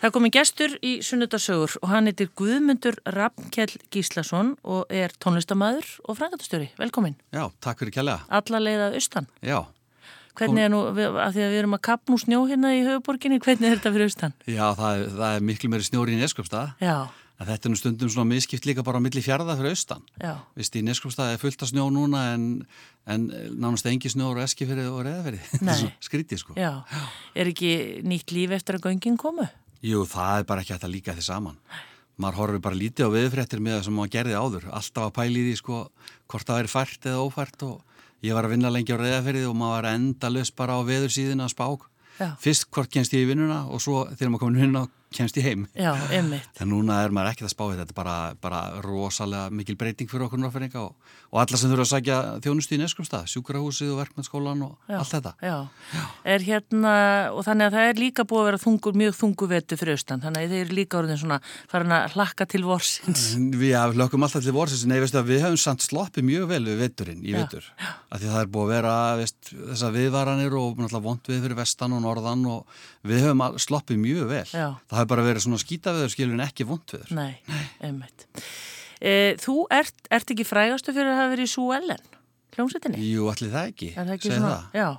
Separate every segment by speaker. Speaker 1: Það komi gestur í Sunnudarsögur og hann heitir Guðmundur Ramkjell Gíslason og er tónlistamæður og frangatastjóri. Velkomin.
Speaker 2: Já, takk fyrir kjærlega.
Speaker 1: Alla leiða austan.
Speaker 2: Já,
Speaker 1: Hvernig er nú, við- af því að við erum að kapnú snjó hérna í höfuborginni, hvernig er þetta fyrir austan?
Speaker 2: já það, er, það er miklu meiri snjóri í Neskjöpstað.
Speaker 1: Já,
Speaker 2: En Þetta er nú stundum svona miskipt líka bara á milli fjarða fyrir austan.
Speaker 1: já,
Speaker 2: Vist, í Neskjöpstað er fullt af snjó núna en, en nánast engi snjó á Eskifyrði og Reðafyrði.
Speaker 1: Nei.
Speaker 2: Skrítið sko.
Speaker 1: já. Er ekki nýtt líf eftir að göngin komu?
Speaker 2: Jú, það er bara ekki hægt að líka því saman. Maður horfir bara lítið á viðfréttir með það sem maður gerði áður. Alltaf að pæli því sko hvort það er fært eða ófært og ég var að vinna lengi á reyðafyrði og maður var endalus bara á veðursíðina að spák.
Speaker 1: Já.
Speaker 2: Fyrst hvort kemst ég í vinnuna og svo þegar maður komin í vinnuna kemst ég heim.
Speaker 1: Já, emmitt.
Speaker 2: En núna er maður ekkert að spá í þetta, þetta er bara, bara rosalega mikil breyting fyrir okkur norrferinga og, og alla sem þurfa að sækja þjónustu í neskumstað, sjúkrahúsið og verkmennskólan og allt þetta.
Speaker 1: Já. Er hérna, og þannig að það er líka búið að vera þungur, mjög þungur vetu fyrir austan, þannig að þeir eru líka orðin svona farin að hlakka til vorsins.
Speaker 2: En Við ja, lögum alltaf til vorsins, nei veistu að við höfum samt sloppið mjög vel við vetturinn í
Speaker 1: Já,
Speaker 2: vettur. Af því að það er búið að vera veist, þessar viðvaranir og náttúrulega vond við fyrir vestan og norðan og við höfum all- sloppið mjög vel.
Speaker 1: Já.
Speaker 2: Það hefur bara verið svona skýtaveður skilur en ekki vond viður.
Speaker 1: Nei, einmitt. E, þú ert, ert ekki frægastu fyrir að hafa verið í Sú Ellen, hljómsveitinni?
Speaker 2: Jú, allir það ekki,
Speaker 1: Er það ekki
Speaker 2: segir
Speaker 1: svona?
Speaker 2: það.
Speaker 1: Já,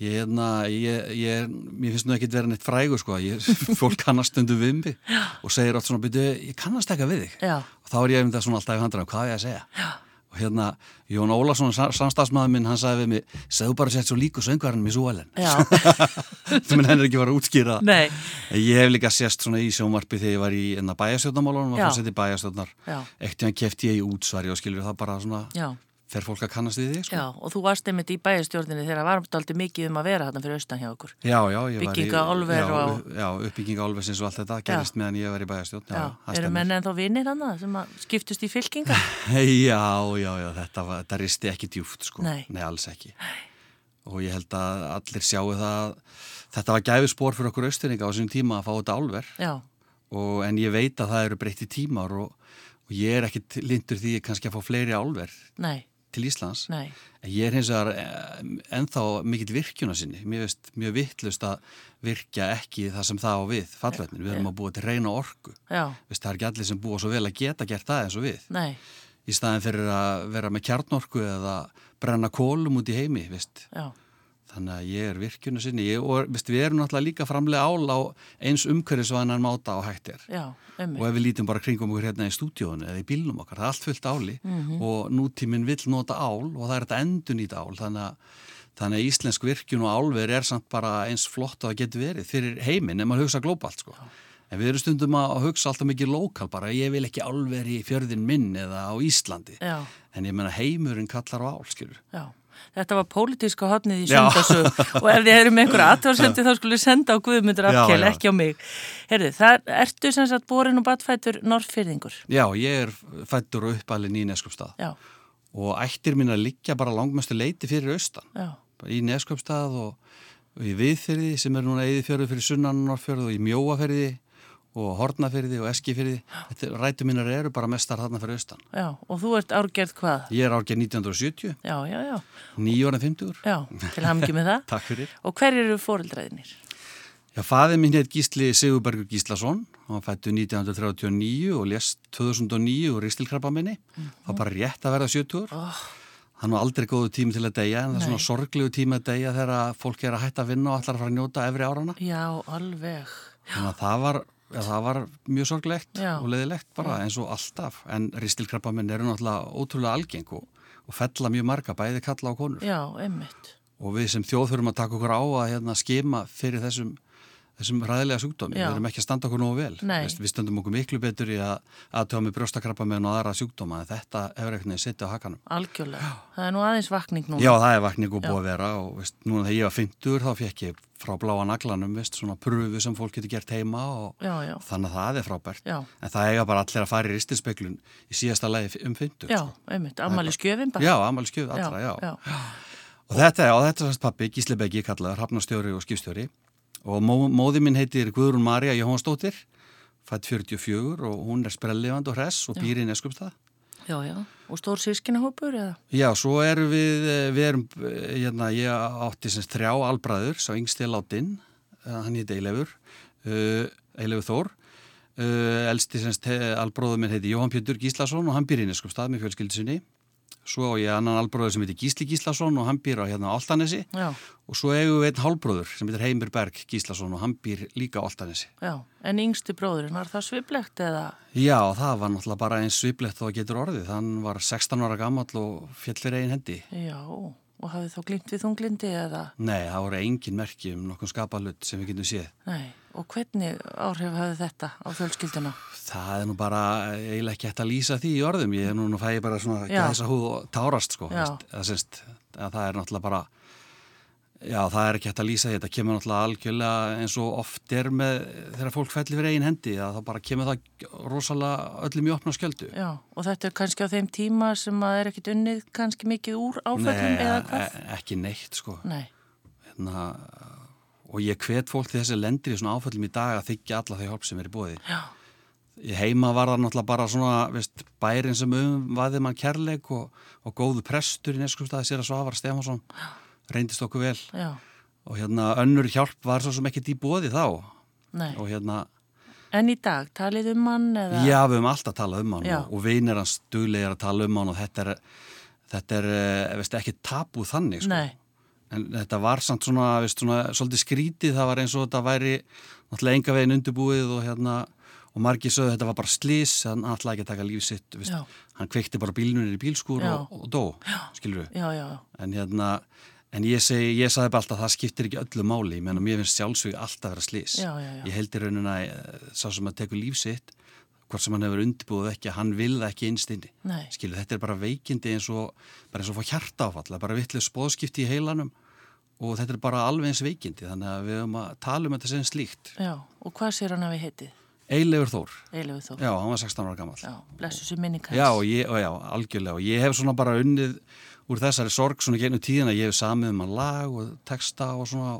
Speaker 2: Ég, hérna, ég, ég, er- mér finnst nú ekkert vera neitt frægur sko, ég, fólk kannast stundum við mig og segir alltaf svona, byrju, ég kannast eitthvað við þig.
Speaker 1: Já.
Speaker 2: Og þá er ég um þetta svona alltaf í handra, hvað er ég að segja? Já. Og hérna, Jón Ólason, samstagsmaður minn, hann sagði við mig, segðu bara sett svo líku söngvarnum í súalinn.
Speaker 1: já,
Speaker 2: Þú minn henn er ekki fara að útskýra. það.
Speaker 1: nei,
Speaker 2: En Ég hef líka sérst svona í sjónvarpi þegar ég var í hérna, enna bæjastjórnamálunum og
Speaker 1: Já.
Speaker 2: fór seti bæjastjórnar.
Speaker 1: Já.
Speaker 2: Eitt í hann kefti ég í útsvari og skilur það bara svona,
Speaker 1: já,
Speaker 2: fer fólk að kannast við þig sko?
Speaker 1: já. Og þú varst einmitt í bæjastjórninni þegar varum þetta aldrei mikið um að vera þarna fyrir austan hjá okkur.
Speaker 2: Já, já, ég var í...
Speaker 1: Bygginga álver
Speaker 2: já,
Speaker 1: og-
Speaker 2: Já, uppbygginga álver sem svo allt þetta gerist meðan ég var í bæjastjórn. Já, það
Speaker 1: eru
Speaker 2: stemmir.
Speaker 1: menn ennþá vinnir hana sem að skiptust í fylkinga?
Speaker 2: Já, já, já, þetta, var, þetta risti ekki djúft, sko.
Speaker 1: Nei.
Speaker 2: alls ekki. Og ég held að allir sjáu það, að þetta var gæfispor fyrir okkur austurninga á þessum tíma að fá þetta álver.
Speaker 1: Já,
Speaker 2: Og, en ég veit að það eru breytti tímar og, og ég er ekkit lindur því kannski að fá fleiri álver
Speaker 1: nei,
Speaker 2: til Íslands.
Speaker 1: nei,
Speaker 2: En Ég er hins vegar eh, ennþá mikill virkjuna sinni. Mér veist mjög vittlust að virkja ekki það sem það á við fallvetnin. Við erum að búa til reyna orku.
Speaker 1: já,
Speaker 2: Veist, það er ekki allir sem búa svo vel að geta gert það eins og við.
Speaker 1: nei,
Speaker 2: Í staðin fyrir að vera með kjarnorku eða brenna kólum út í heimi. Veist.
Speaker 1: já,
Speaker 2: Þannig að ég er virkjuna sinni. Ég, og veist, við erum náttúrulega líka framlega ál á eins umhverfisvæðanan máta á hættir.
Speaker 1: já,
Speaker 2: Og
Speaker 1: ömmur,
Speaker 2: ef við lítum bara kringum okkur hérna í stúdíónu eða í bílnum okkar, það er allt fullt áli og nútíminn vill nota ál og það er þetta endun í ál. Þannig að, þannig að íslensk virkjun og álver er samt bara eins flott og það getur verið fyrir heiminn ef maður hugsa glóbalt sko. En við erum stundum að að hugsa alltaf mikið lokal bara, ég vil ekki álver í fjörðin minn eða á Íslandi.
Speaker 1: já.
Speaker 2: En ég menna heimurinn kallar á ál, skilur.
Speaker 1: Já, þetta var pólitíska hotnið í
Speaker 2: Já.
Speaker 1: söndasög og ef þið erum með einhverja aðtvarsöndi þá skulle senda á Guðmundur
Speaker 2: Já,
Speaker 1: Afkjell,
Speaker 2: já.
Speaker 1: ekki á mig. Herðu, það ertu sem sagt borin og batfætur norrfyrðingur.
Speaker 2: Já, ég er fættur og uppalinn í Neskjöpstað
Speaker 1: Já,
Speaker 2: og ættir mín að liggja bara langmestu leiti fyrir austan.
Speaker 1: já,
Speaker 2: bara í Neskjöpstað og, og í Viðfyrði sem er núna Eðifjörðu fyrir sunnan og Norrfjörðu og í Mjóafyrði og Hortnafyrði og Eskifyrði. Þetta rætu mínar eru bara mestar þarna fyrir austan.
Speaker 1: já, og þú ert árgerð hvað?
Speaker 2: Ég er árgeð 1970,
Speaker 1: Já, já, já,
Speaker 2: 950.
Speaker 1: já, til hamngi með það.
Speaker 2: Takk fyrir.
Speaker 1: Og hver eru fóreldraðinir?
Speaker 2: Já, faðið minn heit Gísli Sigurbergur Gíslason, hann fættu 1939 og lést 2009 og ristilkrabba minni. Það var bara rétt að verða 70-ur. Hann var aldrei góðu tími til að deyja, en það er svona sorglegu tími að deyja þegar að fólk er að hætta að vinna og allar að fara að njóta efri árana.
Speaker 1: Já, alveg.
Speaker 2: Þannig að það var, ja, það var mjög sorglegt
Speaker 1: Já.
Speaker 2: og leðilegt bara eins og alltaf. En ristilkrabba minn eru náttúrulega ótrúlega algeng og, og fella mjög marga, bæði kalla á konur.
Speaker 1: Já, einmitt.
Speaker 2: Og við sem þjóð þurfum að taka okkur á að hérna, skema fyrir þessum, þessum ræðilega sjúkdómi.
Speaker 1: Já.
Speaker 2: Við erum ekki að standa okkur nógu vel.
Speaker 1: Nei.
Speaker 2: Veist, Við stöndum okkur miklu betur í að aðtöfa með brjóstakrabba minn og aðra sjúkdóma en þetta hefur einhvern veginn setja á hakanum.
Speaker 1: Algjörlega. Það er nú aðeins vakning núna.
Speaker 2: Já, það er vakning og búið að vera og veist, núna þegar ég var 50 þá fekk ég frá bláa naglanum, veist, svona pröfu sem fólk getur gert heima og
Speaker 1: Já, já.
Speaker 2: þannig að það er frábært.
Speaker 1: Já.
Speaker 2: En það eiga bara allir að fara í ristilspeglun í síðasta lagi um 50.
Speaker 1: Já, einmitt. Ammali skjöfin bara.
Speaker 2: Já, ammali skjöf allra, já.
Speaker 1: já.
Speaker 2: Og þetta, já, þetta er sérst pappi, Gísli Beggi kallaður, hafnastjóri og skipstjóri. Og mó, móði minn heitir Guðrún Marja Jóhansdóttir, fætt 44 og hún er sprellifand og hress og býr í Neskjöpstað.
Speaker 1: Já, já. Og stór sískinahópur eða?
Speaker 2: Já, svo erum við, eh, við erum, eh, hérna, ég átti sem sagt þrjá albræður, sá yngsti er látin, hann heiti Eilefur, uh, Eilefur Þór, uh, elsti semst albróður minn heiti Jóhann Pjöndur Gíslason og hann býr hérna í Neskupstað með fjölskyldusinni. Svo á ég annan albróður sem heiti Gísli Gíslason og hann býr á hérna Áltanesi
Speaker 1: já,
Speaker 2: og svo eigum við einn hálbróður sem heitir Heimir Berg Gíslason og hann býr líka á Áltanesi.
Speaker 1: já. En yngsti bróðurinn, var það sviplegt eða?
Speaker 2: Já, það var náttúrulega bara eins sviplegt þá getur orðið. Hann var 16 ára gammal og fjall fyrir einn hendi.
Speaker 1: Já, og hafið þá glimt við þunglindi eða?
Speaker 2: Nei, það voru engin merki um nokkun skapalut sem við getum séð.
Speaker 1: Nei, og hvernig áhrif hafið þetta á fjölskylduna?
Speaker 2: Það er nú bara eiginlega ekki hægt að lýsa því í orðum. Ég er nú nú fæ ég bara svona
Speaker 1: Já.
Speaker 2: gæsa húð og tárast sko.
Speaker 1: Já.
Speaker 2: Veist, Það, syns, að það er náttúrulega bara, já það er ekki hægt að lýsa því. Þetta kemur náttúrulega algjörlega eins og oft er með þegar fólk fællir fyrir einn hendi. að Þá bara kemur það rosalega öllum í opna skjöldu.
Speaker 1: Já, og þetta er kannski á þeim tíma sem að er ekkit unnið kannski mikið úr áföllum eða hvað?
Speaker 2: e- ekki neitt sko.
Speaker 1: Nei,
Speaker 2: hérna, og ég hvet fólk til þess að lendir í svona áföllum í dag að þykja alla þau hjálp sem er í bóði.
Speaker 1: já,
Speaker 2: Í heima var það náttúrulega bara svona veist, bærin sem umvaði mann kærleik og, og góðu prestur í neskustæði sér að Svavar Stefánsson reyndist okkur vel
Speaker 1: já,
Speaker 2: og hérna önnur hjálp var svo sem ekkert í bóði þá
Speaker 1: nei.
Speaker 2: og hérna,
Speaker 1: En í dag, talið um hann eða?
Speaker 2: já við höfum alltaf talað um hann
Speaker 1: Já.
Speaker 2: og, og vinir hans duglegir að tala um hann og þetta er, þetta er eh, veist, ekki tabu þannig sko.
Speaker 1: Nei,
Speaker 2: En þetta var samt svona, veist, svona svolítið skrítið, það var eins og þetta væri náttúrulega enga veginn undirbúið og hérna og margir sögðu þetta var bara slís hann ætlaði ekki að taka lífið sitt veist,
Speaker 1: Já.
Speaker 2: hann kveikti bara bílnunir í bílskúr
Speaker 1: Já.
Speaker 2: og, og dó, skilur við
Speaker 1: já, já, já.
Speaker 2: en hérna, en ég segi, ég sagði bara alltaf það skiptir ekki öllu máli, ég menna mér finnst sjálfsög alltaf vera slís,
Speaker 1: Já, já, já.
Speaker 2: ég heldur raunina eh, sá sem að tekur lífið sitt hvort sem hann hefur undirbúið ekki, hann vil það ekki einstinni,
Speaker 1: Nei.
Speaker 2: skilu, þetta er bara veikindi eins og, bara eins og að fá hjarta áfall bara vitlega spóðskipti í heilanum og þetta er bara alveg eins veikindi þannig að við höfum að tala um þetta sem slíkt
Speaker 1: Já, og hvað sér hann hafi heitið?
Speaker 2: Eilefur Þór,
Speaker 1: Eilöfu þó.
Speaker 2: já, hann var 16 ára gammal
Speaker 1: Já, blessu sér minning hans.
Speaker 2: já, og ég, og já, algjörlega og ég hef svona bara unnið úr þessari sorg svona genið tíðina, ég hef samið um að lag og texta og svona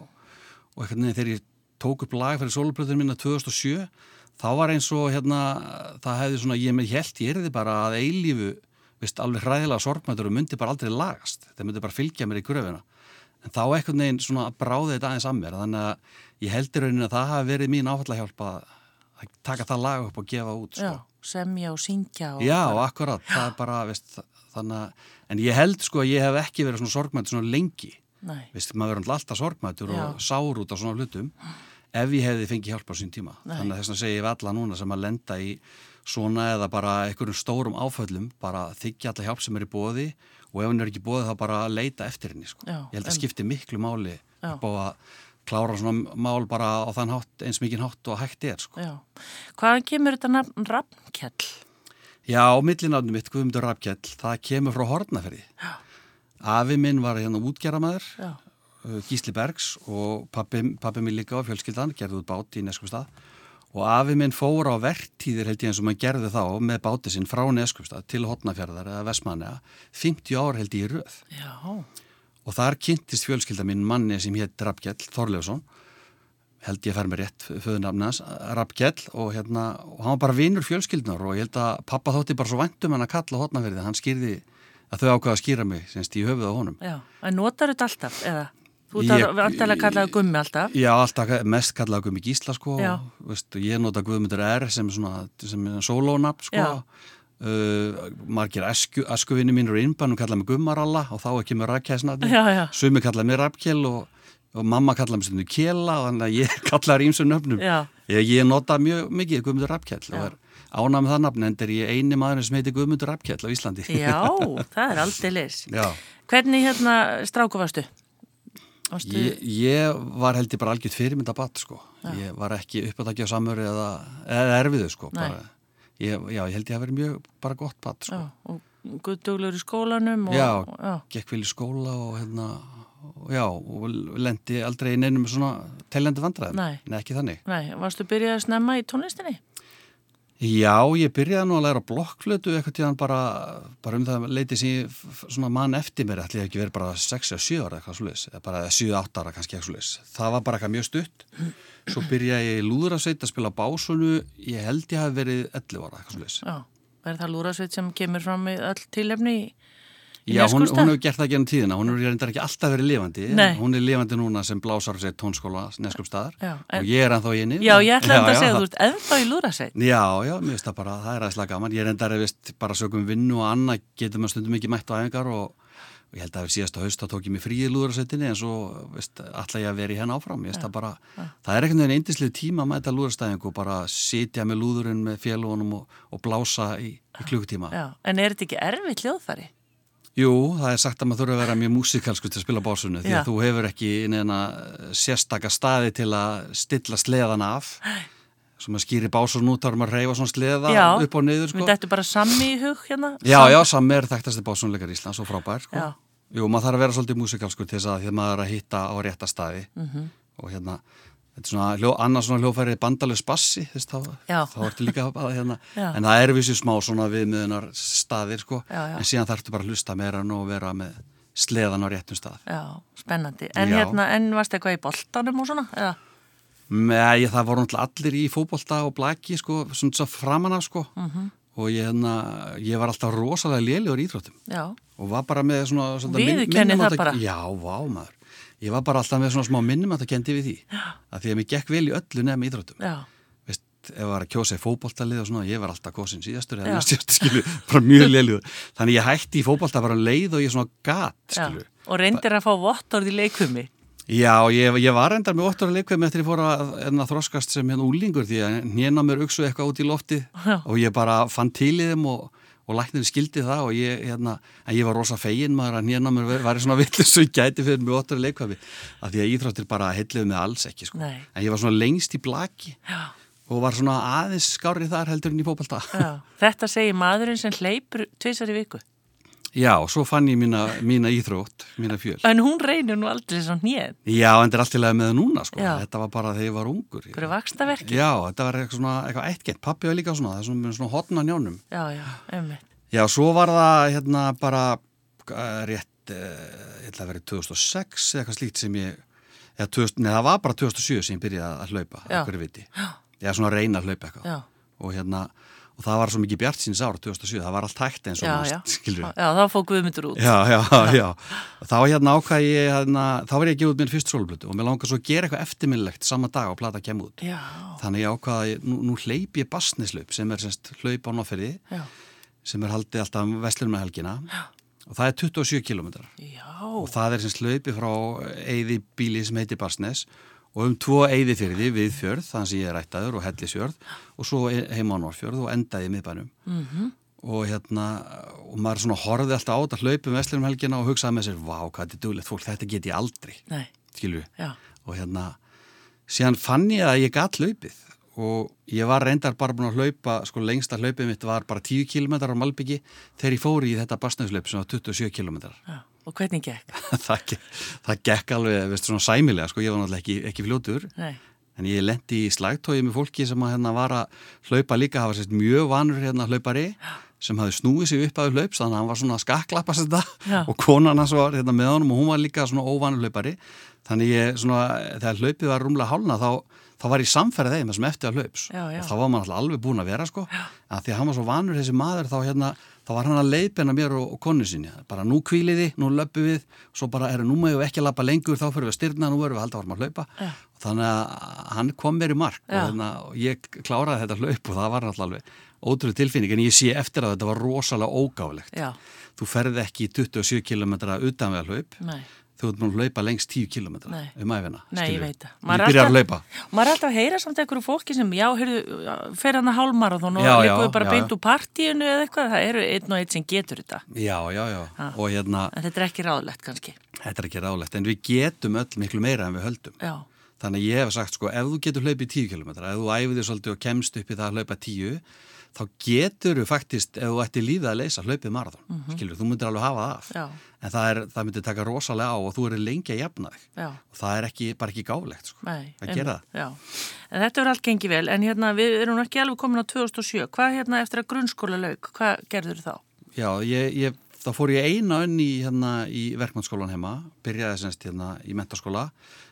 Speaker 2: og eitthvað neðin þegar ég tók upp lag fyrir soluplöðunum minna 2007 þá var eins og hérna það hefði svona, ég með held, ég erði bara að eilífu, veist, alveg hræðilega sorgmættur og myndi bara aldrei lagast, það myndi bara fylgja mér í gröfina en þá eitthvað neginn svona bráði þetta aðeins að mér þannig að ég heldur raunin að það hafi verið mín áfallahjálp að að taka það lag upp og gefa út sko.
Speaker 1: Já, semja og syngja og...
Speaker 2: Já, akkurat, það er bara, veist, þannig að, en ég held sko að ég hef ekki verið svona sorgmættur svona lengi,
Speaker 1: Nei,
Speaker 2: veist, maður verður náttúrulega alltaf sorgmættur og
Speaker 1: Já.
Speaker 2: sár út á svona hlutum ef ég hefði fengið hjálp á sín tíma.
Speaker 1: Nei.
Speaker 2: Þannig að þess að segja ég við alla núna sem að lenda í svona eða bara einhverjum stórum áföllum, bara þykja alla hjálp sem er í bóði og ef hann er ekki í bóði þá bara leita eftir henni, sko.
Speaker 1: Já,
Speaker 2: ég held að
Speaker 1: em-
Speaker 2: skipti miklu máli
Speaker 1: Já.
Speaker 2: upp á að klára svona mál bara á þann hátt, eins mikið hátt og hægt er, sko.
Speaker 1: já. Hvaðan kemur þetta nafn Rappkjall?
Speaker 2: Já, millinafnum mitt, Guðmundur Rappkjell, það kemur frá Hortnaferði. Afi minn var hérna útgerramæður,
Speaker 1: Já,
Speaker 2: Gísli Bergs og pappi, pappi minn líka á fjölskyldan, gerði út bát í Neskupstað. Og afi minn fór á vertíðir held ég eins og maður gerði þá með báti sinn frá Neskupstað til Hortnaferðar eða Vestmanna, 50 ár held ég í röð.
Speaker 1: já,
Speaker 2: Og þar kynntist fjölskylda minn manni sem hétt Rappkjell Þorleifsson, held ég fær mér rétt föðunafnas, Rappkjell og hérna, og hann var bara vinur fjölskyldnar og ég held að pappa þótti bara svo væntum hann að kalla hotnaverði, hann skýrði að þau ákvaða að skýra mig, semst í höfuð á honum.
Speaker 1: já. En notar þetta alltaf, eða? Þú
Speaker 2: Ég-
Speaker 1: ert að- vantarlega að kallaða gummi alltaf.
Speaker 2: Já, alltaf mest kallaða Guðmi Gísla sko,
Speaker 1: Já.
Speaker 2: og, veist, og ég nota Guðmundur R sem svona, sem er sólónafn sko,
Speaker 1: Já.
Speaker 2: uh, margir esku, eskuvinni mínur í innbænum kallaða mig Guðmaralla og þá ekki með rækjæsnaði,
Speaker 1: Já, já.
Speaker 2: sumi kallaða mig Rappkjell og, og mamma kallaða mig stundu Kjela, þannig að ég kallaða rýmsum nöfnum.
Speaker 1: Já.
Speaker 2: Ég, ég nota mjög mikið Guðmundur Rappkjell og er ánað með það nafn, en er ég eini maðurinn sem heitir Guðmundur Rappkjell á Íslandi.
Speaker 1: Já, það er aldeilis.
Speaker 2: Já.
Speaker 1: Hvernig hérna stráku varstu? Varstu,
Speaker 2: Ég, ég var held ég bara algjört fyrirmyndabatt sko. Ég var ekki uppáttakja samur eða, eða erfiðu sko.
Speaker 1: Nei.
Speaker 2: Bara, ég, já, ég held ég að vera mjög bara gott batt
Speaker 1: já,
Speaker 2: sko.
Speaker 1: og guðduglegur í skólanum og...
Speaker 2: Já.
Speaker 1: já.
Speaker 2: Gekk vel í skóla og hérna, og já, og lendi aldrei inn einum svona teljandi vandræðum.
Speaker 1: Nei.
Speaker 2: ekki þannig.
Speaker 1: Nei, varstu byrjað að snemma í tónlistinni?
Speaker 2: Já, ég byrjaði nú að læra blokkflötu eitthvað tíðan bara, bara um það leiti sem ég f- f- svona mann eftir mér ætli ég hafi ekki verið bara 6 eða 7 ára eitthvað slúðis eða bara 7-8 ára kannski eitthvað slúðis það var bara eitthvað mjög stutt svo byrjaði ég í lúðrasveit að spila á básunu ég held ég hafi verið 11 ára eitthvað slúðis
Speaker 1: Já, er það lúrasveit sem kemur fram í öll tilefni í
Speaker 2: Já, hún,
Speaker 1: Neskaupstað?
Speaker 2: hún hefur gert það genum tíðina, hún hefur reyndar ekki alltaf verið lifandi, en
Speaker 1: Nei.
Speaker 2: hún er lifandi núna sem blásar sér tónskóla neskupstaðar
Speaker 1: Já, en-
Speaker 2: og ég er ennþá í henni.
Speaker 1: Já, ég ætla að
Speaker 2: Já, já,
Speaker 1: segja,
Speaker 2: það-
Speaker 1: þú ert ennþá í lúðrasveit.
Speaker 2: Já, já, mér finnst það bara, það er aðeinslega gaman. Ég reyndar eða vist bara sögum vinnu og annað getur maður stundum ekki mætt á æfingar og, og ég held að síðasta haust þá tók ég mig frí í lúðrasveitinni en svo vist, ætla ég að vera í henn áfram. Ég finnst það bara, það er einhvern veginn eindislega tíma að mæta lúðrastæðingu og bara sitja með lúðurinn með félagunum og, og blása í, í klukkutíma.
Speaker 1: Já, en er þetta ekki erfitt hljóðfæri?
Speaker 2: Jú, það er sagt að maður þurfa að vera mjög músikalsku til að spila básunni því
Speaker 1: Já.
Speaker 2: að þú hefur ekki neina eh, sérstaka staði til að stilla sleðan af sem að skýri básun út þá er maður að reyfa svona sleða
Speaker 1: já,
Speaker 2: upp og niður sko.
Speaker 1: Mér dættu bara sammi í hug hérna.
Speaker 2: Já, já, sami er þekktasti básunleikar Íslands og frábær sko.
Speaker 1: Já.
Speaker 2: Jú, maður þarf að vera svolítið músikalsku til þess að því að maður er að hitta á rétta staði
Speaker 1: Mhm.
Speaker 2: -hmm. og hérna, þetta er svona hljó, annars svona hljófæri bandalus bassi þess, þá,
Speaker 1: Já.
Speaker 2: þá ertu líka að hérna
Speaker 1: Já.
Speaker 2: en það er vissi smá svona viðmiðunar staðir sko,
Speaker 1: Já, já.
Speaker 2: en síðan þarftu bara að hlusta meira nú og vera með sleðan á réttum stað
Speaker 1: Já, spennandi. En
Speaker 2: Já.
Speaker 1: hérna, en varst eitthvað í boltanum og svona? Eða?
Speaker 2: Nei, það voru náttúrulega allir í fótbolta og blaki, sko, svona svo framan af, sko.
Speaker 1: Mhm.
Speaker 2: Og ég, hérna, ég var alltaf rosalega lélegur í íþróttum
Speaker 1: Já,
Speaker 2: og var bara með svona... svona
Speaker 1: Viðurkennir það
Speaker 2: minnimátta-
Speaker 1: bara?
Speaker 2: Já, vá, maður. Ég var bara alltaf með svona smá minnum að það kendi við því. Að því að mér gekk vel í öllu nefn íþróttum.
Speaker 1: já,
Speaker 2: Veist, ef það var að kjósa í fótboltalið og svona, ég var alltaf kosin síðastur
Speaker 1: Já.
Speaker 2: eða næst síðastur, skilu, bara mjög lélegur. Þannig ég hætti í fótbolta bara um leið og ég svona gat,
Speaker 1: já.
Speaker 2: skilu.
Speaker 1: Og reyndir að fá vottorð í leikumi.
Speaker 2: Já, ég, ég var endar með 8 ára leikveim eftir ég fór að, hérna, þroskast sem hérna úlingur því að néna mér auksu eitthvað út í lofti og ég bara fann til í þeim og, og læknir skildi það og ég, hérna, en ég var rosa fegin maður að néna mér væri- væri svona villis og ég gæti fyrir mig 8 ára leikveimi af því að íþróttir bara heilluði mig alls ekki sko.
Speaker 1: Nei.
Speaker 2: en ég var svona lengst í blaki
Speaker 1: Já.
Speaker 2: og var svona aðeins skárið þar heldur en í fótbalta.
Speaker 1: Já, þetta segir maðurinn sem hleypur tvisar í viku.
Speaker 2: Já, svo fann ég mína, mína íþrótt, mína fjöl.
Speaker 1: En hún reynir nú aldrei svona hnið.
Speaker 2: Já, en þetta er allt í lagi með það núna sko.
Speaker 1: Já.
Speaker 2: Þetta var bara þegar ég var ungur. Ég-
Speaker 1: Hverju vakstaverki?
Speaker 2: Já, þetta var eitthvað svona, eitthvað eittgett, pappi var líka svona, það er svona, með svona hotna njónum.
Speaker 1: Já, já, einmitt.
Speaker 2: Já, svo var það hérna bara eh, rétt, eh, ég ætla að vera í 2006 eða eitthvað slíkt sem ég, eða 2000, neða það var bara 2007 sem ég byrjaði að hlaupa,
Speaker 1: Já.
Speaker 2: eitthvað viti. Já, svona að reyna að hlaupa eitthvað.
Speaker 1: Já,
Speaker 2: Og hérna, og það var svo mikið bjart síns ára 2007, það var allt hægt eins og
Speaker 1: já, já.
Speaker 2: mest, skilur
Speaker 1: Já, þá fók Guðmundur út.
Speaker 2: Já, já, já. Þá hérna ákvað ég, hérna, þá var ég að gefa út minn fyrst sólblötu og mér langar svo að gera eitthvað eftirminnlegt sama dag og plata kem út.
Speaker 1: Já,
Speaker 2: Þannig ég ákvaða að ég- nú, nú hleyp ég basnislaup sem er semst hlaup á náferði
Speaker 1: já,
Speaker 2: sem er haldið alltaf um vestlunum með helgina og það er 27 kilometrar
Speaker 1: já.
Speaker 2: og það er semst hlaupi frá eyði bíli sem heitir Basnes og um tvo eyði fyrir við fjörð þann sem ég er ættaður og hellisjörð og svo e- heima á Norrfjörð og endaði í miðbænum -hmm. og hérna og maður svona horfið alltaf á þetta hlaupi um vestlunum helgina og hugsaði með sér, vá hvað þetta er duglegt fólk þetta get ég aldrei,
Speaker 1: Nei,
Speaker 2: skilju
Speaker 1: já,
Speaker 2: og hérna síðan fann ég að ég gat hlaupið og ég var reyndar bara búin að hlaupa sko lengsta hlaupið mitt var bara 10 km á Malbyggi þegar ég fór í þetta basnæðslaup sem var 27 km
Speaker 1: já. Og hvernig gekk?
Speaker 2: það, gekk- það gekk alveg, veistu, svona sæmilega sko, ég var náttúrulega ekki, ekki fljótur
Speaker 1: Nei,
Speaker 2: en ég lendi í slagtói með fólki sem að hérna var að hlaupa líka, hafa sérst mjög vanur hérna hlaupari sem hafði snúið sig upp að hlaups, þannig að hann var svona að skakklappa sér
Speaker 1: Já.
Speaker 2: þetta og konan hans var hérna með honum og hún var líka svona óvanur hlaupari þannig ég svona, þegar hlaupið var rúmlega hálna þá, þá var ég samferðið þeim sem eftir að hlaups
Speaker 1: Já, já.
Speaker 2: og þá var maður alltaf alveg búin að vera sko að því að hann var svo vanur þessi maður þá hérna þá var hann að leiðbena mér og, og konu sinni bara nú kvíliði, nú löppu við svo bara er nú maður ekki að lappa lengur þá fyrir við að styrna, nú erum við að halda að varum að hlaupa
Speaker 1: Já.
Speaker 2: og þannig að hann kom mér í mark og,
Speaker 1: Já.
Speaker 2: hérna, og ég kláraði þetta hlaup og það var alltaf alveg ótrúið tilfinning en ég sé eftir að þetta var rosalega ógáflegt
Speaker 1: já,
Speaker 2: þú ferði ekki í 27 km utan við að hlaup
Speaker 1: nei.
Speaker 2: þú ert búin að hlaupa lengst 10 km
Speaker 1: Nei.
Speaker 2: um æfina
Speaker 1: Nei, ég
Speaker 2: skilurðu.
Speaker 1: veit það.
Speaker 2: ég byrjar að hlaupa
Speaker 1: Maður er alltaf að heyra samt einhverju fólki sem, já, heyrðu, fer hann að hálmarathon og
Speaker 2: Já, já,
Speaker 1: líkuðu bara
Speaker 2: já,
Speaker 1: beint
Speaker 2: já.
Speaker 1: úr partíinu eða eitthvað. Það eru einn og einn sem getur þetta.
Speaker 2: já, já, já,
Speaker 1: Ha.
Speaker 2: og hérna
Speaker 1: En þetta er ekki ráðlegt kannski.
Speaker 2: Þetta er ekki ráðlegt, en við getum öll miklu meira en við höldum.
Speaker 1: Já,
Speaker 2: Þannig að ég hef sagt, sko, ef þú getur hlaupið 10 km, ef þú æfið þér svolítið og kemst upp í það að hlaupa 10, þá getur þú faktist, ef þú ætti lífið að leysa, hlaupið marathon. Mm Skilur, þú myndir alveg hafa það af.
Speaker 1: Já.
Speaker 2: En það, er, það myndir taka rosalega á og þú eru lengi að jafna þig.
Speaker 1: já.
Speaker 2: Og það er ekki, bara ekki gáflegt, sko.
Speaker 1: Nei,
Speaker 2: að gera það.
Speaker 1: Já, en þetta verður allt gengið vel, en hérna við erum nú ekki alveg komin á 2007, hvað hérna eftir að grunnskóla lauk, hvað gerður þá?
Speaker 2: Já, ég, ég, þá fór ég eina önn í, hérna, í verkmannsskólan heima, byrjaði semst hérna í mentaskóla.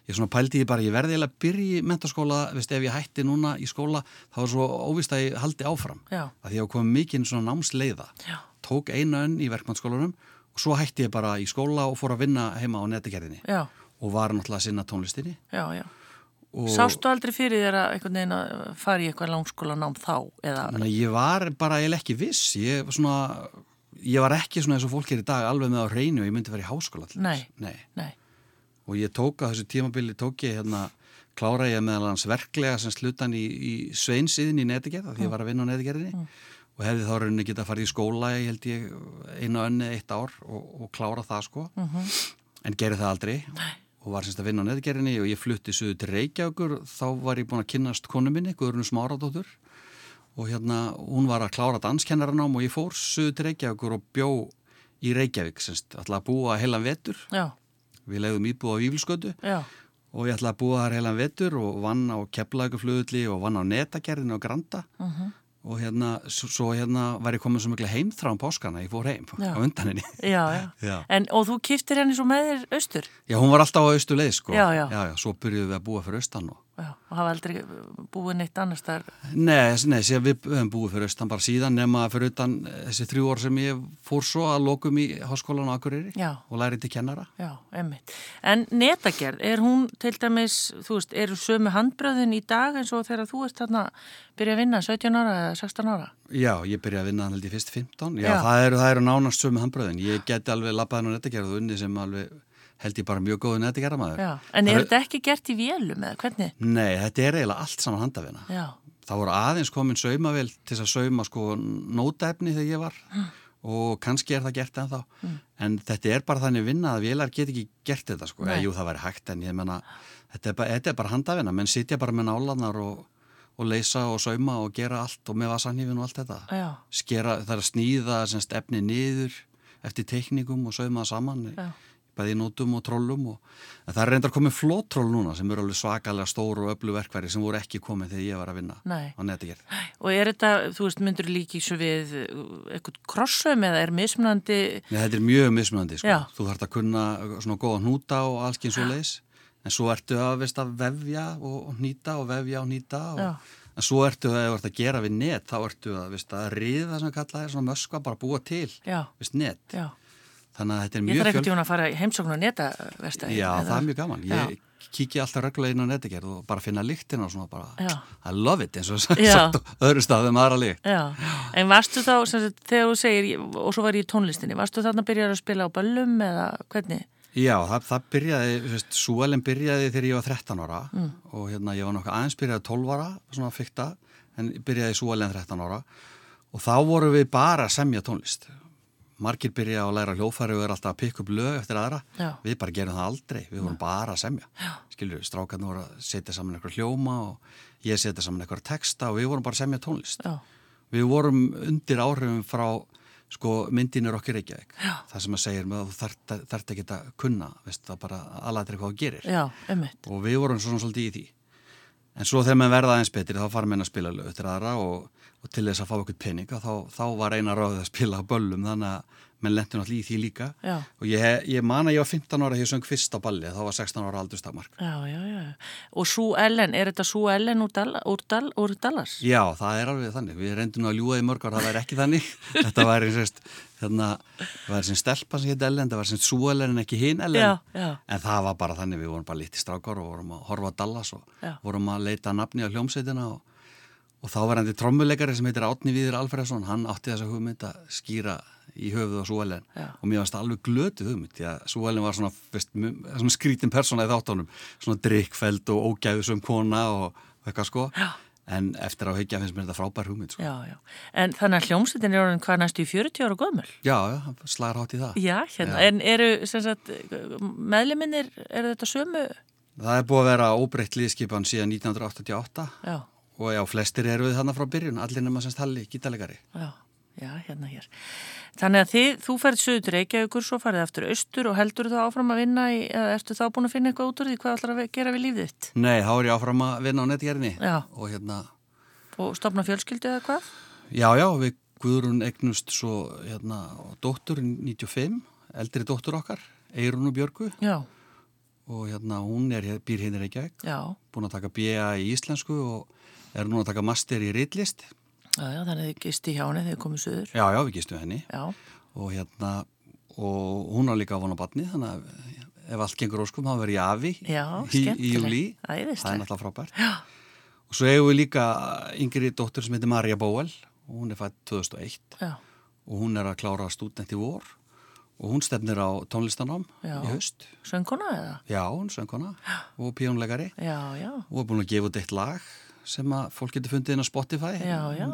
Speaker 2: Ég svona pældi ég bara, ég verði eiginlega að byrja í mentaskóla, veist, ef ég hætti núna í skóla, þá er svo óvist að ég haldi áfram.
Speaker 1: Já.
Speaker 2: Að því ég hafa komið mikinn svona námsleiða.
Speaker 1: Já.
Speaker 2: Tók eina önn í verkmannsskólanum og svo hætti ég bara í skóla og fór að vinna heima á netagerðinni
Speaker 1: já,
Speaker 2: og var náttúrulega að sinna tónlistinni
Speaker 1: já, já.
Speaker 2: og
Speaker 1: Sástu aldrei fyrir þér að einhvern veginn að fara í eitthvað langskólanám þá eða,
Speaker 2: Þannig að ég var bara eiginlega ekki viss, ég var svona, ég var ekki svona eins og fólk er í dag alveg með á reynu og ég myndi vera í háskóla allir.
Speaker 1: Nei.
Speaker 2: Nei.
Speaker 1: nei,
Speaker 2: Og ég tók að þessu tímabili, tók ég hérna, klára ég meðal hans verklega sem slutan í, í sveinsiðin í netigerð, því ég var að vinna á netigerðinni og hefði þá rauninni getað að fara í skóla, ég held ég, einu og önni eitt ár og, og klára það sko. En gerði það aldrei Nei. og var semst að vinna á netigerðinni og ég flutti suðu til Reykjavíkur, þá var ég búin að kynnast konu minni, Guðrunu Smáradóttur og hérna, hún var að klára danskennaranám og ég fór suðu til Reykjavíkur og bjó í Reykjavík, semst, alltaf að búa heilan vetur
Speaker 1: já,
Speaker 2: Við leiðum íbúið á Vífilskötu
Speaker 1: já,
Speaker 2: og ég ætlaði að búa þar heilan vetur og vann á Keflavíkuflugulli og vann á netagerðinu og Granda
Speaker 1: Mhm.
Speaker 2: og hérna, s- svo hérna var ég komið svo mikla heimþrá um páskana, ég fór heim
Speaker 1: Já.
Speaker 2: á undan henni.
Speaker 1: já, já.
Speaker 2: Já.
Speaker 1: En, og þú kiftir henni svo með þér austur
Speaker 2: Já, hún var alltaf á austu leið sko.
Speaker 1: Já, já.
Speaker 2: já, svo byrjuðum við að búa fyrir austan og
Speaker 1: já, og hafa aldrei búið neitt annars þar
Speaker 2: Nei, s- nei, síðan við höfum búið fyrir austan bara síðan nema fyrir utan eh, þessi þrjú ár sem ég fór svo að lokum í háskólan á Akureyri
Speaker 1: Já.
Speaker 2: og lærið til kennara.
Speaker 1: Já, emmitt. En netagerð, er hún til dæmis, þú veist, eru sömu handbröðin í dag eins og þegar þú ert þarna byrja að vinna 17 ára eða 16 ára?
Speaker 2: Já, ég byrjaði að vinna hann held ég fyrst 15. Já,
Speaker 1: Já.
Speaker 2: Það, eru, það eru nánast sömu handbröðin. Ég geti alveg labbaðin á nettingerð og unni sem alveg held ég bara mjög góðu nettingerðamæður.
Speaker 1: Já, en er þetta ekki gert í vélum eða hvernig?
Speaker 2: Nei, þetta er eiginlega allt saman handavina.
Speaker 1: Já,
Speaker 2: Það voru aðeins komin saumavél til þess að sauma sko nótaefni þegar ég var
Speaker 1: Mm.
Speaker 2: og kannski er það gert ennþá. En þetta er bara þannig vinna að vélar get ekki gert þetta sko.
Speaker 1: Nei.
Speaker 2: Eða, jú, það væri hægt en ég menna, þetta er bara, þetta er bara handavina. Menn sitja bara með nálanar og, og leysa og sauma og gera allt og með vasanhífin og allt þetta
Speaker 1: já,
Speaker 2: skera, það er að snýða semst, efni niður eftir teknikum og sauma það saman
Speaker 1: Já.
Speaker 2: bæði í nótum og trollum og, en það er reyndar komið flótroll núna sem eru alveg svakalega stór og öllu verkværi sem voru ekki komið þegar ég var að vinna
Speaker 1: nei.
Speaker 2: á netigerð.
Speaker 1: Og er þetta, þú veist, myndur líki svo við uh, eitthvað krossum eða er mismunandi?
Speaker 2: Nei, þetta er mjög mismunandi sko.
Speaker 1: Já.
Speaker 2: þú þarf að kunna uh, svona góða hnúta og allskinn svo leis en svo ertu að, veist, að vefja og hnýta og vefja og hnýta
Speaker 1: Já.
Speaker 2: og, en svo ertu að, ef þú ert að gera við net þá ertu að, veist, að riða sem kallaði svona möskva, bara búa til
Speaker 1: Já,
Speaker 2: veist, net,
Speaker 1: já.
Speaker 2: þannig að þetta er
Speaker 1: Ég þarf
Speaker 2: mjög
Speaker 1: ekkert tíma að fara í heimsókn og neta verstaði.
Speaker 2: Já, það er mjög gaman.
Speaker 1: Já.
Speaker 2: Ég kíkja alltaf reglulega inn á netigerð og bara finna lyktina og svona bara,
Speaker 1: Já.
Speaker 2: I love it, eins og
Speaker 1: Já.
Speaker 2: sagt á öðru staðum aðra lykt.
Speaker 1: Já, en varstu þá, sem sagt, þegar þú segir, og svo var ég í tónlistinni, varstu þarna að byrja að spila á ballum eða hvernig?
Speaker 2: Já, það, það byrjaði, þú veist, súalinn byrjaði þegar ég var 13 ára og hérna ég var nokkuð aðeins byrjaði 12 ára, svona fykta, en byrjaði súalinn 13 ára og þá vorum við bara að semja tónlist. Margir byrjaði að læra hljófæri og er alltaf að pikka upp lög eftir aðra.
Speaker 1: Já.
Speaker 2: Við bara gerum það aldrei, við vorum bara að semja. Já. Skilur, strákarnir voru að setja saman eitthvað hljóma og ég setja saman eitthvað texta og við vorum bara að semja tónlist.
Speaker 1: Já,
Speaker 2: Við vorum undir áhrifum frá sko, myndinur okkur Reykjavík. Já. Það sem að segir með að þú þart, þart ekki að kunna, veist, það bara aðlættir hvað þú gerir.
Speaker 1: já, ummitt.
Speaker 2: Og við vorum svona svolítið í því. En svo þegar maður verða aðeins betri þá fara menn að spila lög til aðra og, og til þess að fá eitthvað peninga þá, þá var eina ráðið að spila á böllum þannig að menn lentur náttúrulega í því líka.
Speaker 1: Já.
Speaker 2: Og ég, ég man að ég var 15 ára þegar ég söng fyrst á balli þá var 16 ára aldurstakmark.
Speaker 1: Já, já, já. Og Sú Ellen, er þetta Sú Ellen úr, Dal, úr, Dal, úr Dallas?
Speaker 2: Já, það er alveg þannig. Við reyndum nú að ljúa í mörg ár, það væri ekki þannig. Þetta væri sérst, hérna, það væri sem stelpa sem hétt Ellen, það væri sem sú Ellen en ekki hinn Ellen.
Speaker 1: Já, já.
Speaker 2: En það var bara þannig, við vorum bara lítið strákar og vorum að horfa á Dallas og
Speaker 1: Já.
Speaker 2: vorum að leita að nafni á hljómsveitina og, og þá var hann til trommuleikari sem heitir Átni Víður Alfredsson, hann átti þessa hugmynd að skýra í höfuð á sú Ellen
Speaker 1: Já.
Speaker 2: og mér varst það alveg glötu hugmynd því að svo Ellen var svona, veist, mjög- svona skrítin persóna í þáttunum, svona drikkfeld og ógæðusum kona og eitthvað sko Já. en eftir á higgja finnst mér þetta frábær hugmynd sko.
Speaker 1: Já, já. En þannig að hljómsveitin er orðin hvað næstu í 40 ára gömul?
Speaker 2: Já, já, slagar hátt í það
Speaker 1: Já, hérna. En eru, sem sagt, meðliminir, eru þetta sömu?
Speaker 2: Það er búið að vera óbreytt liðskipan síðan 1988
Speaker 1: Já,
Speaker 2: og já, flestir eru við þarna frá byrjun allir nema semst Halli, gítalegari
Speaker 1: já, já, hérna hér. Þannig að þið, þú færið söðu til Reykjavíkur, svo færið aftur austur og heldur þú áfram að vinna í, eða ertu þá búin að finna eitthvað út úr því, hvað ætlar að ve- gera við lífið þitt?
Speaker 2: Nei, þá er ég áfram að vinna á netgerðinni
Speaker 1: Já.
Speaker 2: og hérna,
Speaker 1: Og stopna fjölskyldu eða hvað?
Speaker 2: já, já, við Guðrún egnust svo hérna, dóttur 95, eldri dóttur okkar Eirun og Björgu
Speaker 1: Já,
Speaker 2: og hérna hún er, hér- býr hérna í Reykjavík
Speaker 1: já,
Speaker 2: búin að taka BA í íslensku og er núna að taka master í reitlist
Speaker 1: já, já þannig að þið gisti hjá henni þegar þið komið söður.
Speaker 2: já, já, við gistum henni
Speaker 1: Já,
Speaker 2: og hérna, og hún á líka von á batni þannig að ef allt gengur óskum þá verður ég afi
Speaker 1: Já,
Speaker 2: í, í
Speaker 1: skemmtilegt.
Speaker 2: júli
Speaker 1: Æðislegt.
Speaker 2: það er náttúrulega frábært Já. og svo hefur við líka yngri dóttur sem heitir Marja Bóel og hún er fætt 2001
Speaker 1: já,
Speaker 2: og hún er að klára stúdent í vor og hún stefnir á tónlistanám
Speaker 1: Já.
Speaker 2: í haust
Speaker 1: söngkona eða?
Speaker 2: Já, hún söngkona og píónleikari
Speaker 1: Já, já,
Speaker 2: og er búin að gefa út eitt lag sem að fólk getur fundið inn á Spotify
Speaker 1: já, já,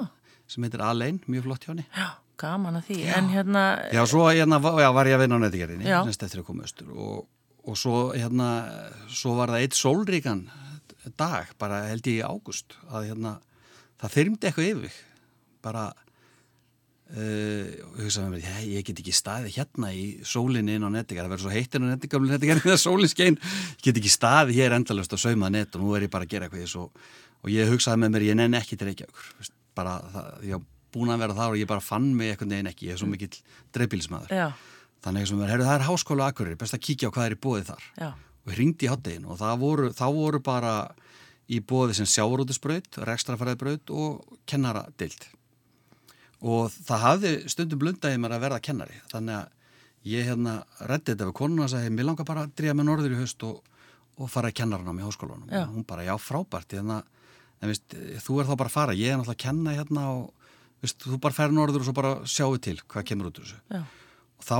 Speaker 2: sem heitir Alein, mjög flott hjá henni
Speaker 1: já, gaman að því. En hérna,
Speaker 2: Já, svo hérna, va- já, var ég að vinna á netiðgerðinni
Speaker 1: Já.
Speaker 2: semst eftir að koma austur og, og svo, hérna, svo var það eitt sólríkan dag, bara held ég í águst að hérna, það þyrmdi eitthvað yfir mig. bara Uh, hugsaði með mér, ég, ég get ekki staðið hérna í sólinni inn á netigar það verður svo heittinn á netigamlu netigar þegar sólin skein, ég get ekki staðið hér endalust að sauma net og nú er ég bara að gera eitthvað í þessu og, og ég hugsaði með mér, ég nenn ekki til Reykjavíkur veist, bara, það, ég var búin að vera þar og ég bara fann mig eitthvað neginn ekki, ég er svo mikill dreifbílismæður,
Speaker 1: já,
Speaker 2: þannig sem mér, heyrðu það er háskóla akkurir, best að kíkja á hvað er í bóði þar
Speaker 1: já,
Speaker 2: og hringdi í háttegin og það voru, þá voru bara í bóði sem sjávarútusbraut, rekstrafæraðbraut og kennaradild. Og það hafði stundum blundaði mér að verða kennari. Þannig að ég hérna reddi þetta við konuna og sagði, mér langar bara að dríja með norður í haust og, og fara í kennaranám í háskólanum.
Speaker 1: Já.
Speaker 2: Og Hún bara, já, frábært. Þannig að, en veist, þú er þá bara að fara, ég er náttúrulega að kenna hérna og veist, þú bara fer norður og svo bara sjáu til hvað kemur út úr þessu
Speaker 1: já,
Speaker 2: og þá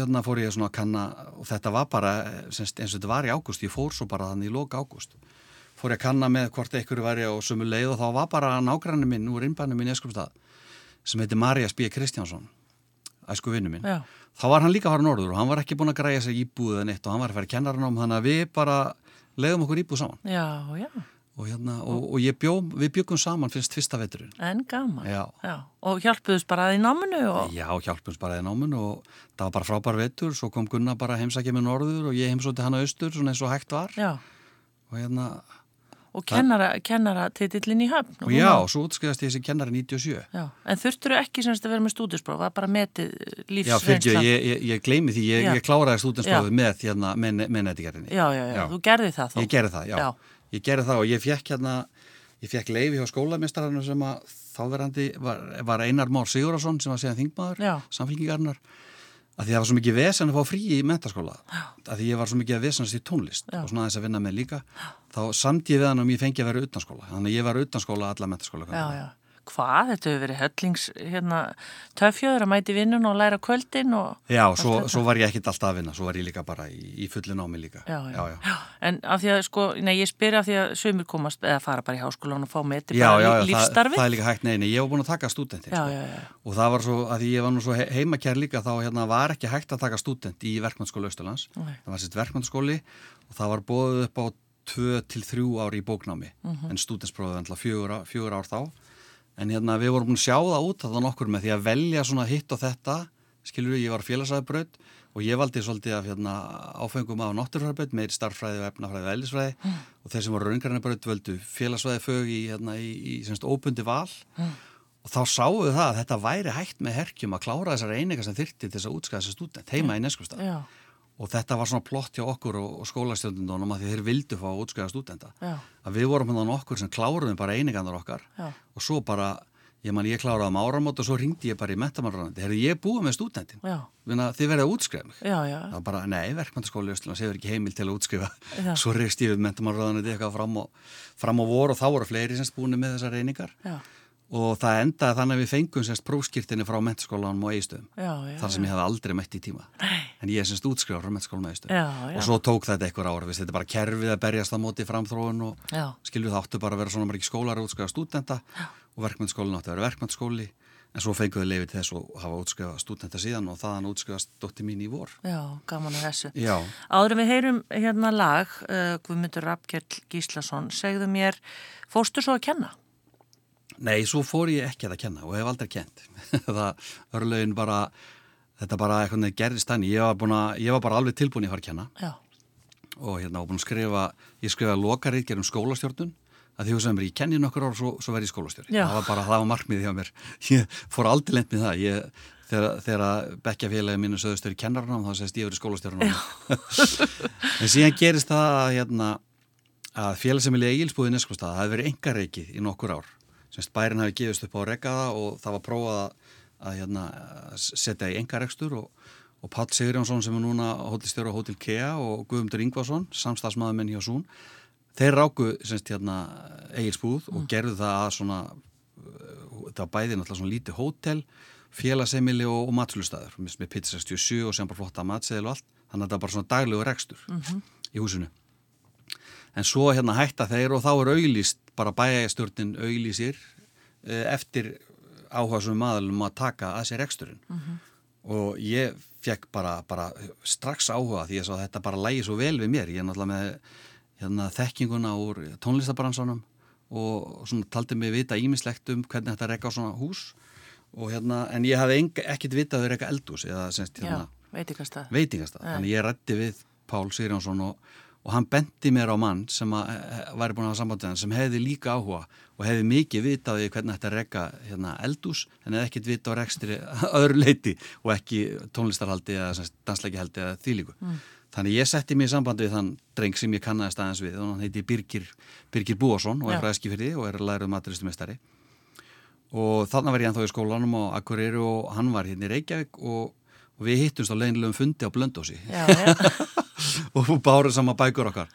Speaker 2: hérna, fór ég svona að kanna og þetta var bara semst, eins og þetta var í ágúst, ég fór svo bara þannig í loka ágúst fór ég að kanna með hvort einhverju væri á sömu leið og þá var bara nágrannin minn úr innbænum minn í Eskjöpstað sem heiti Marjas B. Kristjánsson æsku vinnu minn
Speaker 1: já,
Speaker 2: þá var hann líka að fara norður og hann var ekki búin að græja sig íbúð en eitt og hann var að fara kennarann om þannig að við bara leiðum okkur íbúð saman
Speaker 1: já, já,
Speaker 2: og, hérna, og, og ég bjó, við bjögum saman finnst fyrsta veturinn
Speaker 1: en gaman.
Speaker 2: Já.
Speaker 1: og hjálpuðus bara að í náminu og,
Speaker 2: Já, hjálpum bara í námun og það var bara frábær vetur, svo kom Gunnar bara heimsækja með norður og ég heimsóti hann að austur svona eins og hægt var
Speaker 1: já,
Speaker 2: og hérna,
Speaker 1: og kennara, kennara titillin í höfn.
Speaker 2: og já, svo útskriðast ég sem kennari 97.
Speaker 1: Já, en þurftur ekki semst að vera með stúdispróf, það er bara metið eh,
Speaker 2: Já, fyrir
Speaker 1: lífsreynslan.
Speaker 2: ég, ég, ég gleymi því, ég,
Speaker 1: Já.
Speaker 2: ég kláraði stúdensprófið með, hérna, með, með netigarinn.
Speaker 1: já, já, já,
Speaker 2: Já.
Speaker 1: þú gerði það þó.
Speaker 2: Ég gerði það, já.
Speaker 1: Já.
Speaker 2: Ég gerði það og ég fekk hérna, ég fekk leifi hjá skólamestararnu sem að þáverandi var, var Einar Már Sigurðarsson sem var síðan þingmaður,
Speaker 1: Já.
Speaker 2: samfélkingarnar, að því það var svo mikið vesen að fá frí í mentaskóla, að því ég var svo mikið að vesenast í tónlist
Speaker 1: Já.
Speaker 2: og svona aðeins að vinna með líka, þá samt ég við hann um ég fengi að vera utan skóla, þannig að ég var utan skóla alla mentaskóla.
Speaker 1: Já, já. Hvað, þetta hefur verið höllings, hérna, töfjöður að mæti vinnun og læra kvöldin og...
Speaker 2: Já, svo, svo var ég ekkit alltaf að vinna, svo var ég líka bara í, í fullu námi líka.
Speaker 1: Já, já, En af því að, sko, nei, ég spyr af því að sömur komast eða fara bara í háskólan og fá metið
Speaker 2: Já,
Speaker 1: bara
Speaker 2: já, já, það,
Speaker 1: lífstarfi.
Speaker 2: það er líka hægt, nei, nei, ég var búin að taka stúdentir
Speaker 1: Já,
Speaker 2: sko.
Speaker 1: já, já.
Speaker 2: og það var svo, að því ég var nú svo he- heimakær líka þá hérna, var ekki hægt að taka stúdent í verkmyndaskóla Östurlands,
Speaker 1: Nei.
Speaker 2: það var sitt verkmyndaskóli og það var bóðið upp á 2-3 ári í bóknámi
Speaker 1: Mhm.
Speaker 2: en stúdentsprófið var náttúrulega fjögur, á- fjögur ár þá en hérna við vorum búin að sjá það út að það nokkur með því að velja svona hitt og þetta skilur við, ég var félagsæðabraut og ég valdi svolítið af hérna, áfengum á náttúrfræðabraut meir starffræði og efnafræði og eðlisfræði
Speaker 1: Hmm.
Speaker 2: og þeir sem voru raungarnarbraut völdu félagsvæði fög í, hérna, í, í semst, óbundi val
Speaker 1: Hmm.
Speaker 2: og þá sáum við það að þetta væri hægt með herkjum að klára þessar einingar sem þyrti til þess að útskaða þessar stúdent heima í neskustaf
Speaker 1: Hmm. Já,
Speaker 2: og þetta var svona plott hjá okkur og, og skólastjöndundunum að því þeir vildu fá að útskæða stúdenda
Speaker 1: Já.
Speaker 2: að við vorum hann okkur sem kláruðum bara einingarnar okkar
Speaker 1: Já.
Speaker 2: og svo bara, ég man ég kláraði um áramót og svo ringdi ég bara í mentamálrænandi heyrðu ég er búið með stúdentin
Speaker 1: já,
Speaker 2: Vinna, þið verðið að útskrifa mig
Speaker 1: já, já.
Speaker 2: það var bara, nei, verkmyndaskóli Östurlands hefur ekki heimil til að útskrifa
Speaker 1: Já.
Speaker 2: svo reist ég við mentamálrænandi eitthvað fram á, fram á vor og þá voru fleiri sem spúni með þessar einingar
Speaker 1: Já,
Speaker 2: og það endaði þannig að við fengum semst prófskirtinni frá mentaskólanum og eigistöðum
Speaker 1: já, já.
Speaker 2: þar sem ég hef aldrei mætt í tíma
Speaker 1: Nei.
Speaker 2: en ég er semst útskrifar frá mentaskólanum og eigistöðum
Speaker 1: Já, já.
Speaker 2: og svo tók þetta einhver ára, veist, þetta er bara kerfið að berjast það móti framþróun og
Speaker 1: Já.
Speaker 2: skilur það áttu bara að vera svona margir skólar að útskrifa stúdenta og verkmyndaskólin áttu að vera verkmyndaskóli en svo fengum við leifið til þess og hafa útskrifað stúdenta síðan og þaðan útskrifast dótti mín í vor
Speaker 1: Já, gaman að þessu.
Speaker 2: Já,
Speaker 1: Áður en við heyrum hérna lag, uh, Guðmundur Rappkjell Gíslason, segðu mér, fórstu svo að kenna?
Speaker 2: nei, svo fór ég ekki að kenna og hef aldrei kent það örlögin bara þetta bara eitthvað gerðist þannig ég var, búin að, ég var bara alveg tilbúin í að fara að kenna
Speaker 1: Já,
Speaker 2: og hérna var búin að skrifa, ég skrifa lokaritgerð um skólastjórnun að því sem er ég kenni nokkur ár og svo, svo verði ég skólastjórn
Speaker 1: Já.
Speaker 2: það var bara, það var markmið hjá mér ég fór aldrei lent með það ég, þegar, þegar að bekkja félagi mínu söðustur í kennarnám þá segist ég verið skólastjórn en síðan gerist það að, hérna, að félagsemilega eigilsbúði neskvistað, það hefði verið engar reikið í nokkur ár semst bærin hafi gefist upp á að reka það og það var prófað að, að hérna, setja í engar rekstur og, og Pall Sigurjánsson sem er núna hótelstjóra á Hótel Kea og Guðmundur Ingvarsson, samstagsmaður minn hjá Sún, þeir ráku semst hérna eigilsbúð og gerðu það að svona, uh, það var bæði náttúrulega svona lítið hótel, félagsemili og, og matsölustæður, með, með pitt 67 og sem bara flotta matseðil og allt, þannig að það er bara svona daglegu rekstur í húsinu. En svo hérna hætta þeir og þá er auglýst, bara bæjastjórnin auglýsir eh, eftir áhásum maðurlum að taka að sér eksturinn. Og ég fekk bara, bara strax áhuga því ég sá að þetta bara lægi svo vel við mér. Ég er náttúrulega með hérna, þekkinguna úr tónlistabransanum og svona taldi mig vita ímislegt um hvernig þetta rekka á svona hús. Og, hérna, en ég hafði enga- ekkert vitað að þau rekka eldús eða semst hérna,
Speaker 1: já, veit ekki að stað.
Speaker 2: veitingastað. Þannig ég rætti við Pál Sigurjónsson og, og hann benti mér á mann sem að, eh, væri búin að hafa sambandið hann sem hefði líka áhuga og hefði mikið vitað í hvernig þetta rekka hérna, eldús en hefði ekkit vitað á rekstri að öðru leiti og ekki tónlistarhaldi eða dansleikihaldi eða þýlíku. Þannig ég setti mig í sambandi við þann dreng sem ég kannaðist aðeins við og hann heiti Birgir, Birgir Búarsson og er
Speaker 1: Já.
Speaker 2: fræðski fyrir og er læruð maturistumestari og þarna var ég ennþá í skólanum á Akureyri og hann var hérna í Reykjavík og, og við hittumst á leginlegum fundi á Blöndósi
Speaker 1: Já, já,
Speaker 2: og bárum sama bækur okkar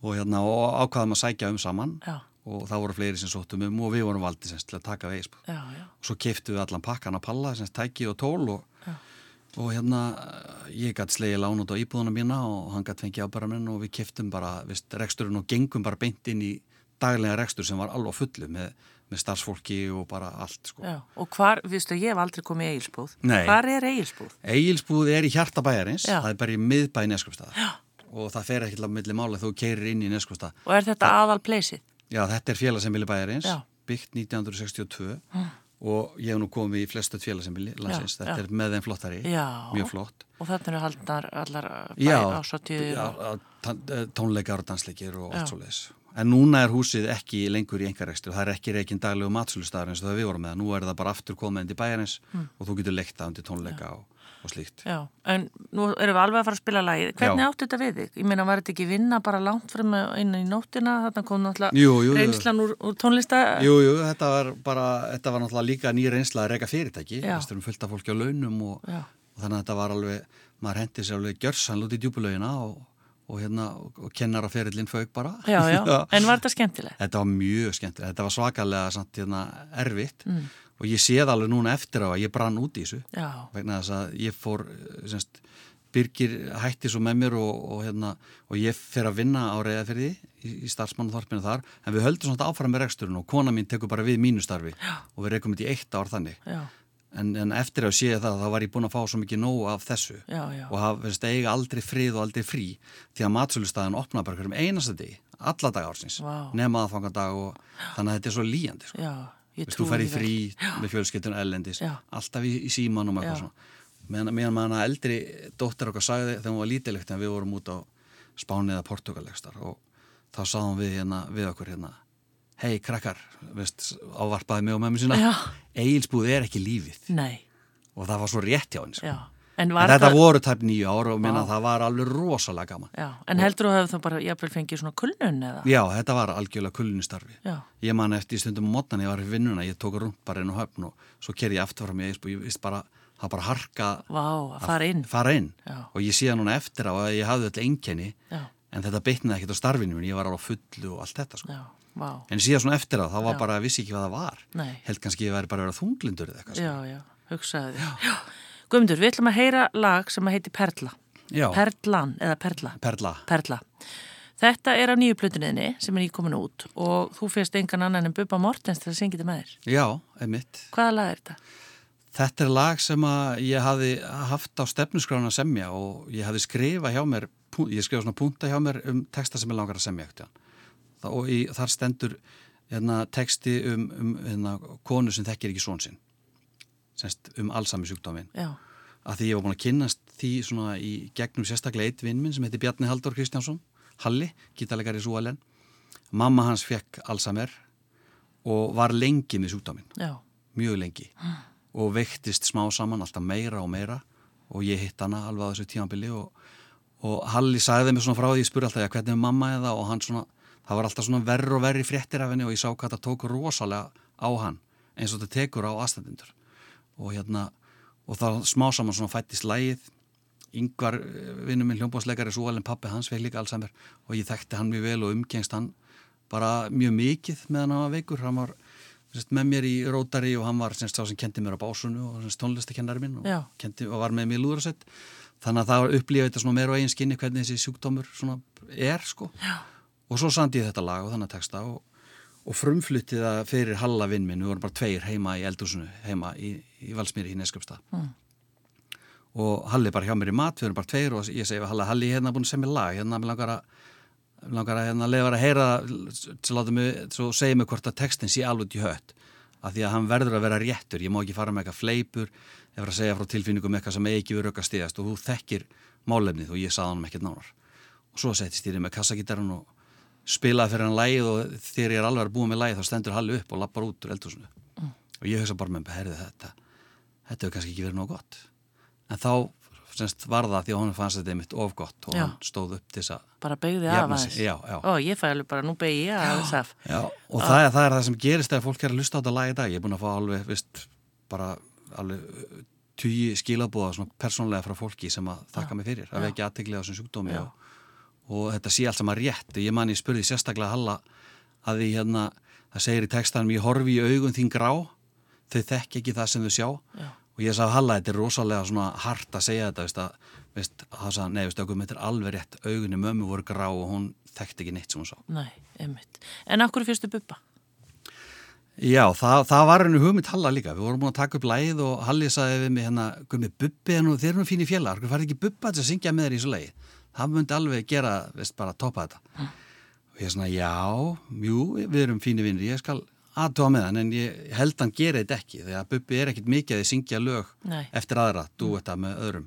Speaker 2: og, hérna, og ákvaðum að sækja um saman
Speaker 1: já,
Speaker 2: og það voru fleiri sem sóttum um og við vorum valdið semst til að taka vegisp og
Speaker 1: já, já.
Speaker 2: svo keftum við allan pakkan að palla semst tæki og tól og, og hérna ég gætt slegið lán út á íbúðuna mína og hann gætt fengið ábæraminn og við keftum bara veist, reksturinn og gengum bara beint inn í daglega rekstur sem var alveg á fullu með, með starfsfólki og bara allt sko.
Speaker 1: já. Og hvar, viðstu, ég hef aldrei komið í Egilsbúð.
Speaker 2: Nei.
Speaker 1: Hvar er Egilsbúð?
Speaker 2: Egilsbúð er í hjarta bæjarins,
Speaker 1: Já.
Speaker 2: það er bara í miðbæ Neskjöfstaða og það fer ekki til að milli mála þú keirir inn í Neskjöfstaða.
Speaker 1: Og er þetta aðal pleysið?
Speaker 2: Já, þetta er félagsembili bæjarins,
Speaker 1: Já. Hm.
Speaker 2: byggt 1962 og ég hef nú komið í flestu félagsembili landsins,
Speaker 1: Já, já.
Speaker 2: þetta er með þeim flottari,
Speaker 1: Já.
Speaker 2: mjög flott.
Speaker 1: Og þarna eru haldnar allar
Speaker 2: Já,
Speaker 1: ásáttíður.
Speaker 2: já,
Speaker 1: og-
Speaker 2: tán- eh, tónleikar og dansleikir og allt
Speaker 1: Já.
Speaker 2: svo leiðis. En núna er húsið ekki lengur í engarekstur, það er ekki reikinn daglegu matsölustafur eins og það við vorum með, nú er það bara aftur komið inn í bæjarins
Speaker 1: Hm.
Speaker 2: og þú getur leikt það undir tónleika og, og slíkt.
Speaker 1: Já, en nú erum við alveg að fara að spila lagið. Hvernig
Speaker 2: Já.
Speaker 1: áttu þetta við þig? Ég meina, var þetta ekki vinna bara langt frem inn í nóttina? Þarna kom náttúrulega
Speaker 2: Jú, jú, jú.
Speaker 1: reynslan úr, úr tónlista.
Speaker 2: Jú, jú, þetta var bara, þetta var náttúrulega líka nýr einsla að reyka fyrirtæki,
Speaker 1: Já.
Speaker 2: þess erum fullt af fólki á launum og,
Speaker 1: Já.
Speaker 2: og þannig að þetta var alveg, maður hendi sér alveg gjörsann út í djúbulögina og, og hérna, og, og kennar á fyrirlinn fauk bara.
Speaker 1: Já, já, en var þetta skemmtilegt?
Speaker 2: Þetta var mjög skemmt, þetta var svakalega samt hérna erfitt
Speaker 1: Mm.
Speaker 2: og ég séð alveg núna eftir á að ég brann út í þessu
Speaker 1: Já,
Speaker 2: vegna þess að ég fór eh, semst, Birgir hætti svo með mér og, og, hérna, og ég fer að vinna á reyða fyrir því í, í starfsmannaþorpinu þar en við höldum svona áfram með reksturinn og kona mín tekur bara við mínu starfi og við rekum þetta í eitt ár þannig
Speaker 1: já,
Speaker 2: en, en eftir að sé það þá var ég búin að fá svo mikið nóg af þessu
Speaker 1: já, já.
Speaker 2: og haf, veist, eiga aldrei frið og aldrei frí því að matsölustæðan opnaði bara hverjum einasta degi alla dag ársins,
Speaker 1: Vá.
Speaker 2: nema aðfangadag og þannig að þetta er svo líjandi sko.
Speaker 1: Já, ég
Speaker 2: Veist, þú
Speaker 1: trúi
Speaker 2: fær í
Speaker 1: því vel.
Speaker 2: frí með fjölskyldun ellendis,
Speaker 1: Já.
Speaker 2: alltaf í, í símanum og eitthvað
Speaker 1: Já.
Speaker 2: svona. Meðan, meðan maður hana eldri dóttir okkar sagði þegar hún var lítilegt en við vorum út á Spáni eða Portugalegstar og þá sáðum við hérna við okkur hérna hei krakkar, veist, ávarpaði mig og mömmu sína,
Speaker 1: Já.
Speaker 2: eigilsbúð er ekki lífið
Speaker 1: Nei,
Speaker 2: og það var svo rétt hjá henni sko.
Speaker 1: já. En
Speaker 2: En
Speaker 1: var
Speaker 2: þetta
Speaker 1: þetta...
Speaker 2: voru tæp nýju ár og minna það var alveg rosalega gaman.
Speaker 1: Já, en heldur þú að það bara jafnvel fengið svona kulnun eða?
Speaker 2: Já, þetta var algjörlega kullunistarfi.
Speaker 1: Já.
Speaker 2: Ég man eftir í stundum á mótnan, ég var í vinnuna, ég tók rúnt bara inn á höfn og svo ker ég aftur fram í eisbú, ég veist bara, það bara harka
Speaker 1: Vá, að fara inn.
Speaker 2: fara inn.
Speaker 1: Já.
Speaker 2: Og ég sé það núna eftir á að ég hafði öll einkenni,
Speaker 1: Já,
Speaker 2: en þetta bitnaði ekkert á starfinu, en ég var alveg á fullu og allt þetta, sko.
Speaker 1: já, vá.
Speaker 2: En síðan svona eftir á, þá var bara, vissi ekki hvað það var.
Speaker 1: Nei.
Speaker 2: Held kannski ég væri bara að vera þunglindur eða eitthvað. sko.
Speaker 1: Já, já, hugsaði því. Já. Guðmundur, við ætlum að heyra lag sem að heiti Perla.
Speaker 2: Já.
Speaker 1: Perlan eða Perla.
Speaker 2: Perla.
Speaker 1: Perla. Þetta er af nýju plötuninni sem er nýkomin út og þú fyrst engan annan en Bubba Mortens til að syngja þetta með þér.
Speaker 2: Já, einmitt.
Speaker 1: Hvaða lag er þetta?
Speaker 2: Þetta er lag sem að ég hafði haft á stefnuskrána að semja og ég hafði skrifa hjá mér, pú- ég skrifa svona punta hjá mér um texta sem ég langar að semja eftir hann. Þa, og í, þar stendur hérna, texti um, um hérna, konu sem þekkir ekki són sinn, Semst, um allsami sjúkdómin.
Speaker 1: Já,
Speaker 2: Að því ég var búin að kynnast því svona í gegnum sérstaklega eitt vinn minn sem heitir Bjarni Halldór Kristjánsson, Halli, gítalegari Súalen. Mamma hans fekk allsamer og var lengi með sjúkdómin
Speaker 1: já,
Speaker 2: mjög lengi og veiktist smá saman alltaf meira og meira og ég hitt hana alveg á þessu tímanbili og, og Halli sagði mér svona frá því ég spurði alltaf, já hvernig er mamma eða og hann svona, það var alltaf svona verri og verri fréttir af henni og ég sá hvað það tók rosalega á hann eins og þetta tekur á aðstændindur og hérna, og þá smá saman svona fættist lægið yngvar vinnum eh, minn hljómbásleikari svo alveg pappi hans veik líka allsammer og ég þekkti hann mjög vel og umgengst hann bara mjög mikið meðan hann var veikur hann var semst, með mér í rótari og hann var semst, sá sem kendi mér á básunu og semst, tónlistakennari minn og,
Speaker 1: Já.
Speaker 2: kendi, og var með mér í lúðrasett þannig að það var upplifið þetta svona meir og eigin skinni hvernig þessi sjúkdómur svona er sko Já. og svo sandi ég þetta lag og þannig texta og, og frumflutti það fyrir halva vinn minn, við vorum bara tveir heima í eldúsinu heima í, í Valsmýri í Neskjöpstað og Halli er bara hjá mér í mat, við erum bara tveir og ég segi við Halli, Halli ég er hérna búin að semja lag, hérna mér langar að mig langar að hérna lefa að heyra svo, láta mig, svo segja mig hvort að textin sé alveg til hött af því að hann verður að vera réttur, ég má ekki fara með eitthvað fleipur ef að segja frá tilfinningum eitthvað sem eigi ekki verið auka stíðast og þú þekkir málefnið og ég saði hann ekkert nánar og svo settist ég niður með kassagítarinn og spilaði fyrir hann lægið og þegar ég er alveg að búa með lægið þá stendur Halli upp og lappar út úr eldhúsinu og ég hugsa bara með mér, herði þetta þetta hefur kannski ekki verið nóg gott en þá semst, var það því að hann fannst þetta mitt of gott og
Speaker 1: Já.
Speaker 2: hann stóð upp til þess að
Speaker 1: bara beigði af
Speaker 2: Jafna
Speaker 1: aðeins.
Speaker 2: sig, já, já.
Speaker 1: Ó, ég fæ alveg bara, nú beigði ég aðeins af.
Speaker 2: Já, og það er, það er það sem gerist þegar fólk er að lusta á þetta lag í dag. Ég er búin að fá alveg, veist, bara alveg uh, tugi skilabóða svona persónlega frá fólki sem að þakka mig fyrir, að vekja aðteglið á þessum sjúkdómi og, og þetta sé allt saman rétt. Ég man ég spurði sérstaklega Halla að því hérna, það segir í textanum, ég horfi í augun þín grá, þau þekk ekki það sem þau sjá Já. og ég sagði Halla, þetta er rosalega svona hart að segja þetta, veist að, veist, það sagði, hann, nei, veist, okkur, þetta er alveg rétt, augunni mömmu voru grá og hún þekkt ekki neitt sem hún sá.
Speaker 1: Nei, einmitt. En akkur fyrstu bubba?
Speaker 2: Já, það, það var henni hugmynd Halla líka. Við vorum búin að taka upp lægið og Halli sagði við mig hérna, gummi, bubbi henni og þeir eru nú fínir félagar, hvernig farið ekki bubba til að syngja með þér í þessu lægi? Það myndi alveg gera, veist, bara toppa þetta. Og ég svona, já, jú, við erum fínir vinnir, ég skal aðtóa með hann, en ég held hann gera þetta ekki, því að bubbi er ekkit mikið að þið syngja lög
Speaker 1: Nei.
Speaker 2: eftir aðra, dú þetta með öðrum.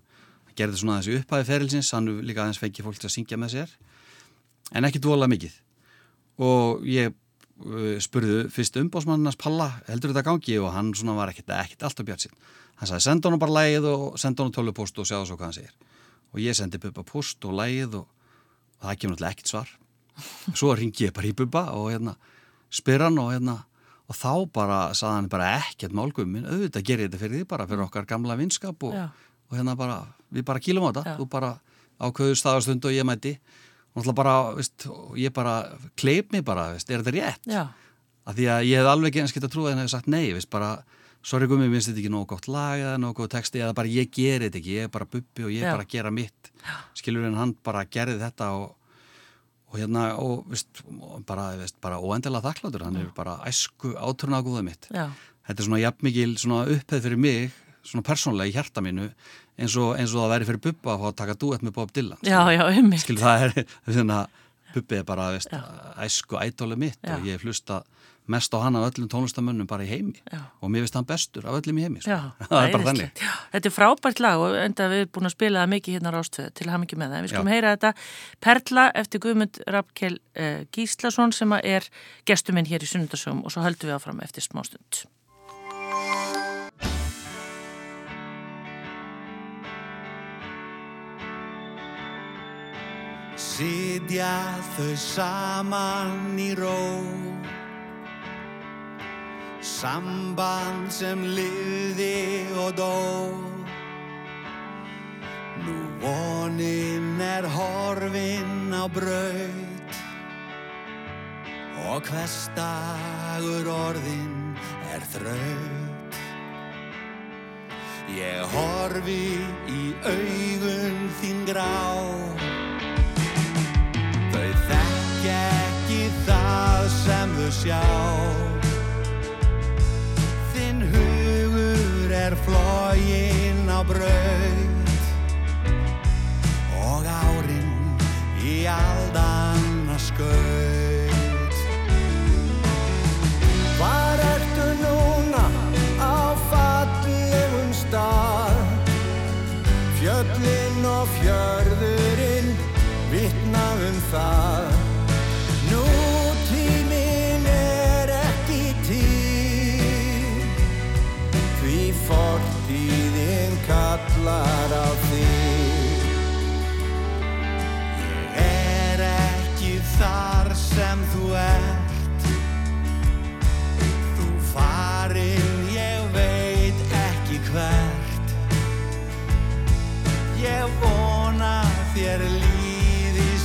Speaker 2: Hann gerði svona þessi upphæði ferilsins, hann líka aðeins fengi fólk til að syngja með sér, en ekki dvola mikið og ég uh, spurði fyrst umbósmannarnas palla heldur þetta gangi og hann svona var ekkert, ekkert alltaf bjart sín. Hann sagði senda honum bara lægið og senda honum tölvupost og sjáðu svo hvað hann segir. Og ég sendi Bubba post og lægið og, og það kemur náttúrulega ekkert svar. Svo ringi ég bara í Bubba og hérna spyr hann og hérna og þá bara sagði hann bara ekkert málgum minn auðvitað gerir þetta fyrir því bara fyrir okkar gamla vinskap og,
Speaker 1: Já.
Speaker 2: og hérna bara við bara kýlum á þetta,
Speaker 1: Já.
Speaker 2: þú bara ákveður staðastund og ég mæti og náttúrulega bara, veist, og ég bara kleip mig bara, veist, er þetta rétt?
Speaker 1: Já,
Speaker 2: Af því að ég hef alveg ekki eins geta trúið en hef sagt nei, veist, bara, sorry gummi, minnst þetta ekki nógu gott lag eða nógu góð texti eða bara ég geri þetta ekki, ég er bara bubbi og ég
Speaker 1: Já.
Speaker 2: er bara að gera mitt. Skilur en hann bara gerði þetta og, og hérna, og veist, og bara, veist, bara óendilega þakklátur, hann er bara æsku átrunagúða mitt.
Speaker 1: já,
Speaker 2: Þetta er svona jafnmikil svona upphefð fyrir mig, svona persónlega í hjarta mínu, eins og, eins og það væri fyrir bubba að fá að taka duett með Bob Dylan.
Speaker 1: já, já, einmitt.
Speaker 2: Skil það er svona, Bubbi er bara veist, æsku ædóli mitt og
Speaker 1: Já.
Speaker 2: ég hef hlusta mest á hann af öllum tónlistamönnum bara í heimi
Speaker 1: Já.
Speaker 2: og mér finnst hann bestur af öllum í heimi sko.
Speaker 1: Já,
Speaker 2: það er bara
Speaker 1: æðislegt.
Speaker 2: þannig
Speaker 1: Já, Þetta er frábært lag og enda við erum búin að spila það mikið hérna á rástföðu til ham ekki með það. En við skulum
Speaker 2: Já.
Speaker 1: heyra þetta Perla eftir Guðmund Rappkel uh, Gíslason sem að er gestur minn hér í sunnundasögum og svo höldum við áfram eftir smástund.
Speaker 3: Sitja þau saman í ró Samband sem lifði og dó Nú vonin er horfin á braut Og hvers dagur orðin er þraut Ég horfi í augun þín grá Þau þekkja ekki það sem þau sjá Þinn hugur er flógin á braut Og árin í aldanna skaut Hvar ertu núna á fallegum stað? Fjöllin og fjörðurinn vitna um það Nú tímin er ekki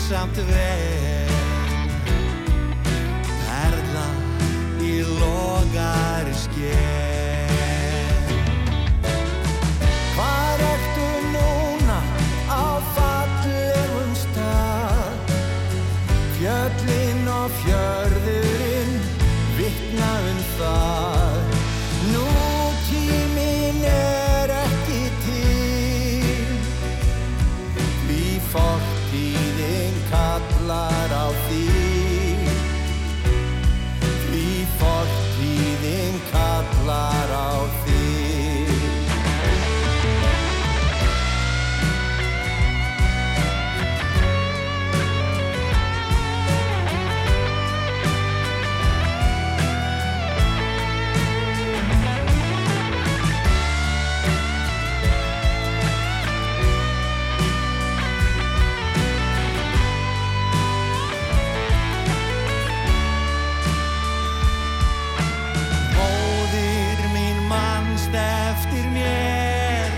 Speaker 3: samt vel Perla í logari skér Hvar ertu núna á fallegum stað? Fjöllin og fjörðurinn vitna um það Nú tímin er ekki til Því fortíðin kallar á því Því fortíðin kallar á því Móðir mín mannst eftir mér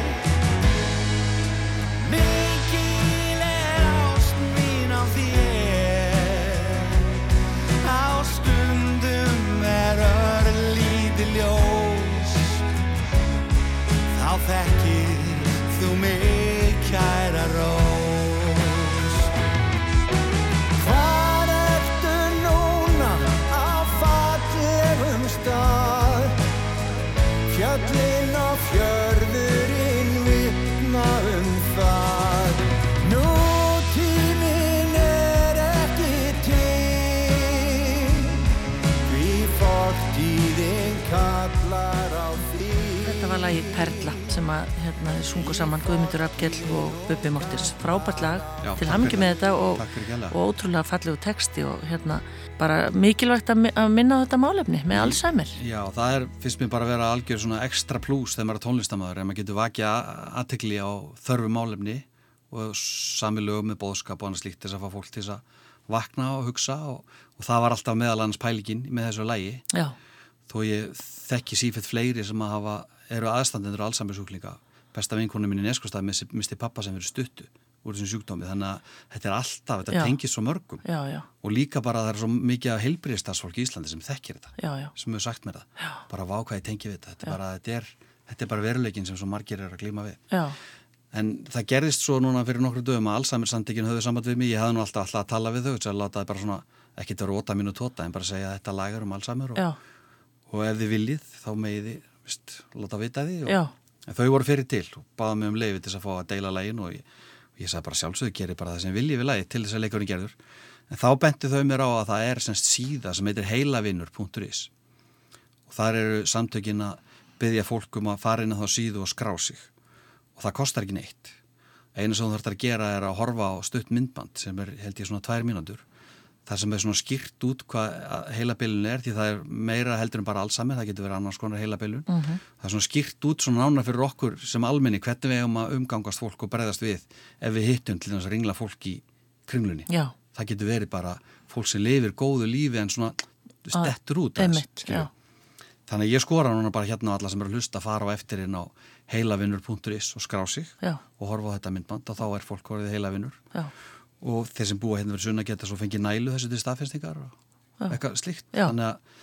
Speaker 3: Mikil er ást mín á þér Á stundum er örlíti ljós Þá þekkir þú mig kæra rós Hvar ertu núna á fallegum stað? Fjöllin og fjörðurinn vitna um það. Nú tíminn er ekki til, því fortíðin kallar á því.
Speaker 1: Þetta var lagi Perla sem að hérna, þeir sungu saman Guðmundur Abgell og Bubbi Mortis. Frábært lag
Speaker 2: Já,
Speaker 1: til
Speaker 2: takk
Speaker 1: hamingi
Speaker 2: fyrir
Speaker 1: með
Speaker 2: það.
Speaker 1: þetta og,
Speaker 2: Takk fyrir kærlega.
Speaker 1: og ótrúlega fallegu texti og hérna bara mikilvægt að mi- að minna á þetta málefni
Speaker 2: Mhm.
Speaker 1: með Alzheimer.
Speaker 2: Já, það er, finnst mér bara að vera algjör svona ekstra plús þegar maður er tónlistamæður en maður getur vakið aðtekli á þörfu málefni og sami lögum með bóðskap og annars slíkt til þess að fá fólk til þess að vakna og hugsa og, og það var alltaf meðal annars pælingin með þessu lægi
Speaker 1: Já,
Speaker 2: þó ég þekki sífitt fleiri sem að hafa, eru aðstandendur og allsammersúklinga besta vinkonu mín í neskustaf misti pappa sem verið stuttu úr þessum sjúkdómi þannig að þetta er alltaf, þetta
Speaker 1: Já.
Speaker 2: tengist svo mörgum
Speaker 1: já, já,
Speaker 2: og líka bara það er svo mikið af heilbriðstarsfólk í Íslandi sem þekkir þetta
Speaker 1: já, já.
Speaker 2: sem hefur sagt mér það, já. bara vá hvað ég tengi við þetta þetta, er bara, þetta, er, þetta er bara veruleikin sem svo margir eru að glíma við
Speaker 1: Já,
Speaker 2: en það gerðist svo núna fyrir nokkru dögum að Alzheimer samtökin höfðu samband við mig ég hefði nú alltaf, alltaf að tala við þau þess að láta það bara svona, ekkert vera óta mínu tóta en bara segja að þetta lagar um Alzheimer og,
Speaker 1: já,
Speaker 2: og ef þið viljið þá megið þið vist, láta vita því og,
Speaker 1: Já.
Speaker 2: en þau voru fyrir til og baða mig um leiði til þess að fá að deila lægin og ég, og ég sagði bara sjálfsögðu gerir bara það sem viljið við lægi til þess að leikurinn gerður en þá bentu þau mér á að það er semst síða sem heitir heilavinnur.is og þar eru samtökin að byggja fólk um að fara inn á þá síðu og skrá sig og það kostar ekki neitt einu sem þú þarfst að gera er að horfa á stutt myndband sem er held ég svona tvær mínútur þar sem er svona skýrt út hvað heilabilun er því það er meira heldur en bara allsammir, það getur verið annars konar heilabilun
Speaker 1: mhm,
Speaker 2: það er svona skýrt út svona nána fyrir okkur sem almenni hvernig við eigum að umgangast fólk og breyðast við ef við hittum til þess að ringla fólk í kringlunni
Speaker 1: já,
Speaker 2: það getur verið bara fólk sem lifir góðu lífi en svona stettur út aðeins,
Speaker 1: einmitt,
Speaker 2: skilurðu.
Speaker 1: já,
Speaker 2: Þannig að ég skora núna bara hérna á alla sem eru að hlusta að fara á eftir inn á heilavinnur.is og skrá sig
Speaker 1: Já.
Speaker 2: og horfa á þetta myndband og þá er fólk orðið heilavinnur
Speaker 1: já,
Speaker 2: og þeir sem búa hérna verið sunna geta svo fengið nælu þessu til staðfinnstingar og eitthvað slíkt.
Speaker 1: Já.
Speaker 2: Þannig að,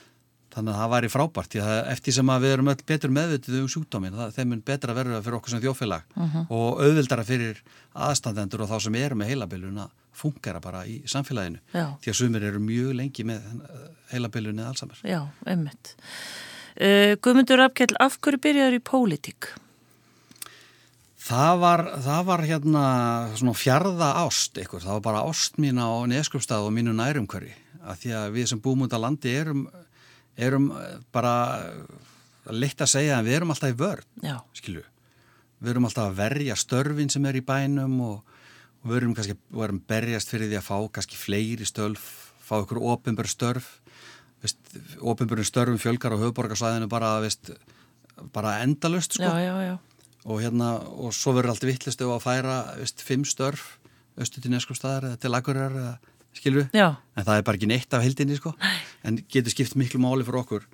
Speaker 2: þannig að það væri frábært því að eftir sem að við erum öll betur meðvitið um sjúkdómin, það, þeim mun betra verður fyrir okkur sem þjófélag
Speaker 1: Mhm.
Speaker 2: og auðvildara fyrir aðstandendur og þá sem eru með heilabilun að fungera bara í samfélaginu
Speaker 1: Já.
Speaker 2: því að sumir eru mjög lengi með eh, heilabilun eða allsamar.
Speaker 1: já, einmitt. Uh, Guðmundur Abgell, af hverju byrjaður í pólitík?
Speaker 2: Það var, það var hérna svona fjarða ást ykkur, það var bara ást mín á neskjöpstað og mínu nærumkörri að því að við sem búum út á landi erum, erum eh, bara eh, leitt að segja en við erum alltaf í vörn,
Speaker 1: Já,
Speaker 2: skilju við erum alltaf að verja störfin sem er í bænum og, og við erum kannski við erum berjast fyrir því að fá kannski fleiri störf, fá ykkur opinbör störf opinbörun störfum fjölgar á höfuborgarsvæðinu bara, veist, bara endalust sko
Speaker 1: já, já, já,
Speaker 2: og hérna, og svo verður allt vittlist ef að færa, veist, fimm störf austur til neskustæðar eða til akkurar eða, skilur við,
Speaker 1: já,
Speaker 2: en það er bara ekki neitt af heldinni, sko, Nei. en getur skipt miklu máli fyrir okkur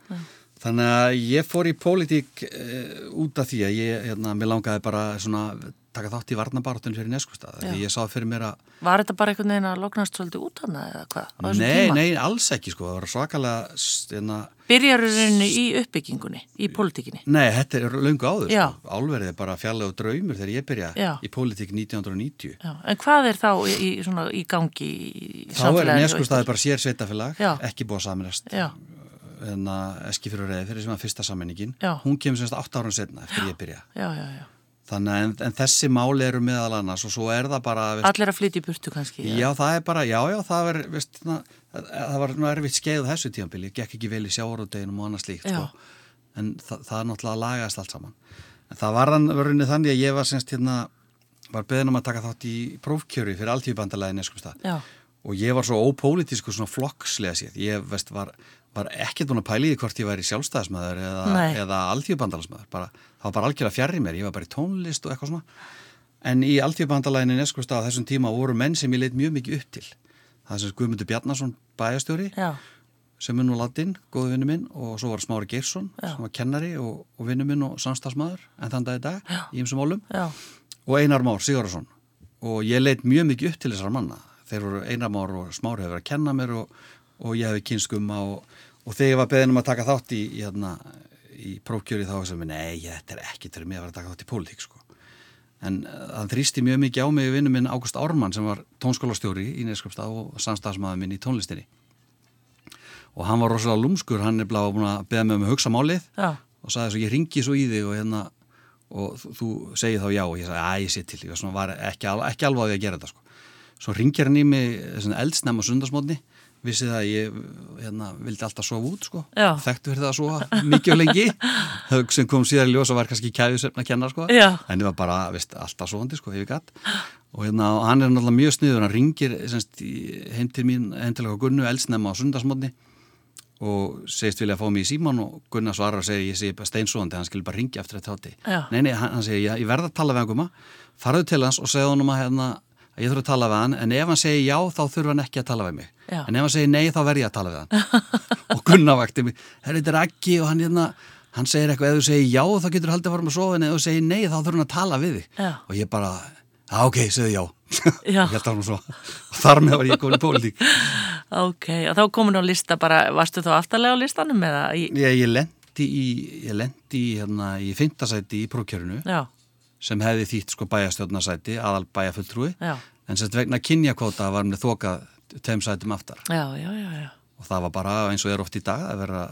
Speaker 2: Þannig að ég fór í pólitík uh, út af því að ég, hérna, mér langaði bara svona taka þátt í varnabartun fyrir neskustad.
Speaker 1: Já.
Speaker 2: Því ég sá fyrir mér að,
Speaker 1: Var þetta bara einhvern veginn að lognast svolítið út hana eða hvað? á þessum
Speaker 2: nei,
Speaker 1: tíma?
Speaker 2: nei, alls ekki sko, það var svakalega, s- hérna,
Speaker 1: Byrjarurinn í uppbyggingunni, í pólitíkinni.
Speaker 2: nei, þetta er löngu áður.
Speaker 1: Já.
Speaker 2: Sko. Álverið er bara fjallega og draumur þegar ég byrja
Speaker 1: Já.
Speaker 2: í pólitík 1990.
Speaker 1: Já, en hvað er þá í, í, svona, í gangi í
Speaker 2: Þá er sko
Speaker 1: samfélaginu?
Speaker 2: neskustad bara sér sveitafélag,
Speaker 1: Já.
Speaker 2: ekki búið að saminast.
Speaker 1: Já,
Speaker 2: En að Eskifjörur reyðfyrir sem var fyrsta samenningin,
Speaker 1: Já.
Speaker 2: hún kemur semst átt árun setna eftir ég byrja.
Speaker 1: já, já, já.
Speaker 2: Þannig að en, en þessi máli eru meðal annars og svo er það bara, veist,
Speaker 1: Allir að flytja í burtu kannski. eða?
Speaker 2: Já, það er bara, já, já, það var, veist, na, það var nú erfitt skeið á þessu tíðanbili, gekk ekki vel í sjávarúdeginum og annað slíkt,
Speaker 1: Já.
Speaker 2: sko. En það, það er náttúrulega lagast allt saman. En það var hann vörunni þannig að ég var semst hérna, var beðin um að taka þátt í prófkjöri fyrir alltíðbandalæðin, sko, stað.
Speaker 1: Já,
Speaker 2: Og ég var svo ópólitísku svona flokkslega séð. Ég, veist, var, var ekkert búin að pæli í því hvort ég væri sjálfstæðismæður eða,
Speaker 1: Nei.
Speaker 2: eða alltíðbandalæðismæður. Bara, það var bara algjörlega fjarrri mér. Ég var bara í tónlist og eitthvað svona. En í alltíðbandalæðinni neskustaf á þessum tíma voru menn sem ég leitt mjög mikið upp til. Það er sem Guðmundur Bjarnason bæjastjóri
Speaker 1: já,
Speaker 2: sem er nú latinn, góðu vinnu minn og svo var Smári Geirsson
Speaker 1: Já.
Speaker 2: sem var kennari og, og vinnu minn og samstagsmaður en þann dag í dag í ymsum ólum
Speaker 1: já,
Speaker 2: og Einar Már Sigurðarsson og ég leitt mjög mikið upp til þessar manna þeir voru Einar Már og Smári hefur verið að kenna mér og, og ég hefði kynskum og, og þegar ég var beðin um að taka þátt í, í, hérna, í prófkjöri þá sem ég, nei, þetta er ekki til mig að vera að taka þátt í pólitík sko. en eh, hann þrýsti mjög mikið á mig vinnu minn Ágúst Ármann sem var tónskólastjóri í Neskjöpstað og samstagsmaður minn í tónlistinni og hann var rosalega lúmskur, hann er blá búin að beða mig um að hugsa málið
Speaker 1: já.
Speaker 2: og sagði svo ég ringi svo í þig og hérna og þú- þú segir þá já og ég sagði að ég sé til, ég var svona var ekki, al ekki alveg á því að gera þetta sko. Svo ringir hann í mig svona, eldsnæma sundarsmótni, vissi það að ég hérna, vildi alltaf sofa út sko,
Speaker 1: Já.
Speaker 2: þekktu fyrir það að sofa mikið og lengi, Þau sem kom síðar í ljós og var kannski kæðisöfn að kenna sko,
Speaker 1: Já.
Speaker 2: en ég var bara veist, alltaf sofandi sko, ef ég gatt og hérna, og hann er náttúrulega mjög sniður, hann ringir semst, í- heim til mín, heim til okkar Gunnu eldsnæma á sundarsmótni og segist vilja að fá mig í síman og Gunnar svarar og segir ég sé bara steinsóðandi, hann skilur bara ringja eftir þetta hátti.
Speaker 1: Já.
Speaker 2: Nei, nei, hann, hann segir ég, ég verð að tala við einhverjum að, farðu til hans og segðu honum að, hérna, að ég þurfa að tala við hann en ef hann segir já þá þurfa hann ekki að tala við mig
Speaker 1: Já.
Speaker 2: en ef hann segir nei þá verð ég að tala við hann og Gunnar vakti mig, herri þetta er ekki og hann hérna, hann segir eitthvað, ef þú segir já þá getur haldið að fara með að sofa en ef þú segir nei þá þurfa hann að tala við þig
Speaker 1: Já.
Speaker 2: og ég bara, "Já, ok, segðu já,
Speaker 1: Já.
Speaker 2: Ég held að hann svo, og þar með var ég komin í pólitík
Speaker 1: Ok, og þá komin á lista bara, varstu þá aftarlega á listanum eða? Í,
Speaker 2: Ég, ég lendi í, ég lendi í, hérna, í fintasæti í prókjörinu
Speaker 1: já,
Speaker 2: sem hefði þýtt sko bæjastjórnarsæti, aðal bæjafulltrúi,
Speaker 1: Já.
Speaker 2: en sett vegna kynjakvóta var mér þokað tveim sætum aftar
Speaker 1: já, já, já, já.
Speaker 2: og það var bara eins og er oft í dag að vera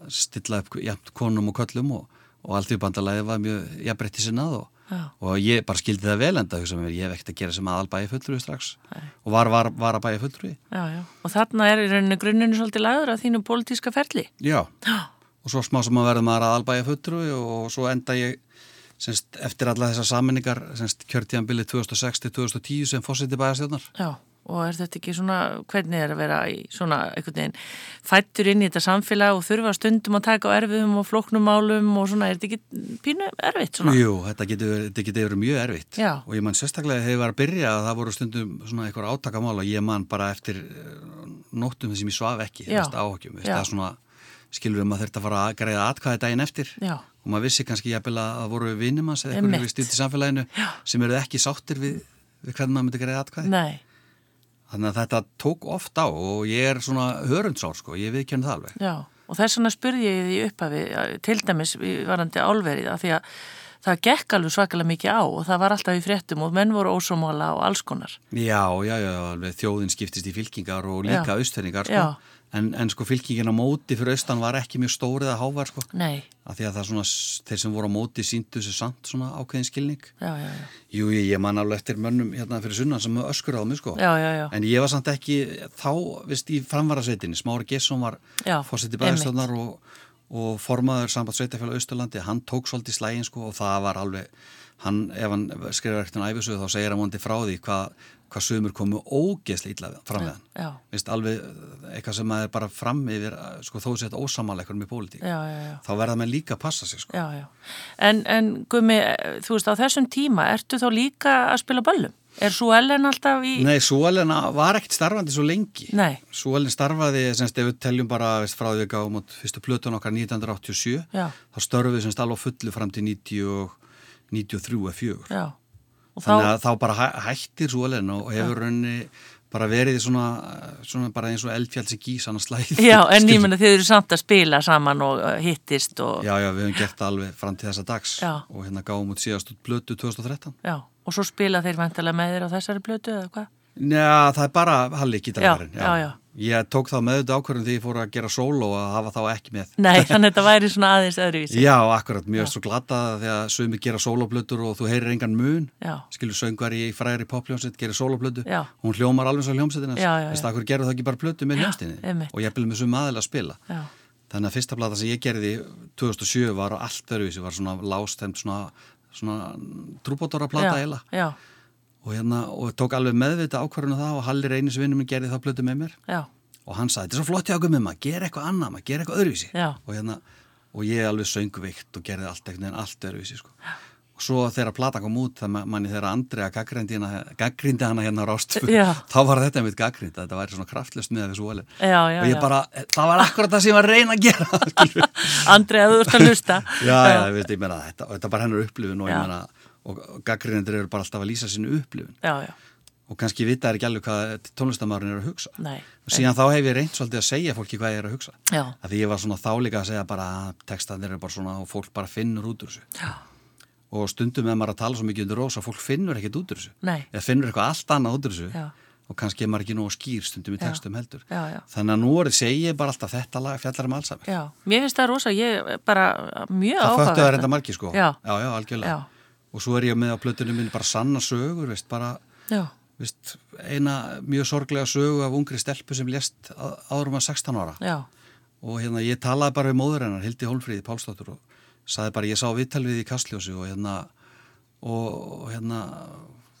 Speaker 2: að stilla upp jafnt konum og köllum og, og allt í bandalæði var mjög jafnbreytti sinnað og,
Speaker 1: Já.
Speaker 2: og ég bara skildi það vel enda hugsa mér, ég hef ekkert að gera sem aðal bæjafulltrúi strax og var, var, var að bæjafulltrúi
Speaker 1: Já, já. Og þarna er í rauninu grunninu svolítið lagður að þínu pólitíska ferli.
Speaker 2: Já. Og svo smá sem að verða maður aðalbæja fulltrúi og svo enda ég semst, eftir alla þessar saminningar kjörtíðanbilið 2006-2010 sem fórseti bæjastjónar.
Speaker 1: Já, og er þetta ekki svona, hvernig er að vera í svona einhvern veginn fættur inn í þetta samfélag og þurfa stundum að taka á erfiðum og flóknumálum og svona, er þetta ekki pínu erfitt svona?
Speaker 2: Jú, þetta getur, þetta getur verið mjög erfitt
Speaker 1: Já.
Speaker 2: og ég man sérstaklega þegar ég var að byrja að það voru stundum svona einhver átakamál og ég man bara eftir eh, nóttum þessum ég svaf ekki,
Speaker 1: Já.
Speaker 2: þess áhugjum,
Speaker 1: Já.
Speaker 2: það er svona skilur við maður þurft að fara að greiða atkvæði daginn eftir
Speaker 1: Já.
Speaker 2: og maður vissi kannski jafnvel að það voru vinnum hans eða
Speaker 1: Einmitt.
Speaker 2: einhverju við stýtt í samfélaginu Já. sem eru ekki sáttir við, við hvernig maður myndi greiða atkvæði.
Speaker 1: Nei,
Speaker 2: Þannig að þetta tók oft á og ég er svona hörundsár sko, ég viðkjörn það alveg.
Speaker 1: já. Og þess vegna spurði ég því upphafi, að- til dæmis í varandi álverið, af því að það gekk alveg svakalega mikið á og það var alltaf í fréttum og menn voru ósómála og alls konar.
Speaker 2: Já, já, já, alveg þjóðin skiptist í fylkingar og líka
Speaker 1: Já.
Speaker 2: austferningar sko.
Speaker 1: Já.
Speaker 2: En, en sko fylkingin á móti fyrir austan var ekki mjög stórið að hávar sko.
Speaker 1: Nei,
Speaker 2: Af því að það svona, s- þeir sem voru á móti síndu sér samt svona ákveðin skilning.
Speaker 1: já, já, já.
Speaker 2: Jú, ég, ég man alveg eftir mönnum hérna fyrir sunnan sem öskur á mig sko.
Speaker 1: Já, já, já.
Speaker 2: En ég var samt ekki þá, veist, í framvarasveitinni. Smári Gesson var
Speaker 1: Já,
Speaker 2: fórseti bæðastjóðnar og, og formaður samband sveitafélag Austurlandi. Hann tók svolítið slægin sko og það var alveg, hann, ef hann skrifar ekkert um æfisöðu þá segir hann vondi frá því hvað hva sömur komu ógeðslega illa við- fram við hann.
Speaker 1: Já.
Speaker 2: Veist, alveg eitthvað sem maður er bara fram yfir, sko þó sétt ósamal eitthvað með pólitík.
Speaker 1: Já, já, já.
Speaker 2: Þá verða menn líka að passa sig sko.
Speaker 1: Já, já. En, en Gumi, þú veist, á þessum tíma ertu þá líka að spila böllum? Er svo Ellen alltaf í...
Speaker 2: Nei, Súalen var ekkert starfandi svo lengi.
Speaker 1: Nei.
Speaker 2: Súalen starfaði, semst, ef við teljum bara veist, frá því við gáum út fyrstu plötun okkar 1987,
Speaker 1: Já.
Speaker 2: þá störfið semst alveg á fullu fram til 90 og- 93 eða 4.
Speaker 1: Já. Og þá...
Speaker 2: Þannig að þá bara hæ- hættir Súalen og hefur raunni bara verið í svona, svona bara eins og eldfjall sem gís annars slæð.
Speaker 1: Já, en ég
Speaker 2: Skildu.
Speaker 1: menna þið eru samt að spila saman og uh, hittist og...
Speaker 2: Já, já, við höfum gert það alveg fram til þessa dags
Speaker 1: Já.
Speaker 2: og hérna gáum út síðast út blötu 2013.
Speaker 1: Já, og svo spila þeir vantarlega með þér á þessari blötu eða hvað?
Speaker 2: Já, það er bara Halli gítararinn.
Speaker 1: Já, já, já.
Speaker 2: Ég tók þá með auðvitað ákvörðum þegar ég fór að gera sóló að hafa þá ekki með.
Speaker 1: Nei, þannig að þetta væri svona aðeins öðruvísi.
Speaker 2: Já, akkurat, mjög svo glatað þegar sumi gera sólóblötur og þú heyrir engan mun.
Speaker 1: Já,
Speaker 2: Skilur söngvari í fræri poppljómsett, gerir sólóblötu.
Speaker 1: Já.
Speaker 2: Hún hljómar alveg svo hljómsettina.
Speaker 1: Já, já, já.
Speaker 2: Þess að akkur gerur það ekki bara plötu með hljómstinni.
Speaker 1: einmitt.
Speaker 2: Og ég byrði með sumi aðeins að spila.
Speaker 1: já,
Speaker 2: Þannig að fyrsta plata sem ég gerði 2007 var á allt öruvísi, var svona lástemt svona, svona trúbótora plata
Speaker 1: já,
Speaker 2: eila
Speaker 1: já,
Speaker 2: og, hérna, og tók alveg meðvita ákvarðinu það og Halli Reynis vinnum minn gerði þá plötu með mér
Speaker 1: já,
Speaker 2: og hann sagði, þetta er svo flott hjá okkur með maður, gera eitthvað annað maður, gera eitthvað öðruvísi
Speaker 1: Já.
Speaker 2: og, hérna, og ég alveg söngvikt og gerði allt eitthvað en allt öðruvísi sko. og svo þegar platan kom út það ma- manni þegar Andrea gaggrindi hana, gaggrindi hana hérna á rástfu
Speaker 1: Já.
Speaker 2: þá var þetta mitt gaggrind, þetta væri svona kraftlust með þessu óli
Speaker 1: já, já.
Speaker 2: og ég bara, það var akkurat það sem ég var að reyna að gera skilur við.
Speaker 1: Andrið, að þú ert að lusta.
Speaker 2: já, já, já, veist, ég meina þetta, þetta er bara hennar upplifun og, ég
Speaker 1: Já.
Speaker 2: meina, og gaggrindir eru bara alltaf að lýsa sinu upplifun
Speaker 1: Já, já,
Speaker 2: og kannski vita er ekki alveg hvað tónlistamæðurinn er að hugsa
Speaker 1: Nei.
Speaker 2: og síðan þá hef ég reynt svolítið að segja fólki hvað ég er að hugsa
Speaker 1: Já.
Speaker 2: að því ég var svona þáleika að segja bara að textanir eru bara svona og fólk bara finnur út úr þessu
Speaker 1: já,
Speaker 2: og stundum ef maður er að tala svo mikið undir rosa fólk finnur ekkert út úr þessu
Speaker 1: Nei.
Speaker 2: eða finnur eitthvað allt annað út úr þessu
Speaker 1: Já.
Speaker 2: og kannski er maður ekki nóg skýr stundum í textum heldur
Speaker 1: já, já.
Speaker 2: þannig að nú er ég segi ég bara alltaf þetta lag fjallar um allsamir
Speaker 1: já. Mér finnst það rosa, ég er bara mjög
Speaker 2: það
Speaker 1: áhuga.
Speaker 2: föttu það reynda margi sko
Speaker 1: Já.
Speaker 2: já, algjörlega
Speaker 1: Já.
Speaker 2: og svo er ég með á plötunum minn bara sanna sögur veist, bara
Speaker 1: Já,
Speaker 2: Vist, eina mjög sorglega sögu af ungri stelpu sem lést á- árum að 16 ára
Speaker 1: já,
Speaker 2: og hérna ég talaði bara við móður hennar Hildi Hólfríði Pálsdóttur og saði bara ég sá viðtal við í kastljósi og hérna og og hérna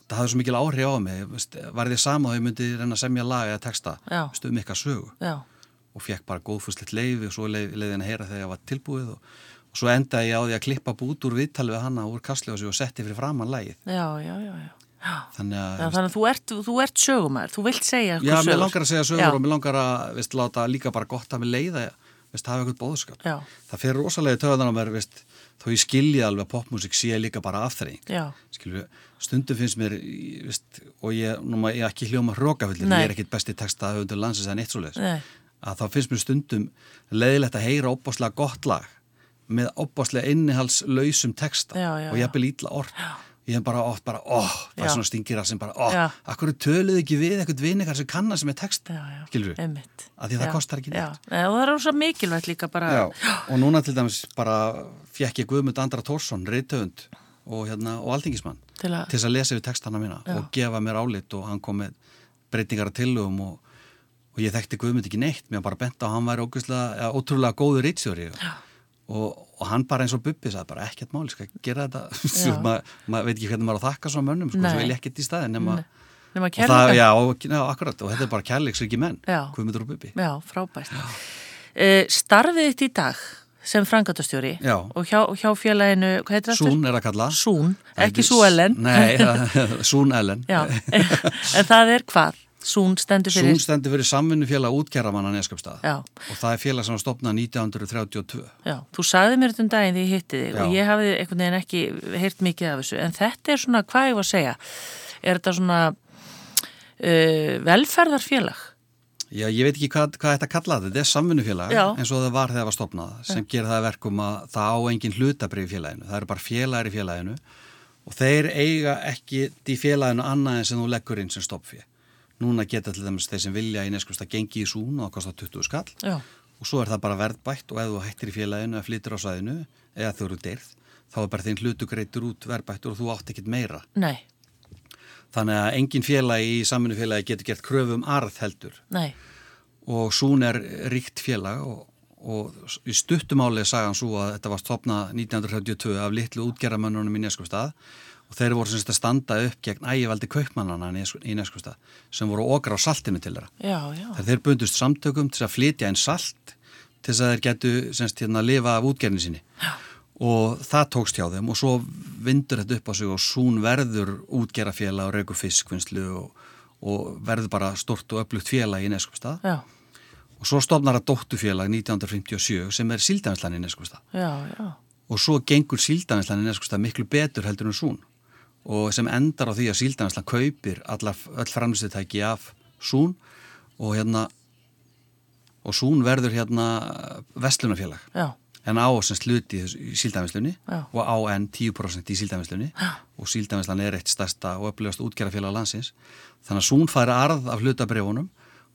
Speaker 2: það hafði svo mikil áhrif á mig vist, var þið sama að ég myndi reyna að semja lag eða texta
Speaker 1: Já.
Speaker 2: vist, um eitthvað sögu
Speaker 1: já,
Speaker 2: og fekk bara góðfuslitt leifi og svo leið, leiði henni að heyra þegar ég var tilbúið og, og svo endaði ég á því að klippa bút úr viðtal við hanna úr kastljósi og setti fyrir framann lagið
Speaker 1: já, já, já, já.
Speaker 2: þannig að
Speaker 1: Já, þannig að þú ert, þú ert sögumæður, þú vilt segja
Speaker 2: Já,
Speaker 1: eitthvað
Speaker 2: mér langar að segja sögur
Speaker 1: Já.
Speaker 2: og mér langar að veist, láta líka bara gott að mér leiða veist, hafa eitthvað bóðskap
Speaker 1: Já.
Speaker 2: Það fer rosalega töðan á mér veist, þó ég skilji alveg að popmusik sé líka bara afþreying
Speaker 1: Já,
Speaker 2: Skilju, stundum finnst mér í- veist, og ég, nú maður, ég er ekki hljóma hrókafullir
Speaker 1: Nei.
Speaker 2: ég er ekkit besti texta að höfundur landsins en eitt svo leis
Speaker 1: Nei.
Speaker 2: að þá finnst mér stundum leiðilegt að heyra opbáslega gott lag með opbáslega innihalslausum texta
Speaker 1: Já, já,
Speaker 2: og
Speaker 1: já.
Speaker 2: ég bel ítla orð ég hef bara oft bara, óh, bara
Speaker 1: Já.
Speaker 2: svona stingir að sem bara, óh,
Speaker 1: Já.
Speaker 2: akkur töluðu ekki við eitthvað vinningar sem kannar sem er text
Speaker 1: já, já.
Speaker 2: skilur við,
Speaker 1: Einmitt.
Speaker 2: að því að
Speaker 1: Já,
Speaker 2: það kostar ekki neitt
Speaker 1: Já, og það er rosa mikilvægt líka bara.
Speaker 2: Já, og núna til dæmis bara fjekk ég Guðmund Andra Tórsson, reytöfund og, hérna, og alþingismann
Speaker 1: Til að-
Speaker 2: þess að lesa við textana mína
Speaker 1: Já.
Speaker 2: og gefa mér álit og hann kom með breytingar að tillögum og, og ég þekkti Guðmund ekki neitt, mér bara bent á að hann væri ógeðslega- eða ótrúlega góður reytstjóri og, og hann bara eins og Bubbi sagði bara ekkert máli, skal gera þetta
Speaker 1: Já.
Speaker 2: maður ma veit ekki hvernig maður á að þakka svona mönnum sko,
Speaker 1: Nei.
Speaker 2: svo vil ég ekkert í staðin nema,
Speaker 1: Nefna
Speaker 2: og
Speaker 1: kærleikann.
Speaker 2: það, já, og, já, akkurat og þetta er bara kærleiksriki menn,
Speaker 1: Já.
Speaker 2: Guðmundur og Bubbi
Speaker 1: Já, frábært. Uh, starfið þitt í dag sem frangatastjóri
Speaker 2: Já.
Speaker 1: og hjá, hjá félaginu, hvað heitir það?
Speaker 2: Sún er að kalla
Speaker 1: Sún,
Speaker 2: Það
Speaker 1: ekki
Speaker 2: heitir-
Speaker 1: Sú Ellen.
Speaker 2: Nei, það- Sún Ellen
Speaker 1: Já, en það er hvað? Sún stendur fyrir...
Speaker 2: Sún stendur fyrir samvinnufélag útgerramanna Neskjöpstað
Speaker 1: Já.
Speaker 2: og það er félag sem var stopnað 1932
Speaker 1: Já, þú sagði mér þetta um daginn þegar ég hitti þig
Speaker 2: Já.
Speaker 1: og ég hafði einhvern veginn ekki heyrt mikið af þessu en þetta er svona, hvað ég var að segja er þetta svona uh, velferðarfélag
Speaker 2: Já, ég veit ekki hvað, hvað þetta kallað þetta er samvinnufélag
Speaker 1: Já.
Speaker 2: eins og það var þegar það var stopnað sem gerir það að verkum að það á engin hlutabrif í félaginu, það eru bara félagar í félaginu og þeir eiga ekki í félaginu annað en sem þú leggur inn sem stopfið. Núna geta til dæmis þeir sem vilja í Neskjöpstað gengi í Sún og það kostar 20 skall
Speaker 1: Já,
Speaker 2: og svo er það bara verðbætt og ef þú hættir í félaginu eða flyttir á svæðinu eða þú eru dyrð, þá er bara þinn hlutu greitur út verðbættur og þú átt ekkert meira
Speaker 1: nei,
Speaker 2: þannig að engin félagi í saminu félagi getur gert kröfum arð heldur
Speaker 1: nei,
Speaker 2: og Sún er ríkt félag og, og í stuttumáli sagði hann svo að þetta var stopnað 1932 af litlu útgerramönnunum í Neskustad og þeir voru semst að standa upp gegn ægivaldi kaupmannana í Neskustad sem voru okra á saltinu til þeirra
Speaker 1: já, já
Speaker 2: Þegar þeir bundust samtökum til að flytja einn salt til þess að þeir getu semst hérna að lifa af útgerðinu sinni. Já. og það tókst hjá þeim og svo vindur þetta upp á sig og sún verður útgerafélag og reyku fiskvinnslu og, og verður bara stort og öflugt félag í Neskvistað
Speaker 1: já,
Speaker 2: og svo stofnar að dóttufélag 1957 sem er síldæmislan í Neskvistað
Speaker 1: já, já.
Speaker 2: og svo gengur síldæmislan í Neskvistað miklu betur heldur en sún og sem endar á því að síldæmislan kaupir alla, öll framlýstutæki af sún og hérna og sún verður hérna vestlunafélag
Speaker 1: Já,
Speaker 2: en á sem sluti í síldæmislunni
Speaker 1: Já.
Speaker 2: og á enn 10% í síldæmislunni og síldæmislan er eitt stærsta og öflugast útgerðarfélag landsins þannig að Sún fær arð af hlutabrifunum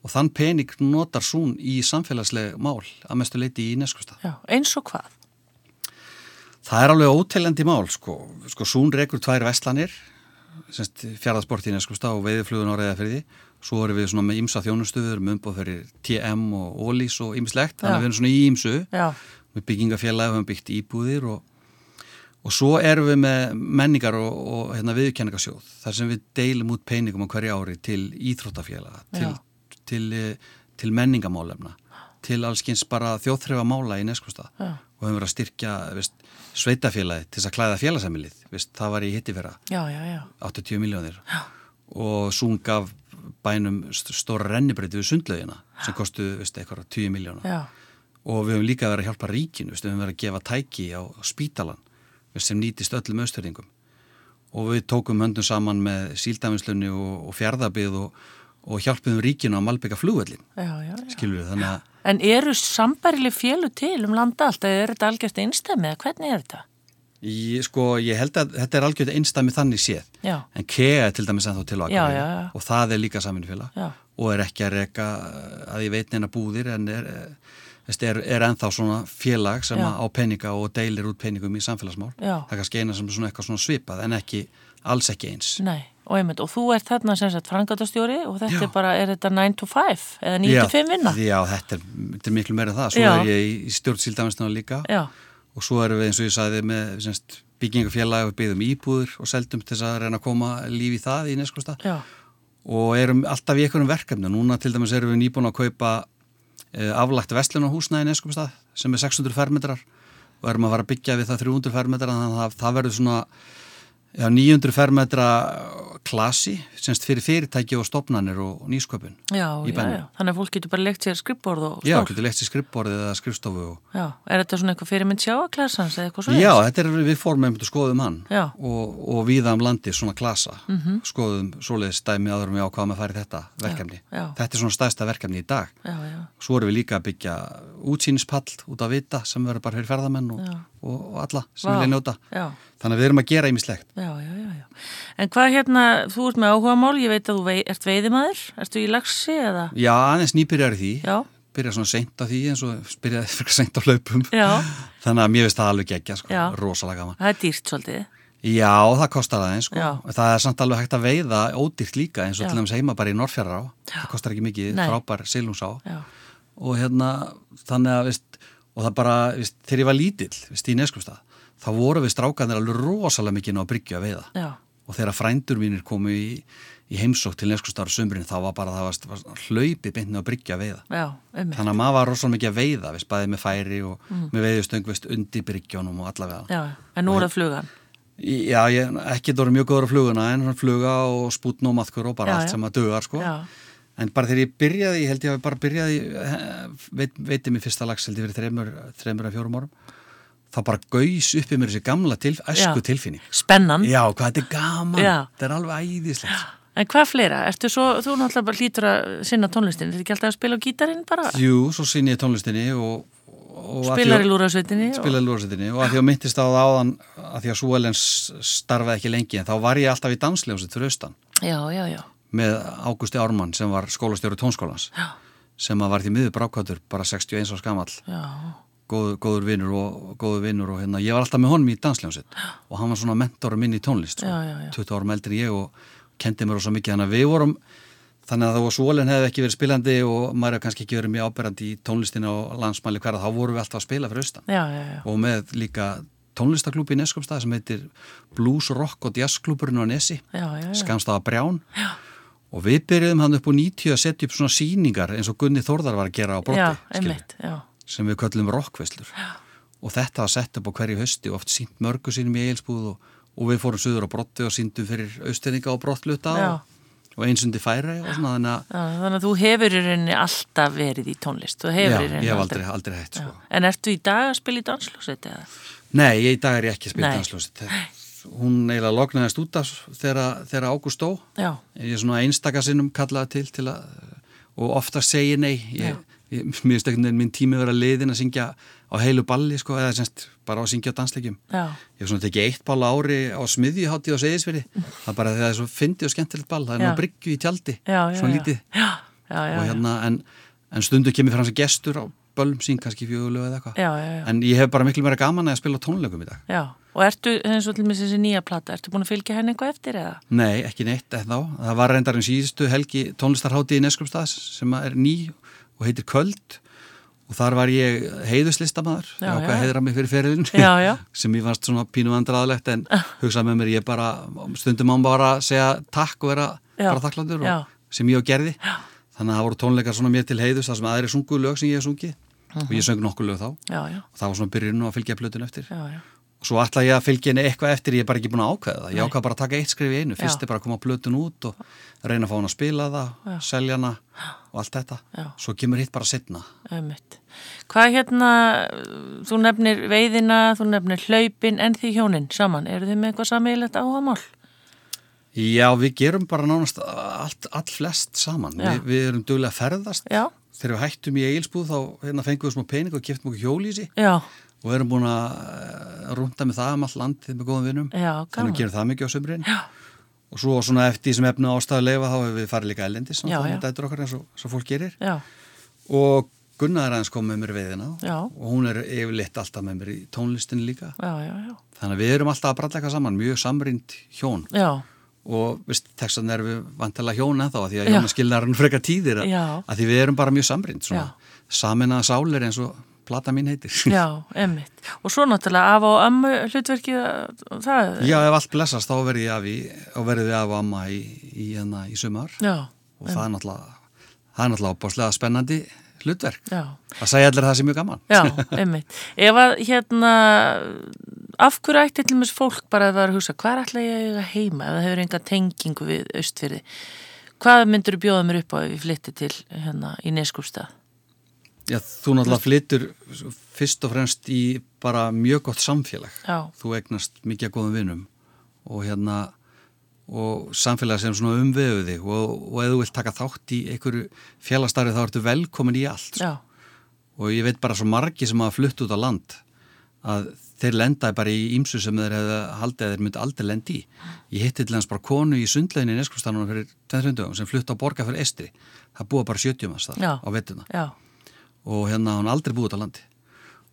Speaker 2: og þann pening notar Sún í samfélagsleg mál að mestu leiti í neskustaf.
Speaker 1: já, eins og hvað?
Speaker 2: Það er alveg óteljandi mál sko, sko Sún rekur tvær vestlanir semst fjaraðsport í neskustaf og veiðiflugun á reyðafyrði svo erum við svona með ymsa þjónustu, við erum umbóð fyrir TM og Ólís og ymslegt þannig
Speaker 1: Já.
Speaker 2: að við erum svona í ymsu
Speaker 1: Já,
Speaker 2: með byggingafélagi, við höfum byggt íbúðir og, og svo erum við með menningar og, og hérna, viðkenningarsjóð þar sem við deilum út peningum á hverju ári til íþróttafélaga, til,
Speaker 1: Já.
Speaker 2: til, eh, til menningamálefna, til allskyns bara þjóðþrefa mála í neskustad
Speaker 1: Já.
Speaker 2: og höfum verið að styrkja veist, sveitafélagi til þess að klæða félagsamilið, veist, það var í hittifera
Speaker 1: já, já, já,
Speaker 2: 80 miljónir og Sún gaf bænum st- stóra rennibreytu við sundlaugina sem kostu veist, eitthvað 10 miljóna
Speaker 1: já,
Speaker 2: og við höfum líka verið að hjálpa ríkinu veist, við höfum verið að gefa tæki á spítalan veist, sem nýtist öllum austurðingum og við tókum höndum saman með síldafinslunni og, og fjardabið og, og hjálpum ríkinu að malbygga flugvöllin
Speaker 1: já, já, já.
Speaker 2: skilur við, þannig að
Speaker 1: En eru sambærileg fjölu til um landa allt eða eru þetta algjört einstæmi eða hvernig er þetta?
Speaker 2: ég, sko, ég held að þetta er algjörð einstæmi þannig séð
Speaker 1: Já,
Speaker 2: en KEA er til dæmis ennþá til á
Speaker 1: Já,
Speaker 2: Akureyri
Speaker 1: já, já.
Speaker 2: og það er líka saminfélag
Speaker 1: Já.
Speaker 2: og er ekki að reka eh, að ég veit neina búðir en er, eh, veist, er, er ennþá svona félag sem
Speaker 1: Já.
Speaker 2: að á peninga og deilir út peningum í samfélagsmál
Speaker 1: Já.
Speaker 2: það er kannski eina sem er svona eitthvað svona svipað en ekki, alls ekki eins
Speaker 1: nei, og einmitt, og þú ert þarna sem sagt frangatastjóri og þetta
Speaker 2: Já.
Speaker 1: er bara, er þetta 9 to 5 eða 9 to 5 vinna?
Speaker 2: Já, þetta er, þetta er miklu meira en það svo
Speaker 1: Já.
Speaker 2: er ég í- í stjórnsýldamestana líka
Speaker 1: Já,
Speaker 2: og svo erum við eins og ég sagði með semst, byggingafélag og byggðum íbúður og seldum til þess að reyna að koma lífi í það í neskvista
Speaker 1: já,
Speaker 2: og erum alltaf í einhverjum verkefni. Núna til dæmis erum við nýbúin að kaupa eh, aflagt vestlunahúsna í Neskupstað sem er 600 fermetrar og erum að fara að byggja við það 300 fermetrar þannig að það, það verður svona já, 900 fermetra klasi semst fyrir fyrirtæki og stopnanir og, og nýsköpun.
Speaker 1: já,
Speaker 2: Í
Speaker 1: já,
Speaker 2: bænum.
Speaker 1: já, þannig að fólk getur bara legt sér skrippborð og
Speaker 2: Já,
Speaker 1: stól.
Speaker 2: getur leitt sér skrippborðið eða skrifstofu og
Speaker 1: Já, er þetta svona eitthvað fyrirmynd sjáaklarsans eða eitthvað svona?
Speaker 2: Já, þetta er við fórum einmitt og skoðum hann
Speaker 1: Já. Mhm.
Speaker 2: og, og viða um landi svona klasa -hmm. skoðum svoleiðis dæmi áðurum við ákvaðum að fara í þetta verkefni.
Speaker 1: já.
Speaker 2: Þetta er svona stæsta verkefni í dag.
Speaker 1: Já, já,
Speaker 2: Svo erum við líka að byggja útsýnispall út að vita sem verður bara fyrir ferðamenn og,
Speaker 1: Já.
Speaker 2: og, og alla sem
Speaker 1: Vá.
Speaker 2: vilja njóta.
Speaker 1: já.
Speaker 2: Þannig að við erum að gera ýmislegt.
Speaker 1: Já, já, já, já. En hvað hérna, þú ert með áhuga mál, ég veit að þú vei, ert veiðimaður, ertu í lagsi eða?
Speaker 2: Já, aðeins nýbyrjar í því.
Speaker 1: Já,
Speaker 2: Byrjar svona seint á því eins og byrjaði fyrir seint á hlaupum.
Speaker 1: já,
Speaker 2: Þannig að mér veist það alveg geggja, sko.
Speaker 1: Já.
Speaker 2: Rosalega gaman.
Speaker 1: það er dýrt svolítið.
Speaker 2: Já, það kostar aðeins, sko.
Speaker 1: Já.
Speaker 2: Það er samt alveg hægt að veiða ódýrt líka eins og
Speaker 1: Já.
Speaker 2: til dæmis heima bara í Norrfjara á. Það kostar ekki mikið,
Speaker 1: Nei.
Speaker 2: frábær silungsá.
Speaker 1: Já,
Speaker 2: og hérna þannig að veist, og það bara veist, þegar ég var lítill veist, í Neskustad þá voru við strákanir alveg rosalega mikið inn á bryggju að veiða
Speaker 1: já,
Speaker 2: og þegar frændur mínir komu í, í heimsók til Neskustad á sömbrinn þá var bara það var, var hlaupi beintni á bryggju að veiða
Speaker 1: já, ummi.
Speaker 2: þannig að maður var rosalega mikið að veiða veist, bæði með færi og með veiðustöng veist, undir bryggjónum og allavega
Speaker 1: Mm. Já, en nú er það flugan.
Speaker 2: Já, ég, ekki það voru mjög góður á fluguna en svona fluga og spútn og maðkur og bara
Speaker 1: Já,
Speaker 2: allt
Speaker 1: já.
Speaker 2: sem að dugar sko.
Speaker 1: Já.
Speaker 2: En bara þegar ég byrjaði, ég held ég að bara byrjaði, eh, veit, veitið mér fyrsta lags held ég fyrir þreymur, þreymur að fjórum árum, þá bara gaus upp í mér þessi gamla til,
Speaker 1: Já.
Speaker 2: æsku tilfinning.
Speaker 1: Spennan.
Speaker 2: Já, hvað þetta er gaman,
Speaker 1: Já.
Speaker 2: þetta er alveg æðislegt.
Speaker 1: En hvað fleira? Ertu svo, þú náttúrulega bara hlýtur að sinna tónlistin, er þetta ekki alltaf að spila á gítarinn bara?
Speaker 2: Jú, svo sinni ég tónlistinni og... og af því
Speaker 1: Spilar
Speaker 2: að-
Speaker 1: í lúrasveitinni? og-
Speaker 2: spilaði lúrasveitinni og að því að myndist á það áðan að því að Súelens starfaði ekki lengi en þá var ég alltaf í dansljónsið fyrir austan
Speaker 1: Já, já, já,
Speaker 2: með Águsti Ármann sem var skólastjóri tónskólans
Speaker 1: Já.
Speaker 2: sem að var því miður brákvætur bara 61 árs gamall
Speaker 1: já,
Speaker 2: góður, góður vinnur og góður vinnur og hérna, ég var alltaf með honum í dansljónsitt og hann var svona mentorum minn í tónlist
Speaker 1: Já, já, já.
Speaker 2: 20 árum eldri en ég og kendi mér svo mikið þannig að við vorum þannig að þá var svolinn hefði ekki verið spilandi og maður hefði kannski ekki verið mjög áberandi í tónlistina og landsmæli hverja, þá vorum við alltaf að spila fyrir austan
Speaker 1: já, já, já.
Speaker 2: og með líka tónlistaklúbi í Neskopstað sem heitir Blues, Rock og Jazzklúburinn á Nesi
Speaker 1: Já, já, já.
Speaker 2: Skamstaða Brján já. og við byrjuðum hann upp úr 90 að setja upp svona síningar eins og Gunni Þórðar var að gera á brotti
Speaker 1: Já,
Speaker 2: skilur,
Speaker 1: einmitt, já,
Speaker 2: sem við köllum rockveslur og þetta var sett upp á hverju hösti og oft sínt mörgu sínum í eigilsbúð og, og við fórum söður á brotti og síndum fyrir austenninga og brottluta
Speaker 1: Já.
Speaker 2: og, og einsundi færi og svona þannig að
Speaker 1: Já, Þannig að þú hefur í rauninni alltaf verið í tónlist. Þú hefur í
Speaker 2: já,
Speaker 1: rauninni
Speaker 2: ég hef aldrei, aldrei hægt sko.
Speaker 1: Já. En ertu í dag að spila í danslúsið eða?
Speaker 2: Nei, ég í dag er ég ekki að spila
Speaker 1: Nei.
Speaker 2: dansljóðsitt hún eiginlega lognaðist út af þegar, þegar Ágúst dó
Speaker 1: Já,
Speaker 2: ég er svona einstakasinnum kallaði til, til að, og ofta segi nei ég, ég, mér finnst ekkert minn tími vera liðin að syngja á heilu balli sko, eða semst bara á að syngja á dansleikjum
Speaker 1: já,
Speaker 2: ég hef svona tekið eitt ball á ári á smiðjuhátti og segisveri það er bara þegar það er svo fyndi og skemmtilegt ball það er
Speaker 1: Já.
Speaker 2: nú bryggju í tjaldi,
Speaker 1: já, já.
Speaker 2: svona
Speaker 1: já.
Speaker 2: lítið
Speaker 1: Já, já, já.
Speaker 2: og
Speaker 1: já.
Speaker 2: hérna, en, en stundu kemur fram sem gestur á bölm sín, kannski fjögulegu eða eitthvað
Speaker 1: Já, já, já.
Speaker 2: en ég hef bara miklu meira gaman að spila á tónleikum í dag
Speaker 1: Já, og ertu, eins og til mér þessi nýja plata, ertu búin að fylgja henni eitthvað eftir eða?
Speaker 2: Nei, ekki neitt eða þá. Það var reyndar en síðustu helgi tónlistarhátti í Neskjöpstaðs sem er ný og heitir Köld og þar var ég heiðuslistamæður
Speaker 1: Já,
Speaker 2: og
Speaker 1: já.
Speaker 2: hvað heiðra mig fyrir ferilin
Speaker 1: Já, já.
Speaker 2: sem ég fannst svona pínu andraðlegt en hugsað með mér ég bara stundum án bara að segja takk og vera
Speaker 1: Já,
Speaker 2: bara þakklandur
Speaker 1: já.
Speaker 2: og, sem ég og gerði já. þannig að það voru tónleikar svona mér til heiðus þar sem aðri sungu lög sem ég hef sungið
Speaker 1: Mhm.
Speaker 2: og ég söng nokkuð lög þá
Speaker 1: Já, já,
Speaker 2: og það var svona byrjun og að fylgja plötun eftir
Speaker 1: já, já.
Speaker 2: og svo ætla ég að fylgja henni eitthvað eftir ég er bara ekki búin að ákveða það, ég ákvað bara að taka eitt skrif í einu fyrst
Speaker 1: Já.
Speaker 2: er bara að koma plötun út og reyna að fá hann að spila það, selja hana og allt þetta,
Speaker 1: Já.
Speaker 2: svo kemur hitt bara setna
Speaker 1: Ömmit. Hvað hérna, þú nefnir veiðina, þú nefnir hlaupin en því hjónin saman, eru þið með eitthvað sammeilegt áhámál?
Speaker 2: Já, við gerum bara nánast allt, all flest saman,
Speaker 1: Já.
Speaker 2: Vi, við erum duglega að ferðast,
Speaker 1: Já,
Speaker 2: þegar við hættum í eigilsbúð þá hérna, fengum við smá pening og keftum okkur hjólísi
Speaker 1: já,
Speaker 2: og erum búin að eh, rúnda með það um all landið með góðum vinnum
Speaker 1: já,
Speaker 2: þannig
Speaker 1: gaman.
Speaker 2: að gerum það mikið á sömurinn og svo svona eftir því sem efnu ástæðu leifa þá hefur við farið líka elendis
Speaker 1: Já, já.
Speaker 2: dætur okkar eins og, eins og fólk gerir
Speaker 1: Já,
Speaker 2: og Gunnar er aðeins kom með mér veiðina
Speaker 1: Já.
Speaker 2: og hún er yfirleitt alltaf með mér í tónlistin líka
Speaker 1: já, já, já.
Speaker 2: þannig að við erum alltaf að bralla eitthvað saman, mjög samrýnd hjón
Speaker 1: Já,
Speaker 2: og veist, textan er við vantilega hjón ennþá að því að
Speaker 1: Já.
Speaker 2: hjónaskilnarinn frekar tíðir að,
Speaker 1: Já.
Speaker 2: að því við erum bara mjög samrýnd
Speaker 1: Já.
Speaker 2: saminnaða sálir eins og plata mín heitir
Speaker 1: já, ömmit. Og svo náttúrulega af og ömmu hlutverkið, það,
Speaker 2: Já, ef allt blessast þá verði ég afi og verði við af og amma í, í, hérna í sumar
Speaker 1: já,
Speaker 2: og það er náttúrulega það er náttúrulega opáslega spennandi hlutverk
Speaker 1: já.
Speaker 2: að segja allir að það sem mjög gaman
Speaker 1: Já, einmitt. Ef að hérna, af hverju ætti til mér fólk bara að vera að hugsa, hvað er alltaf ég að eiga heima ef það hefur enga tengingu við austfyrði? Hvað myndur þú bjóða mér upp á ef ég flytti til hérna í Neskústað?
Speaker 2: Já, þú náttúrulega flyttur fyrst og fremst í bara mjög gott samfélag
Speaker 1: Já.
Speaker 2: þú egnast mikið að góðum vinum og hérna og samfélag sem svona umveðu þig og, og ef þú vilt taka þátt í einhverju félagsstarfi þá ertu velkomin í allt
Speaker 1: Já,
Speaker 2: sko. og ég veit bara svo margi sem hafa flutt út á land að þeir lendaði bara í ímsu sem þeir hefði haldið að þeir myndi aldrei lendi í. Ég hitti til hans bara konu í sundleginni neskustannunum fyrir 20 dögum sem flutt á borga fyrir estri. Það búa bara 70 manns þar
Speaker 1: Já.
Speaker 2: á vettuna
Speaker 1: já,
Speaker 2: og hérna hún aldrei búið út á landi.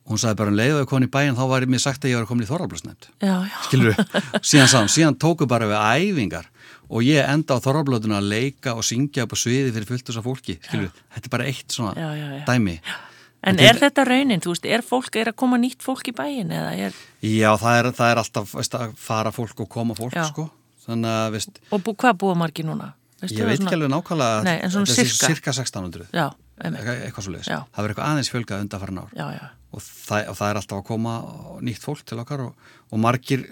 Speaker 2: Og Hún sagði bara um leiðu að konu í bæinn þá var mér sagt að ég var komin í Þorvalblasnefnd
Speaker 1: já, já,
Speaker 2: skilur við, síðan saman, síðan tóku bara við æfingar og ég enda á þorrablöðuna að leika og syngja upp á sviði fyrir fullt þessar fólki, skilur við, þetta er bara eitt svona
Speaker 1: já, já, já.
Speaker 2: dæmi.
Speaker 1: En
Speaker 2: þetta
Speaker 1: er þetta raunin, þú veist, er fólk, er að koma nýtt fólk í bæin eða er,
Speaker 2: Já, það er, það er alltaf, veist, að fara fólk og koma fólk,
Speaker 1: Já.
Speaker 2: sko, þannig að, veist,
Speaker 1: og bú, hvað búa margi núna? Veistu
Speaker 2: ég
Speaker 1: það
Speaker 2: veit
Speaker 1: svona-
Speaker 2: ekki alveg nákvæmlega,
Speaker 1: Nei, en svona
Speaker 2: þetta er
Speaker 1: sirka.
Speaker 2: cirka 1600,
Speaker 1: Já, einmitt,
Speaker 2: eitthvað, eitthvað svo leiðis,
Speaker 1: Já.
Speaker 2: það verður eitthvað aðeins fjölgað undanfærin ár.
Speaker 1: já, já,
Speaker 2: og það, og það er alltaf að koma nýtt fólk til okkar og, og margir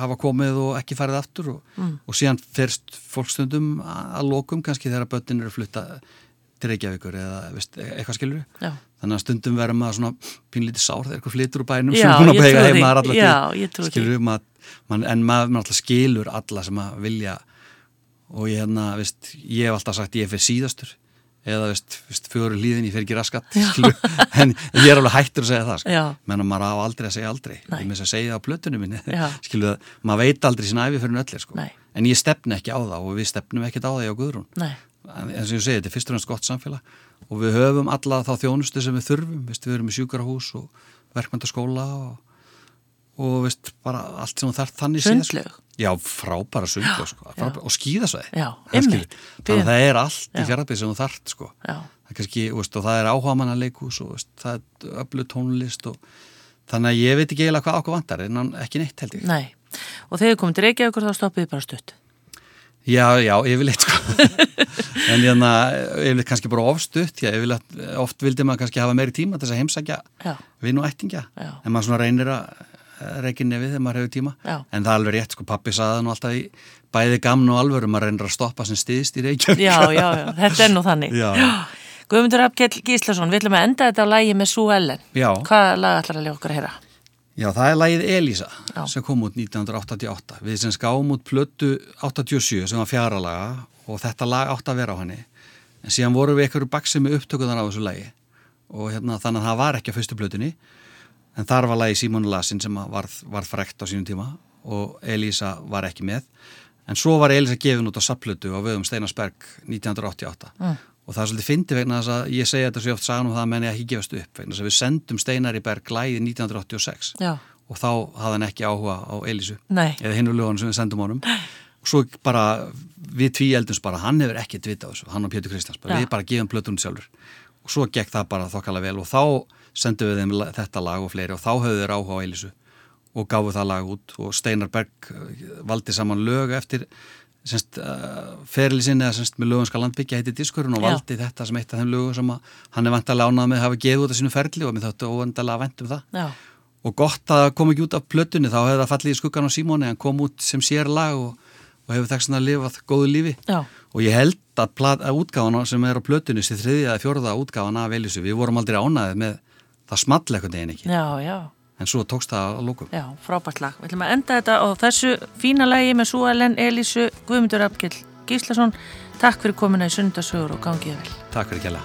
Speaker 2: hafa komið og ekki farið aftur og, og síðan fyrst fólkstundum að að lokum kannski þegar börnin eru flutta til Reykjavíkur eða veist, eitthvað skilur
Speaker 1: já.
Speaker 2: þannig að stundum verður maður svona pínlítið sár þegar eitthvað flytur úr bænum
Speaker 1: Já,
Speaker 2: sem er
Speaker 1: ég
Speaker 2: búin
Speaker 1: trúi
Speaker 2: að pega
Speaker 1: því.
Speaker 2: heima þar alla
Speaker 1: Já,
Speaker 2: tíð.
Speaker 1: ég trúi því.
Speaker 2: Skilurðu, maður, man, en maður, maður alltaf skilur alla sem að vilja og ég, hérna, veist, ég hef alltaf sagt ég fyrir síðastur eða veist, veist fyrir líðin ég fyrir ekki raskat skilurðu. en ég er alveg hættur að segja það sko.
Speaker 1: Já.
Speaker 2: menn að maður á aldrei að segja aldrei
Speaker 1: Nei.
Speaker 2: ég með þess að segja það á plötunum minni
Speaker 1: Já.
Speaker 2: skilur, maður veit aldrei sína æfi fyrir öllir sko.
Speaker 1: Nei.
Speaker 2: en ég stefni ekki á það og við stefnum ekkert á það hjá Guðrún
Speaker 1: Nei,
Speaker 2: en eins og ég segi, þetta er fyrst og næst gott samfélag og við höfum alla þá þjónustu sem við þurfum veist, við erum í sjúkarahús og verkmyndaskóla og, og veist, bara allt sem þú þarf þannig séð, sko.
Speaker 1: Sundlaug?
Speaker 2: Já, frábæra sundlög sko. frábæra, og skýðasvæði
Speaker 1: Já,
Speaker 2: Það skilur.
Speaker 1: einmitt.
Speaker 2: Þannig að það er allt í
Speaker 1: Já.
Speaker 2: fjarlabið sem þú þarft sko.
Speaker 1: já,
Speaker 2: Það er kannski, veist, og það er áhamanna leikus og veist, það er öllu tónlist og þannig að ég veit ekki eiginlega hvað okkur vantar en ekki neitt held ég
Speaker 1: nei. Og þegar þið komið til Reykjavíkur þá stoppið þið bara stutt.
Speaker 2: Já, já, yfirleitt sko. en hérna, yfirleitt kannski bara ofstutt, já, yfirleitt, oft vildi maður kannski hafa meiri tíma til þess að heimsækja
Speaker 1: Já.
Speaker 2: vinn og ættingja.
Speaker 1: Já.
Speaker 2: En maður svona reynir að reygin nefið þegar maður hefur tíma.
Speaker 1: Já.
Speaker 2: En það er alveg rétt, sko, pappi sagði það nú alltaf í bæði gamn og alvöru, maður reynir að stoppa sem stiðist í Reykjavík.
Speaker 1: já, já, já, þetta er nú þannig
Speaker 2: Já.
Speaker 1: Guðmundur Apkell Gíslason, við ætlum að enda þetta á lægi með Sú Ellen
Speaker 2: Já.
Speaker 1: Hvaða lag ætlar að lega okkur að heyra?
Speaker 2: Já, það er lagið Elísa
Speaker 1: Já.
Speaker 2: sem kom út 1988. Við sem skáum út plötu 87 sem var fjara laga og þetta lag átt að vera á henni. En síðan vorum við einhverju baksi með upptökuðan á þessu lagi og hérna, þannig að það var ekki á fyrstu plötunni. En þar var lagið Simon Lassin sem að varð, varð frekt á sínum tíma og Elísa var ekki með. En svo var Elísa gefin út á sapplötu á vöðum Steinarsberg 1988.
Speaker 1: Mm.
Speaker 2: Og það er svolítið fyndi vegna þess að ég segja þetta svo ég oft sagan um það að menni ekki gefast upp vegna þess að við sendum Steinar í Berg lægið 1986
Speaker 1: Já,
Speaker 2: og þá hafði hann ekki áhuga á Elísu
Speaker 1: Nei.
Speaker 2: eða hinu lögunum sem við sendum honum og svo bara við tví eldum bara hann hefur ekki dvita á þessu, hann og Pétur Kristjáns bara,
Speaker 1: Já.
Speaker 2: við bara gefum plötunum sjálfur og svo gekk það bara þokkala vel og þá sendum við þeim la- þetta lag og fleiri og þá höfðu þeir áhuga á Elísu og gáfu það lag út og Steinar Berg eh, valdi saman lög eftir semst, uh, ferli sinni eða semst með lögum skal landbyggja heiti diskurinn og
Speaker 1: Já.
Speaker 2: valdi þetta sem eitt af þeim lögum sem að hann er vantalega ánað með að hafa gefið út á sínu ferli og mér þáttu óvandalega vænt um það
Speaker 1: já,
Speaker 2: og gott að það kom ekki út af plötunni þá hefði það fallið í skuggan á Simóni hann kom út sem sér lag og, og hefur þess að lifað góðu lífi
Speaker 1: já,
Speaker 2: og ég held að, plat, að útgáfana sem er á plötunni sem þriðja eða fjórða útgáfana af Elísu við vorum aldrei ánaðið með það small eitthvað neginn ekki
Speaker 1: já, já
Speaker 2: en svo tókst það að lókum
Speaker 1: Já, frábært lag. Við ætlum að enda þetta á þessu fína lagi með Sú Ellen, Elísu, Guðmundur Apkell Gíslason. Takk fyrir komina í sundarsugur og gangið vel.
Speaker 2: Takk fyrir kjalla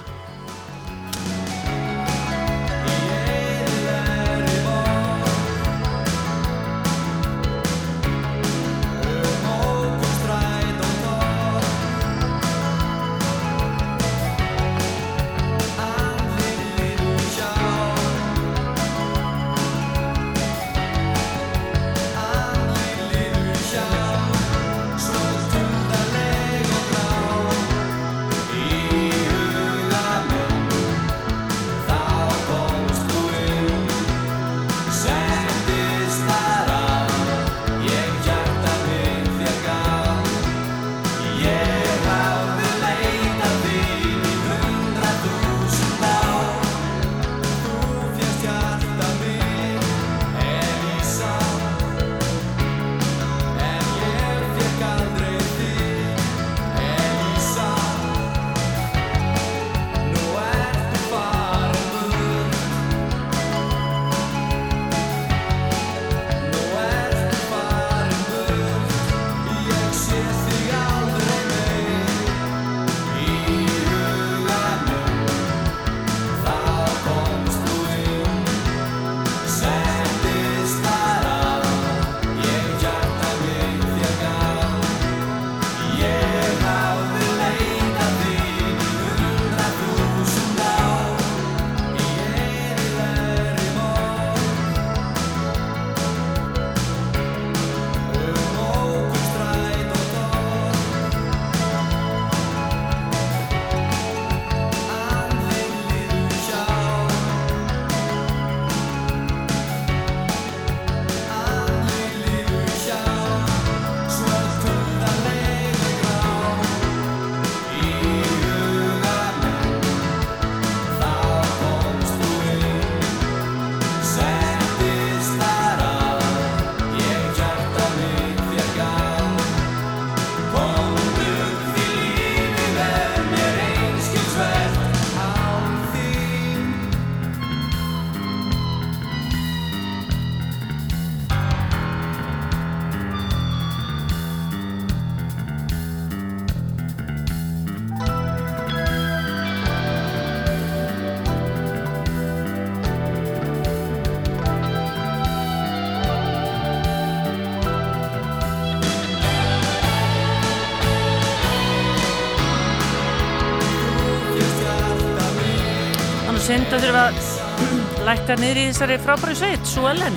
Speaker 1: Þannig synd að þurfa að lækka niður í þessari frábæri sveit, Sú Ellen.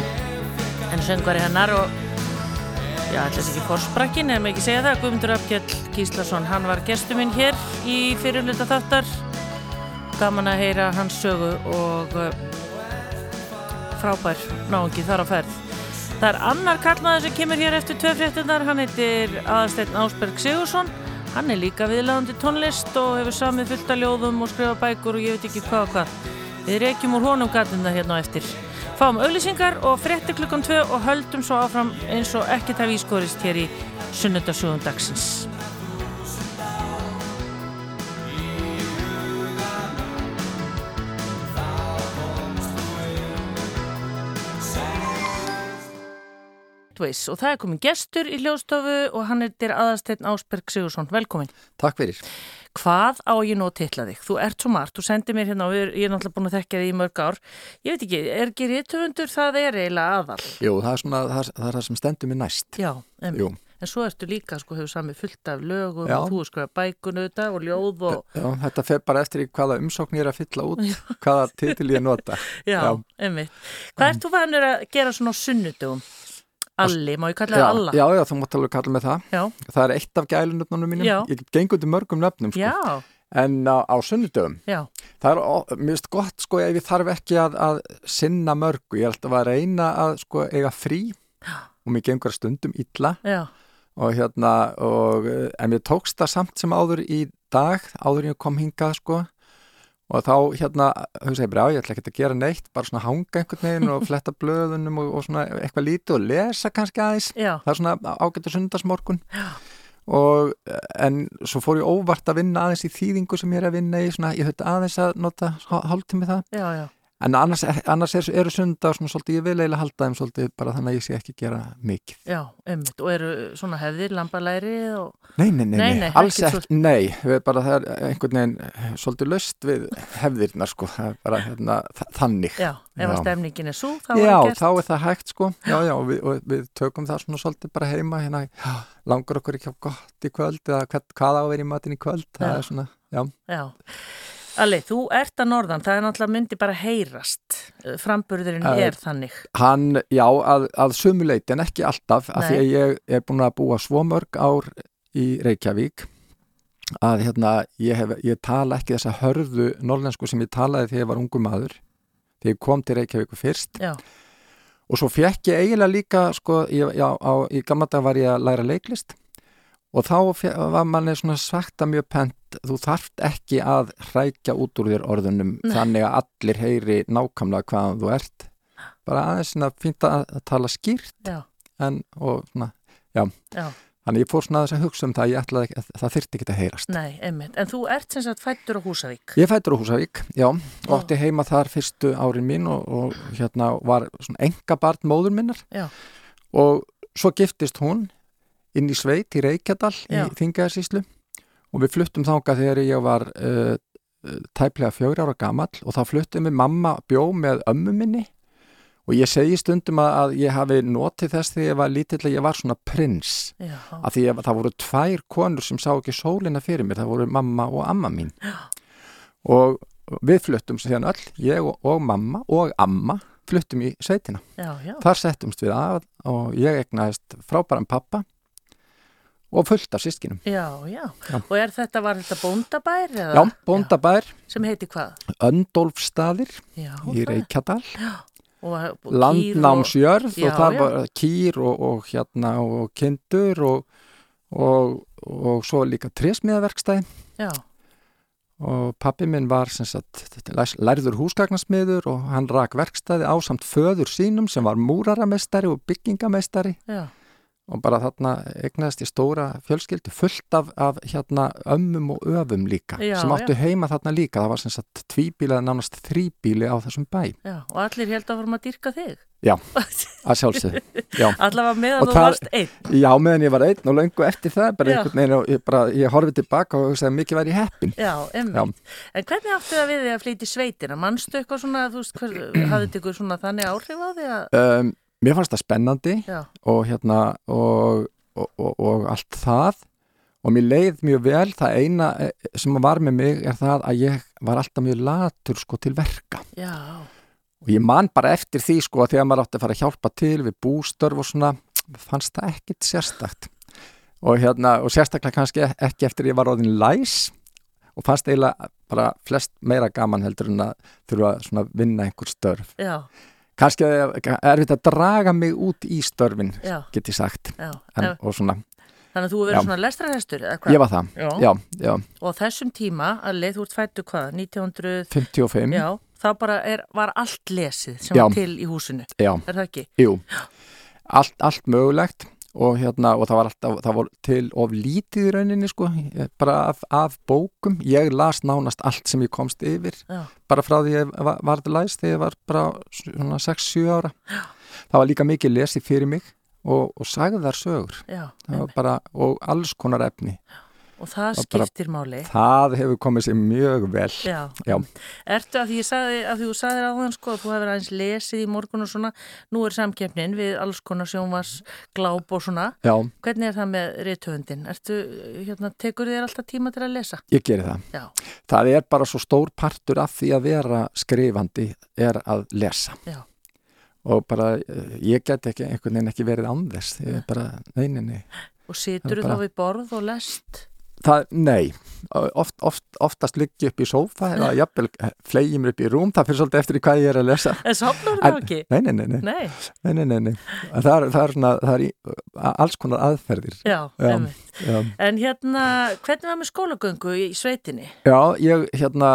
Speaker 1: En söngvari hennar og, já, ætlas ekki fórsprakkin, en maður ekki segja það, Guðmundur Apkell Gíslason, hann var gestur minn hér í fyrirluta þáttar. Gaman að heyra hans sögu og uh, frábær náungi þar á ferð. Það er annar kallmaður sem kemur hér eftir tvö fréttunar, hann heitir Aðarsteinn Ásberg Sigursson. Hann er líka viðlagandi tónlist og hefur samið fullt af ljóðum og skrifa bækur og ég veit ekki hvað og hvað. Við reykjum úr honum gattina hérna á eftir. Fáum auðlýsingar og fréttu klukkan tvö og höldum svo áfram eins og ekkert hafi ískorist hér í sunnudasugum dagsins. Ways. og það er komin gestur í hljóðstofu og hann er dyr aðasteinn Ásberg Sigursson velkomin.
Speaker 4: Takk fyrir.
Speaker 1: Hvað á ég nú að titla þig? Þú ert svo margt, þú sendir mér hérna og við- ég er náttúrulega búin að þekkja þig í mörg ár. Ég veit ekki, er ekki réttöfundur það er eiginlega aðal?
Speaker 4: Jú, það er, svona, það, er- það er það sem stendur mér næst.
Speaker 1: Já, em,
Speaker 4: Jú.
Speaker 1: en svo ertu líka sko hefur samið fullt af lögum
Speaker 4: Já.
Speaker 1: og þú skrifa bækun auðvitað og ljóð og
Speaker 4: Já, þetta fer bara eftir í hvaða umsókn ég er að fylla út, hvaða titil ég nota.
Speaker 1: já,
Speaker 4: Já.
Speaker 1: emmitt. Hvað ert þú vannur að gera svona á sunnudum? Alli, má ég kalla það
Speaker 4: já,
Speaker 1: alla?
Speaker 4: já, já, þú mátt alveg kalla mig það.
Speaker 1: já,
Speaker 4: Það er eitt af gælunöfnunum mínum.
Speaker 1: Já.
Speaker 4: Ég gengur til mörgum nöfnum, sko.
Speaker 1: já,
Speaker 4: En á, á sunnudöfum,
Speaker 1: já,
Speaker 4: það er ó- mér finnst gott, sko, ef ég þarf ekki að, að sinna mörgu. Ég er alltaf að reyna að, sko, eiga frí og mér gengur stundum illa
Speaker 1: já,
Speaker 4: og hérna og, eh, en mér tókst það samt sem áður í dag áður en ég kom hingað sko og þá hérna hugsa ég bara "Já, ég ætla ekki að gera neitt bara svona hanga einhvern veginn og fletta blöðunum og, og svona eitthvað lítið og lesa kannski aðeins
Speaker 1: já,
Speaker 4: það er svona ágættur sundarsmorgun og eh, en svo fór ég óvart að vinna aðeins í þýðingu sem ég er að vinna í svona ég höfði aðeins að nota hálftími það
Speaker 1: já, já,
Speaker 4: en annars, annars er, eru sundar svona svolítið ég vil eiginlega halda þeim svolítið bara þannig að ég sé ekki gera mikið
Speaker 1: já, emmitt. Og eru svona hefðir, lambalærið og...
Speaker 4: Nei, nei, nei,
Speaker 1: Nei,
Speaker 4: nei,
Speaker 1: nei,
Speaker 4: alls
Speaker 1: ekkert
Speaker 4: ekki, nei, við bara það er einhvern veginn eh, svolítið löst við hefðirna sko, það er bara hérna, þa- þannig.
Speaker 1: Já, ef að
Speaker 4: Já.
Speaker 1: stemningin er svo, þá er
Speaker 4: Já,
Speaker 1: það gert.
Speaker 4: þá er það hægt sko, já, já, og við, og við tökum það svona svolítið bara heima hérna, langar okkur ekki á gott í kvöld eða hvað, hvað á að vera í matinn í kvöld, það
Speaker 1: Já.
Speaker 4: er svona, já,
Speaker 1: Já. Alli, þú ert að norðan, það er náttúrulega myndi bara heyrast. Eh, Framburðurinn
Speaker 4: Eh,
Speaker 1: er þannig.
Speaker 4: hann, já, að, að sumuleiti en ekki alltaf, af því
Speaker 1: Nei.
Speaker 4: að ég er búin að búa svo mörg ár í Reykjavík að hérna, ég, hef, ég tala ekki þessa hörðu norlensku sem ég talaði þegar ég var ungur maður þegar ég kom til Reykjavíku fyrst
Speaker 1: Já,
Speaker 4: og svo fekk ég eiginlega líka sko, ég, já, á, í gamla dag var ég að læra leiklist og þá fe- var manni svona sagt að mjög pent þú þarft ekki að hrækja út úr þér orðunum þannig að allir heyri nákvæmlega hvaðan þú ert bara aðeins svona fínt að, að tala skýrt
Speaker 1: já,
Speaker 4: en, og svona, já
Speaker 1: já,
Speaker 4: þannig ég fór svona aðeins að hugsa um það ég ætlaði ekki, að það þyrfti ekki að heyrast
Speaker 1: nei, einmitt. En þú ert sem sagt fættur á Húsavík.
Speaker 4: Ég fættur á Húsavík, já, og átti heima þar fyrstu árin mín og, og hérna var svona enga barn móður minnar
Speaker 1: Já.
Speaker 4: og svo giftist hún inn í sveit í Reykjadal
Speaker 1: Já.
Speaker 4: í Þingaðarsíslu og við fluttum þanga þegar ég var uh, tæplega fjögur ára gamall og þá fluttum við mamma bjó með ömmu minni og ég segi stundum að, að ég hafi notið þess þegar ég var lítill að ég var svona prins
Speaker 1: Já,
Speaker 4: að því að það voru tvær konur sem sá ekki sólina fyrir mér, það voru mamma og amma mín og við fluttum síðan öll, ég og, og mamma og amma fluttum í sveitina
Speaker 1: já, já,
Speaker 4: þar settumst við að og ég egnaðist frábæran pappa og fullt af sískinum
Speaker 1: já, já. Og er þetta, var þetta bóndabær? Eða?
Speaker 4: Já, bóndabær,
Speaker 1: Sem heiti hvað?
Speaker 4: Öndólfstaðir
Speaker 1: Já,
Speaker 4: í Reykjadal,
Speaker 1: og, og kýr og-
Speaker 4: landnámsjörð
Speaker 1: Já,
Speaker 4: og þar
Speaker 1: já.
Speaker 4: var kýr og, og hérna og kindur og, og, og svo líka trésmiðaverkstæði
Speaker 1: Já,
Speaker 4: og pappi minn var sem sagt, læs- lærður húsgagnasmiður og hann rak verkstæði á samt föður sínum sem var múraramestari og byggingamestari
Speaker 1: já,
Speaker 4: og bara þarna egnaðist í stóra fjölskyldu fullt af, af hérna ömmum og öfum líka
Speaker 1: Já,
Speaker 4: sem áttu heima þarna líka, það var sem sagt tvíbíli eða nánast þríbíli á þessum bæ
Speaker 1: já. Og allir held að vorum að dýrka þig.
Speaker 4: Já. að sjálfsögðu, já
Speaker 1: Allavega meðan
Speaker 4: Og
Speaker 1: þú
Speaker 4: það-
Speaker 1: varst einn.
Speaker 4: Já, meðan ég var einn og löngu eftir það bara
Speaker 1: Já.
Speaker 4: einhvern veginn og ég, bara, ég horfið tilbaka og hugsaði að mikið væri heppin
Speaker 1: Já, emmitt. En hvernig áttu það við þig að flytja í sveitina? Manstu eitthvað svona, þú veist, hver, hafði þetta ykkur svona þannig áhrif á þig að,
Speaker 4: um, Mér fannst það spennandi
Speaker 1: já,
Speaker 4: og hérna og, og, og, og allt það og mér leið mjög vel það eina eh, sem var með mig er það að ég var alltaf mjög latur sko til verka
Speaker 1: já,
Speaker 4: og ég man bara eftir því sko að þegar maður átti að fara að hjálpa til við bústörf og svona fannst það ekkit sérstakt og hérna og sérstaklega kannski ekki eftir ég var orðin læs og fannst eiginlega bara flest meira gaman heldur en að þurfa svona að vinna einhver störf
Speaker 1: já,
Speaker 4: kannski er erfitt að draga mig út í störfin,
Speaker 1: Já,
Speaker 4: get ég sagt
Speaker 1: já.
Speaker 4: en,
Speaker 1: En,
Speaker 4: og svona,
Speaker 1: þannig að þú
Speaker 4: Já.
Speaker 1: verður svona lestrarhestur eða
Speaker 4: ég
Speaker 1: hvað?
Speaker 4: var það
Speaker 1: Já.
Speaker 4: já, já,
Speaker 1: Og á þessum tíma, að leið, þú ert fættu hvað, 1900,
Speaker 4: 55
Speaker 1: já, þá bara er, var allt lesið sem
Speaker 4: Já.
Speaker 1: var til í húsinu,
Speaker 4: já.
Speaker 1: er það ekki?
Speaker 4: Jú, allt, allt mögulegt og, hérna, og það var alltaf það var til of lítið í rauninni sko, ég- bara af, af bókum ég las nánast allt sem ég komst yfir
Speaker 1: Já.
Speaker 4: bara frá því ég var, var læst þegar ég var bara svona 6-7 ára það var líka mikið lesið fyrir mig og, og sagðar sögur
Speaker 1: Já,
Speaker 4: Það var bara, og alls konar efni
Speaker 1: og það
Speaker 4: Það bara-
Speaker 1: skiptir máli.
Speaker 4: það hefur komið sér mjög vel
Speaker 1: Já.
Speaker 4: Já.
Speaker 1: Ertu að því ég sagði, að því þú sagðir áðan sko að þú hefur aðeins lesið í morgun og svona, nú er samkeppnin við alls konar sjónvars gláp og svona.
Speaker 4: Já,
Speaker 1: Hvernig er það með rithöfundin? Ertu, hérna, tekur þér alltaf tíma til að lesa?
Speaker 4: ég geri það
Speaker 1: Já,
Speaker 4: það er bara svo stór partur af því að vera skrifandi er að lesa
Speaker 1: Já.
Speaker 4: og bara eh, ég get ekki einhvern veginn ekki verið án þess ég er bara, nei, nei, nei
Speaker 1: og situr
Speaker 4: Það er
Speaker 1: þá
Speaker 4: bara-
Speaker 1: við borð og lest?
Speaker 4: það, nei, oft, oft, oftast liggi upp í sófa eða jafnvel eh, fleygi mér upp í rúm, það fyrir svolítið eftir í hvað ég er að lesa
Speaker 1: En sopnar
Speaker 4: En-
Speaker 1: það ekki?
Speaker 4: nei, nei, nei, nei,
Speaker 1: Nei,
Speaker 4: nei, nei, nei, nei. það er, það er, svona, það er í, alls konar aðferðir
Speaker 1: já,
Speaker 4: Já.
Speaker 1: einmitt.
Speaker 4: já,
Speaker 1: En hérna, hvernig var með skólagöngu í sveitinni?
Speaker 4: já ég, hérna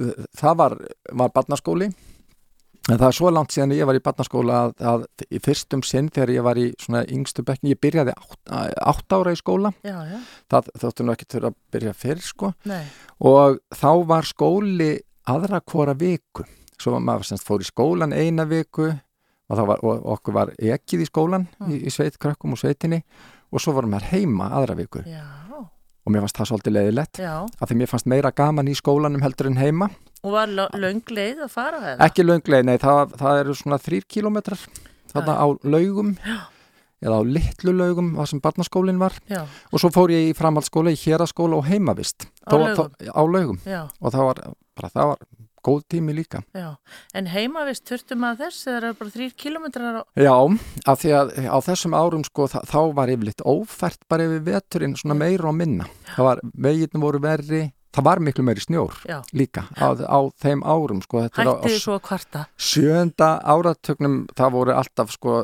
Speaker 4: eh, það var, var barnaskóli En það er svo langt síðan ég var í barnaskóla að, að í fyrstum sinn þegar ég var í svona yngstu bekkin, ég byrjaði átt, átt ára í skóla,
Speaker 1: Já, já,
Speaker 4: það þóttu nú ekki til að byrja fyrr sko
Speaker 1: nei,
Speaker 4: og þá var skóli aðra hvora viku, svo var maður semst fór í skólan eina viku og, þá var, og okkur var ekkið í skólan í, í sveit, krökkum og sveitinni og svo var maður heima aðra viku
Speaker 1: já,
Speaker 4: og mér fannst það svolítið leiðilegt
Speaker 1: já.
Speaker 4: af því mér fannst meira gaman í skólanum heldur en heima
Speaker 1: Og var lo- löng leið að fara það?
Speaker 4: ekki löngleið, nei, það, það eru svona þrýr kílómetrar þarna á laugum eða á litlu laugum þar sem barnaskólinn var
Speaker 1: Já,
Speaker 4: og svo fór ég í framhaldsskóla, í héraskóla og heimavist
Speaker 1: Á
Speaker 4: Þó-
Speaker 1: Laugum?
Speaker 4: þó- á laugum
Speaker 1: já,
Speaker 4: og það var, bara, það var góð tími líka
Speaker 1: já. En heima vist þurftum að þess eða það eru bara þrýr kilometrar á...
Speaker 4: Já, af því að á þessum árum sko, þa þá var yfirleitt ófært bara yfir veturinn svona meira og minna það var, veginni voru verri það var miklu meiri snjór
Speaker 1: Já.
Speaker 4: líka á, á þeim árum sko, þetta er á- á
Speaker 1: Hættið svo að kvarta.
Speaker 4: sjönda áratögnum það voru alltaf sko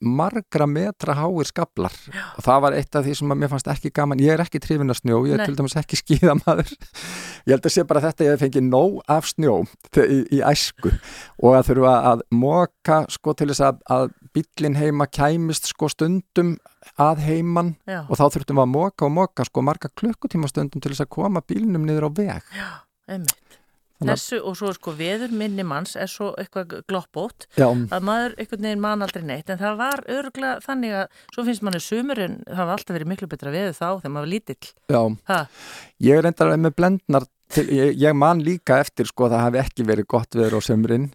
Speaker 4: margra metra háir skablar og það var eitt af því sem að mér fannst ekki gaman ég er ekki trífin að snjó, ég er
Speaker 1: Nei.
Speaker 4: til dæmis ekki skíðamaður ég held að sé bara þetta að ég hef fengið nóg af snjó þe- í, í æsku og að þurfa að moka sko til þess að, að bíllinn heima kæmist sko stundum að heiman
Speaker 1: Já,
Speaker 4: og þá þurftum við að moka og moka sko marga klukkutíma stundum til þess að koma bílnum niður á veg
Speaker 1: einmitt.
Speaker 4: Þannig að-
Speaker 1: Þessu og svo sko veður minni manns er svo eitthvað gloppótt
Speaker 4: Já,
Speaker 1: að maður einhvern veginn man aldrei neitt en það var örgla þannig að svo finnst manni sumurinn, það var alltaf verið miklu betra veður þá þegar maður var lítill.
Speaker 4: já
Speaker 1: Ha,
Speaker 4: Ég er reyndar með blendnar til, ég, ég man líka eftir sko að það hafi ekki verið gott veður á sömurinn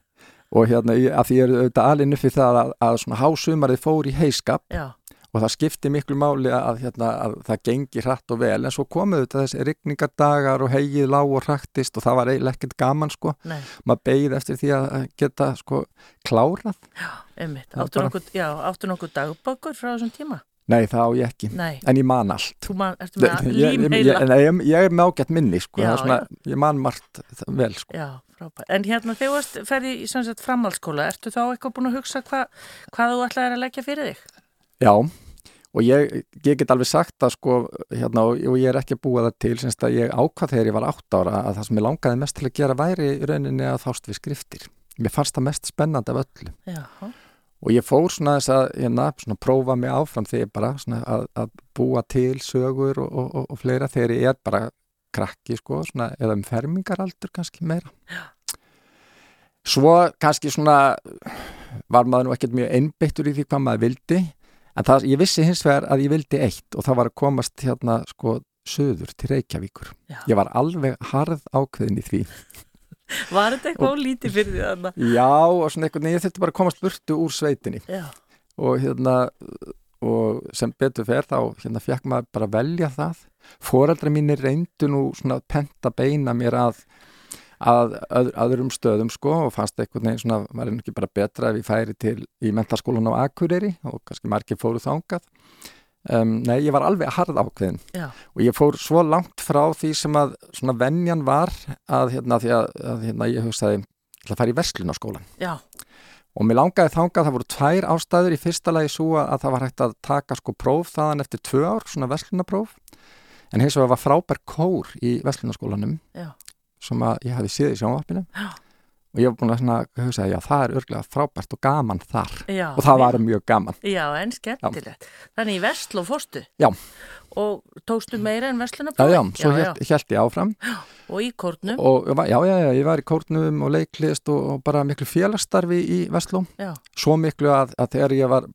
Speaker 4: og hérna ég- af því ég er auðvitað alinn upp fyrir það að, að svona hásumarið fór í heiskap
Speaker 1: já,
Speaker 4: og það skipti miklu máli að, hérna, að það gengi hratt og vel en svo komuðu þetta þessi rigningardagar og heigið lág og hraktist og það var eiginlega ekkert gaman sko,
Speaker 1: nei,
Speaker 4: maður beigð eftir því að að geta sko klárað
Speaker 1: einmitt.
Speaker 4: Það
Speaker 1: Áttu
Speaker 4: bara-
Speaker 1: nokkuð, já, áttu nokkuð dagbökkur frá þessum tíma?
Speaker 4: Nei það á ég ekki,
Speaker 1: Nei,
Speaker 4: en ég man allt
Speaker 1: þú man, ertu
Speaker 4: Ég,
Speaker 1: með
Speaker 4: ég, ég,
Speaker 1: límheila.
Speaker 4: ég, ég, ég er mágætt minni sko,
Speaker 1: Já,
Speaker 4: já, svona, ég man margt það- vel sko.
Speaker 1: Já, frábært. En hérna þegar þú varst- ferði í sem sagt, framhaldsskóla, ertu þá eitthvað búin að hugsa hva, hvað þú ætlaðir að leggja fyrir þig?
Speaker 4: Já, og ég, ég get alveg sagt að sko, hérna, og, og ég er ekki að búa það til, semst að ég ákvað þegar ég var átt ára að það sem ég langaði mest til að gera væri í rauninni að fást við skriftir. Mér fannst það mest spennandi af öllu
Speaker 1: Já,
Speaker 4: og ég fór svona þess að, hérna, svona prófa mig áfram þegar ég bara, svona að, að búa til sögur og, og, og, og fleira þegar ég er bara krakki, sko, svona, eða um fermingaraldur kannski meira. Svo kannski svona var maður nú ekkert mjög einbyttur í því hvað maður vildi en það, ég vissi hins vegar að ég vildi eitt og það var að komast hérna sko söður til Reykjavíkur.
Speaker 1: Já.
Speaker 4: Ég var alveg harð ákveðin í því.
Speaker 1: Var þetta eitthvað og... lítið fyrir því þarna?
Speaker 4: Já og svona einhvern veginn, ég þurfti bara að komast burtu úr sveitinni
Speaker 1: Já,
Speaker 4: og hérna og sem betur fer þá hérna fekk maður bara að velja það. Fóreldra mínir reyndu nú svona penta beina mér að að öð, öðrum stöðum sko og fannst einhvern veginn svona, var einhvern veginn bara betra ef ég færi til í mentaskólan á Akureyri og kannski margir fóru þangað um, Nei, ég var alveg harð ákveðin
Speaker 1: Já.
Speaker 4: og ég fór svo langt frá því sem að svona venjan var að hérna því að, að hérna, ég hugsaði, ég ætla að fara í verslunarskólan
Speaker 1: já,
Speaker 4: Og mér langaði þangað, það voru tvær ástæður í fyrsta lagi svo að að það var hægt að taka sko próf þaðan eftir tvö ár, svona verslunapróf. En hins vegar var frábær kór í verslunaskólanum
Speaker 1: Já.
Speaker 4: sem að ég hafi séð í sjónvarpinu.
Speaker 1: Já.
Speaker 4: Og ég var búin að svona, hugsa að já, það er örglega frábært og gaman þar.
Speaker 1: Já,
Speaker 4: og það var mjög gaman.
Speaker 1: Já, en skemmtilegt. Þannig í Vestló fórstu?
Speaker 4: Já.
Speaker 1: Og tókstu meira en Vestlunabóð?
Speaker 4: Já, já, svo hélt, hélt ég áfram.
Speaker 1: Og í Kórnum?
Speaker 4: Og ég var- já, já, já, ég var í kórnum og leiklist og, og bara miklu félagsstarfi í Vestló.
Speaker 1: Já,
Speaker 4: Svo miklu að, að þegar ég var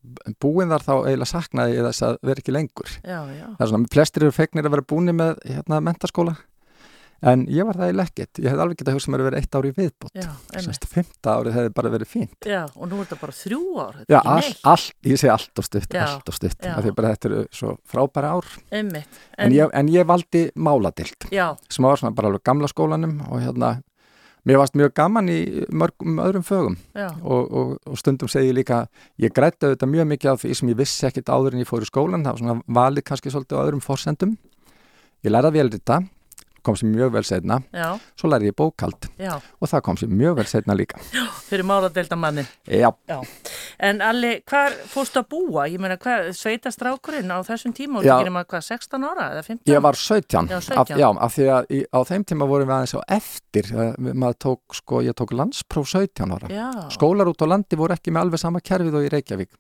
Speaker 4: búinn þar þá eiginlega saknaði ég þess að vera ekki lengur.
Speaker 1: já, já.
Speaker 4: það er svona, flestir eru fegnir að vera búni með hérna, mentaskóla en ég var það eiginlega ekkert, ég hefði alveg getað hugsað mér að vera eitt ári í viðbót
Speaker 1: Já, einmitt.
Speaker 4: semst fymta árið hefði bara verið fín
Speaker 1: Já, og nú er þetta bara þrjú ár, þetta
Speaker 4: já,
Speaker 1: er
Speaker 4: all,
Speaker 1: ekki neitt,
Speaker 4: all, ég segi allt og stutt
Speaker 1: Já,
Speaker 4: allt og stutt,
Speaker 1: já.
Speaker 4: af því bara þetta eru svo frábæra ár en,
Speaker 1: einmitt.
Speaker 4: ég, en ég valdi máladild
Speaker 1: Já,
Speaker 4: sem var svona bara alveg gamla skólanum og hérna, mér varst mjög gaman í mörgum öðrum fögum
Speaker 1: já,
Speaker 4: og, og, og stundum segi ég líka ég grætti auðvitað mjög mikið á því sem ég vissi ekkit áður en ég fór í skólan, það var svona valið kannski svolítið á öðrum forsendum ég læraði vel þetta, kom sér mjög vel setna
Speaker 1: já,
Speaker 4: svo læraði ég bókald
Speaker 1: já,
Speaker 4: og það kom sér mjög vel setna líka
Speaker 1: fyrir máladeldamannin.
Speaker 4: já,
Speaker 1: Já, en Alli, hvar fórstu að búa? Ég meina, hvað, sveitast rákurinn á þessum tíma og
Speaker 4: Já.
Speaker 1: ekki nema hvað, 16 ára eða 15?
Speaker 4: ég var 17,
Speaker 1: Já, 17.
Speaker 4: Af, já, af því að í, á þeim tíma vorum við aðeins á eftir eh, maður tók, sko, ég tók landspróf 17 ára
Speaker 1: já,
Speaker 4: skólar út á landi voru ekki með alveg sama kerfið og í Reykjavík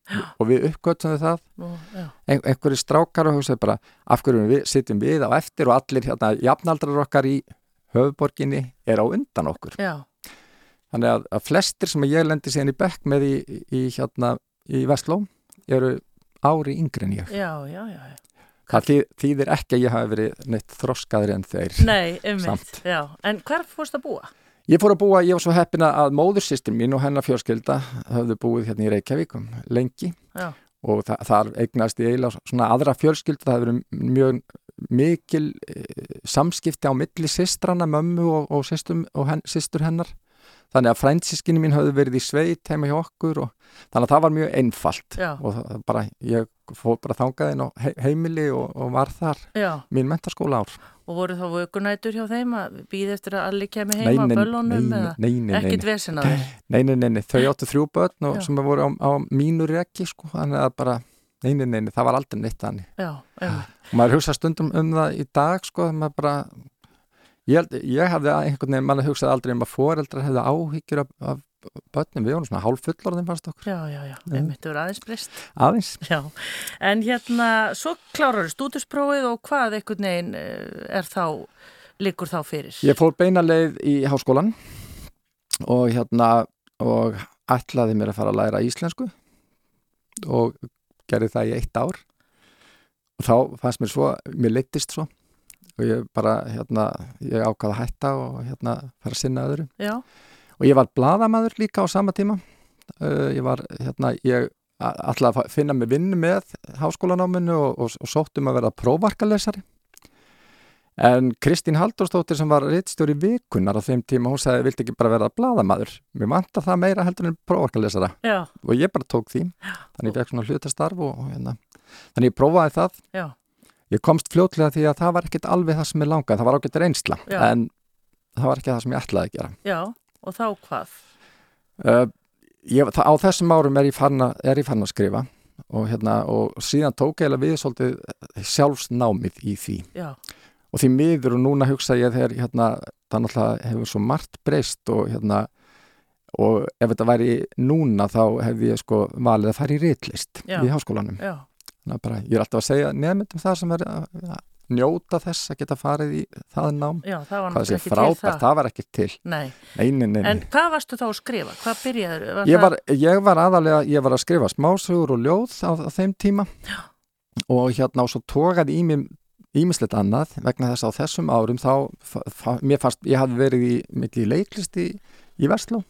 Speaker 4: og við uppgötum það
Speaker 1: nú, já,
Speaker 4: ein, einhverju strákar og hugsaði bara af hverju við, sitjum við á eftir og allir hérna jafnaldrar okkar í höfuborginni er á undan okkur.
Speaker 1: já,
Speaker 4: Þannig að, að flestir sem ég lendi síðan í bekk með í, í hérna í Vestló eru ári yngri en ég.
Speaker 1: já, já, já. já.
Speaker 4: Það þýð, þýðir ekki að ég hafi verið neitt þroskaðri en þeir.
Speaker 1: Nei, einmitt,
Speaker 4: Samt.
Speaker 1: já, en hvar fórstu að búa?
Speaker 4: Ég fór að búa, ég var svo heppina að móðursýstir mín og hennar fjörskilda höfðu búið hérna í Reykjavík um lengi
Speaker 1: Já,
Speaker 4: og þa þar eignast ég eiginlega svona aðra fjölskyldu, það hefur verið mjög mikil e, samskipti á milli sýstrana, mömmu og, og, systum, og hen, systur hennar þannig að frændsískinni mín hafði verið í sveit heima hjá okkur og þannig að það var mjög einfalt
Speaker 1: já,
Speaker 4: og það, það bara, ég fór bara þangað inn á he heimili og, og var þar
Speaker 1: já,
Speaker 4: mín mentaskóla ár
Speaker 1: og voru þá vökunætur hjá þeim að býð eftir að Alli kemi
Speaker 4: Nei,
Speaker 1: heima
Speaker 4: nei,
Speaker 1: á böllunum
Speaker 4: nei,
Speaker 1: eða?
Speaker 4: nei, nei, nei,
Speaker 1: Ekkit vesen að þeir?
Speaker 4: Nei, nei, nei, nei, þau áttu þrjú börn og
Speaker 1: Já.
Speaker 4: sem voru á, á mínu reki sko, þannig að bara, nei, nei, nei, nei, það var aldrei neitt þannig
Speaker 1: Já,
Speaker 4: Ah.
Speaker 1: einmitt,
Speaker 4: og maður hugsa stundum um það í dag sko, að maður bara ég, held, ég hafði einhvern veginn, maður hugsaði aldrei um að foreldrar hefði áhyggjur af, af börnum, við vorum svona hálf fullorðin fannst okkur,
Speaker 1: já, já, já, einmitt, það voru aðeins breyst.
Speaker 4: aðeins
Speaker 1: Já, en hérna, svo klárar stúdusprófið og hvað einhvern veginn eh, er þá, liggur þá fyrir?
Speaker 4: ég fór beina leið í háskólan og hérna og ætlaði mér að fara að læra íslensku og gerði það í eitt ár og þá fannst mér svo, mér leittist svo og ég bara, hérna ég ákvaði að hætta og hérna fara að sinna öðru
Speaker 1: Já,
Speaker 4: og ég var bladamaður líka á sama tíma uh, ég var hérna ég alltaf að fa- finna mig vinnu með háskólanáminu og, og, og sóttum að vera prófarkalesari en Kristín Halldórsdóttir sem var rittstjóri vikunar á þeim tíma hún sagði, viltu ekki bara vera bladamaður mér vantar það meira heldur en prófarkalesara
Speaker 1: já,
Speaker 4: og ég bara tók því þannig ég fekk svona hlutastarf og, og hérna. þannig ég prófaði það
Speaker 1: já,
Speaker 4: Ég komst fljótlega því að það var ekkert alveg það sem ég langaði, það var ágætt reynsla,
Speaker 1: Já.
Speaker 4: en það var ekki það sem ég ætlaði að gera.
Speaker 1: já, og þá hvað?
Speaker 4: Uh, ég, það, á þessum árum er ég farin að, er ég farin að skrifa og, hérna, og síðan tók eiginlega við svolítið sjálfsnámið í því
Speaker 1: Já,
Speaker 4: og því miður og núna hugsa ég þegar hérna, það náttúrulega hefur svo margt breyst og, hérna, og ef þetta væri núna þá hefði ég sko valið að fara í ritlist
Speaker 1: Já.
Speaker 4: í háskólanum
Speaker 1: já,
Speaker 4: Þannig að bara, ég er alltaf að segja nefndum það sem er að að njóta þess að geta farið í það nám
Speaker 1: já, það var
Speaker 4: hvað sé
Speaker 1: náttúrulega ekki
Speaker 4: frábært,
Speaker 1: til
Speaker 4: það.
Speaker 1: það.
Speaker 4: var ekki til
Speaker 1: Nei,
Speaker 4: einin, einin.
Speaker 1: en hvað varstu þá að skrifa? Hvað byrjaður?
Speaker 4: ég var, ég var aðalega, ég var að skrifa smásugur og ljóð á, á þeim tíma og hérna og svo tókaði í mér ímislegt annað vegna þess að á þessum árum þá, fa- fa- mér fannst, ég hafði verið í, mikið í leiklist í, í Vestló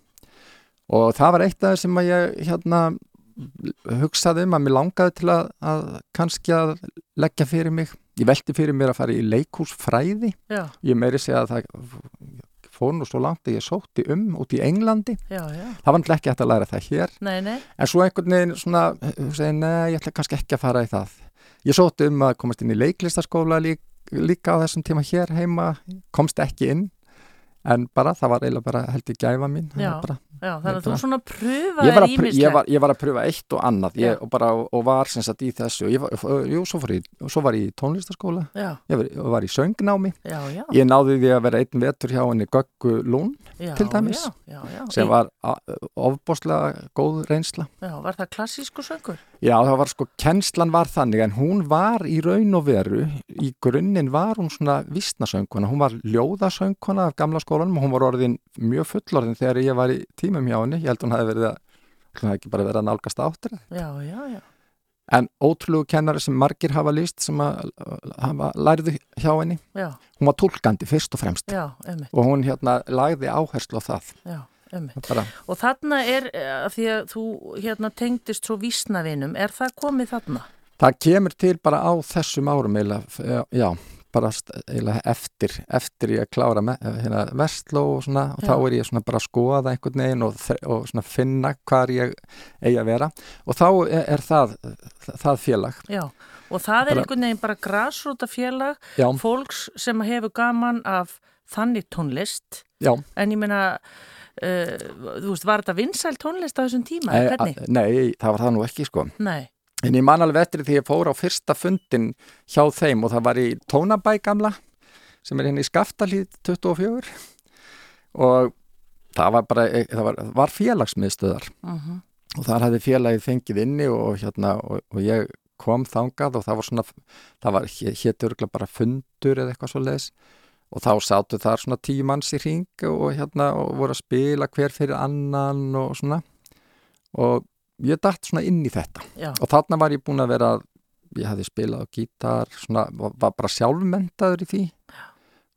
Speaker 4: og það var eitt af þeir sem að ég hérna hugsaði um að mér langaði til að, að kannski að leggja fyrir mig ég velti fyrir mér að fara í leikhúsfræði
Speaker 1: Já,
Speaker 4: ég meiri segja að það fór nú svo langt að ég sótti um út í Englandi
Speaker 1: já, já,
Speaker 4: það var náttúrulega ekki hægt að læra það hér
Speaker 1: nei, nei,
Speaker 4: en svo einhvern veginn svona segi, nei, ég ætla kannski ekki að fara í það ég sótti um að komast inn í leiklistaskóla líka, líka á þessum tíma hér heima komst ekki inn en bara það var eiginlega bara held ég gæfa mín það
Speaker 1: Já.
Speaker 4: var bara,
Speaker 1: Já, þannig að þú
Speaker 4: Nefnilega.
Speaker 1: svona
Speaker 4: ég, var
Speaker 1: pröfaði
Speaker 4: að pr- ég,
Speaker 1: ímislegt.
Speaker 4: var, ég var að pröfa eitt og annað
Speaker 1: Já.
Speaker 4: ég, og, bara, og var sem sagt í þessu ég, var- jú, svo, fór ég, svo var ég í tónlistaskóla
Speaker 1: Já,
Speaker 4: ég var, ég var í söngnámi
Speaker 1: já, já.
Speaker 4: ég náði því að vera einn vetur hjá henni Göggu Lún
Speaker 1: já,
Speaker 4: til dæmis,
Speaker 1: Já, já, já.
Speaker 4: sem var a- ofboðslega góð reynsla
Speaker 1: Já, var það klassísku söngur?
Speaker 4: Já, það var sko, kennslan var þannig en hún var í raun og veru í grunninn var hún svona vistnasöngkona, hún var ljóðasöngkona af gamla skólanum og hún var orðin mjög fullorðin þegar ég var í tímum hjá henni ég held hún hafi verið að, hún hafi ekki bara verið að nálgast áttir
Speaker 1: Já, já, já.
Speaker 4: en ótrúlegu kennari sem margir hafa líst sem að hafa læriðu hjá henni
Speaker 1: Já,
Speaker 4: hún var tólkandi fyrst og fremst
Speaker 1: já, ömmi,
Speaker 4: og hún hérna lagði áherslu á það
Speaker 1: já, ömmi.
Speaker 4: bara,
Speaker 1: Og þarna er, eh, því að þú hérna tengdist svo vísnavinum, er það komið þarna?
Speaker 4: það kemur til bara á þessum árum eiginlega, f- já, já bara st- eiginlega eftir, eftir ég að klára me, hérna, vestló og svona og þá
Speaker 1: Já.
Speaker 4: er ég svona bara að skoða einhvern veginn og, þre- og svona finna hvar ég eigi að vera og þá e, er, er það, það félag
Speaker 1: Já, og það er
Speaker 4: Bara-
Speaker 1: einhvern veginn bara grasrúta félag,
Speaker 4: já,
Speaker 1: fólks sem hefur gaman af þannig tónlist,
Speaker 4: já
Speaker 1: en ég meina, uh, þú veist, var þetta vinsæl tónlist á þessum tíma?
Speaker 4: Eh,
Speaker 1: eða
Speaker 4: a-
Speaker 1: Hvernig?
Speaker 4: nei, það var það nú ekki sko
Speaker 1: Nei,
Speaker 4: en ég man alveg eftir því ég fór á fyrsta fundin hjá þeim og það var í Tónabæ gamla sem er henni í Skaftalíð 24 og það var bara e, það var, var félagsmiðstöðar
Speaker 1: Mhm.
Speaker 4: og þar hafði félagið fengið inni og, hérna, og, og ég kom þangað og það var svona það var hétur bara fundur eða eitthvað svo leis og þá sátu þar svona tíu manns í ring og hérna og voru að spila hver fyrir annan og svona og ég datt svona inn í þetta
Speaker 1: já,
Speaker 4: og þarna var ég búin að vera ég hafði spilað á gítar svona, var- var bara sjálfmentaður í því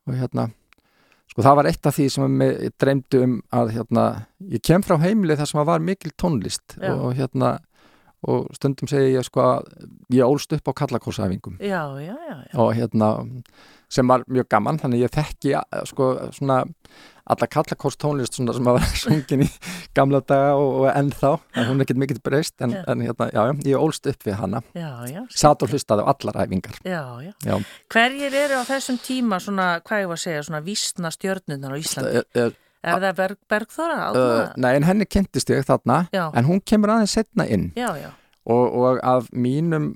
Speaker 4: og hérna sko það var eitt af því sem mig ég dreymdi um að hérna, ég kem frá heimili þar sem að var mikil tónlist
Speaker 1: Já.
Speaker 4: og hérna og stundum segi ég sko að ég ólst upp á kallakórsæfingum
Speaker 1: já, já, já, já.
Speaker 4: og hérna sem var mjög gaman þannig ég þekki eh, sko svona alla kallakórs tónlist svona sem að var sungin í gamla daga og, og ennþá en hún er ekkert mikið breyst en,
Speaker 1: Já.
Speaker 4: en hérna, já, já, ég ólst upp við hana
Speaker 1: já, já,
Speaker 4: satt og hlustaði á allar æfingar
Speaker 1: já, já.
Speaker 4: já,
Speaker 1: Hverjir eru á þessum tíma svona, hvað ég var að segja, svona vísna stjörnurnar á Íslandi?
Speaker 4: er, er,
Speaker 1: Er það Berg, Bergþóra?
Speaker 4: uh,
Speaker 1: Árna?
Speaker 4: Eh, nei, en henni kynntist ég þarna
Speaker 1: Já.
Speaker 4: en hún kemur aðeins setna inn
Speaker 1: já, já,
Speaker 4: og, og af mínum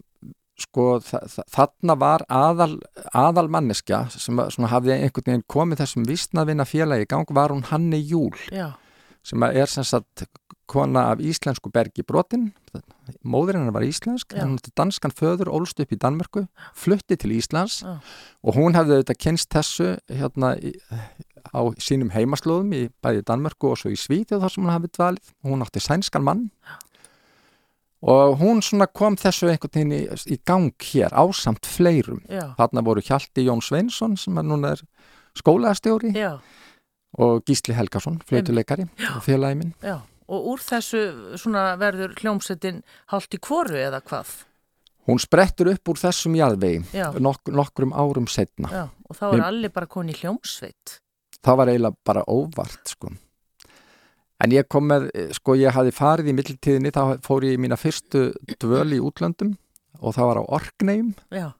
Speaker 4: sko, þa þa- þarna var aðal, aðal manneskja sem að- svona, hafði einhvern veginn komið þessum vísnavinna félagi í gang var hún Hanni Júl
Speaker 1: já,
Speaker 4: sem að er sem sagt kona af íslensku bergi brotin móður hennar var íslensk
Speaker 1: Já.
Speaker 4: en hún átti danskan föður, ólst upp í Danmörku flutti til Íslands
Speaker 1: Já.
Speaker 4: og hún hafði auðvitað kynst þessu hérna í, á sínum heimaslóðum í bæði Danmörku og svo í Svíþjóð þar sem hún hafði dvalið, hún átti sænskan mann og hún svona kom þessu einhvern veginn í, í gang hér ásamt fleirum
Speaker 1: já,
Speaker 4: þarna voru Hjalti Jón Sveinsson sem að núna er skólaðastjóri
Speaker 1: já,
Speaker 4: og Gísli Helgason, flötuleikari og félagi minn
Speaker 1: já. Og úr þessu svona verður hljómsettin hálft í kvoru eða hvað?
Speaker 4: Hún sprettur upp úr þessum jarðvegi
Speaker 1: Já,
Speaker 4: nok nokkrum árum setna.
Speaker 1: já, og þá er
Speaker 4: Mér-
Speaker 1: allir bara komin í hljómsveit.
Speaker 4: Það var eiginlega bara óvart, sko. En ég kom með, eh, sko, ég hafi farið í mittiltíðinni, þá fór ég í mína fyrstu dvöl í útlöndum og það var á Orkneim
Speaker 1: Já,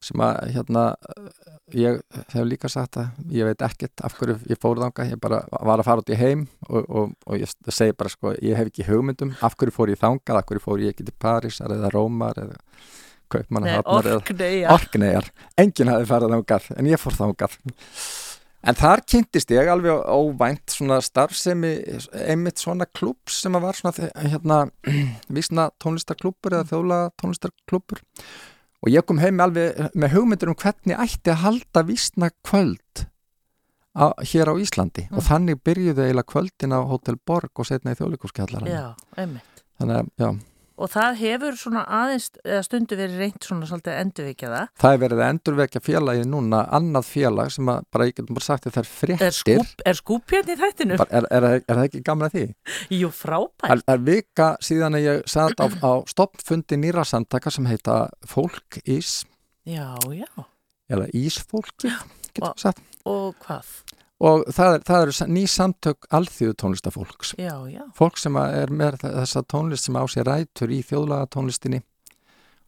Speaker 4: sem að, hérna, eh, ég hef líka sagt að ég veit ekkert af hverju ég fór þanga, ég bara var að fara út í heim og, og, og ég segi bara, sko, ég hef ekki hugmyndum, af hverju fór ég þangað, af hverju fór ég ekki til Parísar eða Rómar eða
Speaker 1: nei,
Speaker 4: Kaupmannahafnar eða
Speaker 1: orknei, já,
Speaker 4: Orkneyjar, enginn hafði farið þangað en ég fór þangað en þar kynntist ég alveg óvænt svona starfsemi, einmitt svona klúb sem að var svona þe- hérna vísna tónlistarklúbur eða þjóla tónlistarklúbur og ég kom heim alveg með hugmyndur um hvernig ætti að halda vísna kvöld á, hér á Íslandi og
Speaker 1: Mm.
Speaker 4: þannig byrjuðu eiginlega kvöldin á Hotel Borg og setna í þjóðleikúskjallarinn
Speaker 1: já, einmitt.
Speaker 4: þannig að já,
Speaker 1: Og það hefur svona aðeins, eða stundu verið reynt svona svolítið að endurvika það.
Speaker 4: Það er verið að endurvekja félagið núna, annað félag sem að bara, ég getum bara sagt að það er
Speaker 1: Er,
Speaker 4: fréttir.
Speaker 1: skúp, er skúpjarn í þættinu?
Speaker 4: Bara, Er, er, er, það ekki gamla því?
Speaker 1: Jú, frábært.
Speaker 4: Það það er vika síðan að ég satt á, á stoppfundi nýra samtaka sem heita Fólk Ís,
Speaker 1: Já, já.
Speaker 4: eða Ísfólki, getum
Speaker 1: Og-
Speaker 4: við sagt.
Speaker 1: Og hvað?
Speaker 4: Og það, er, það eru sa- ný samtök alþjóðu tónlistafólks.
Speaker 1: Já, já,
Speaker 4: Fólk sem að er með þe- þessa tónlist sem á sér rætur í þjóðlaga tónlistinni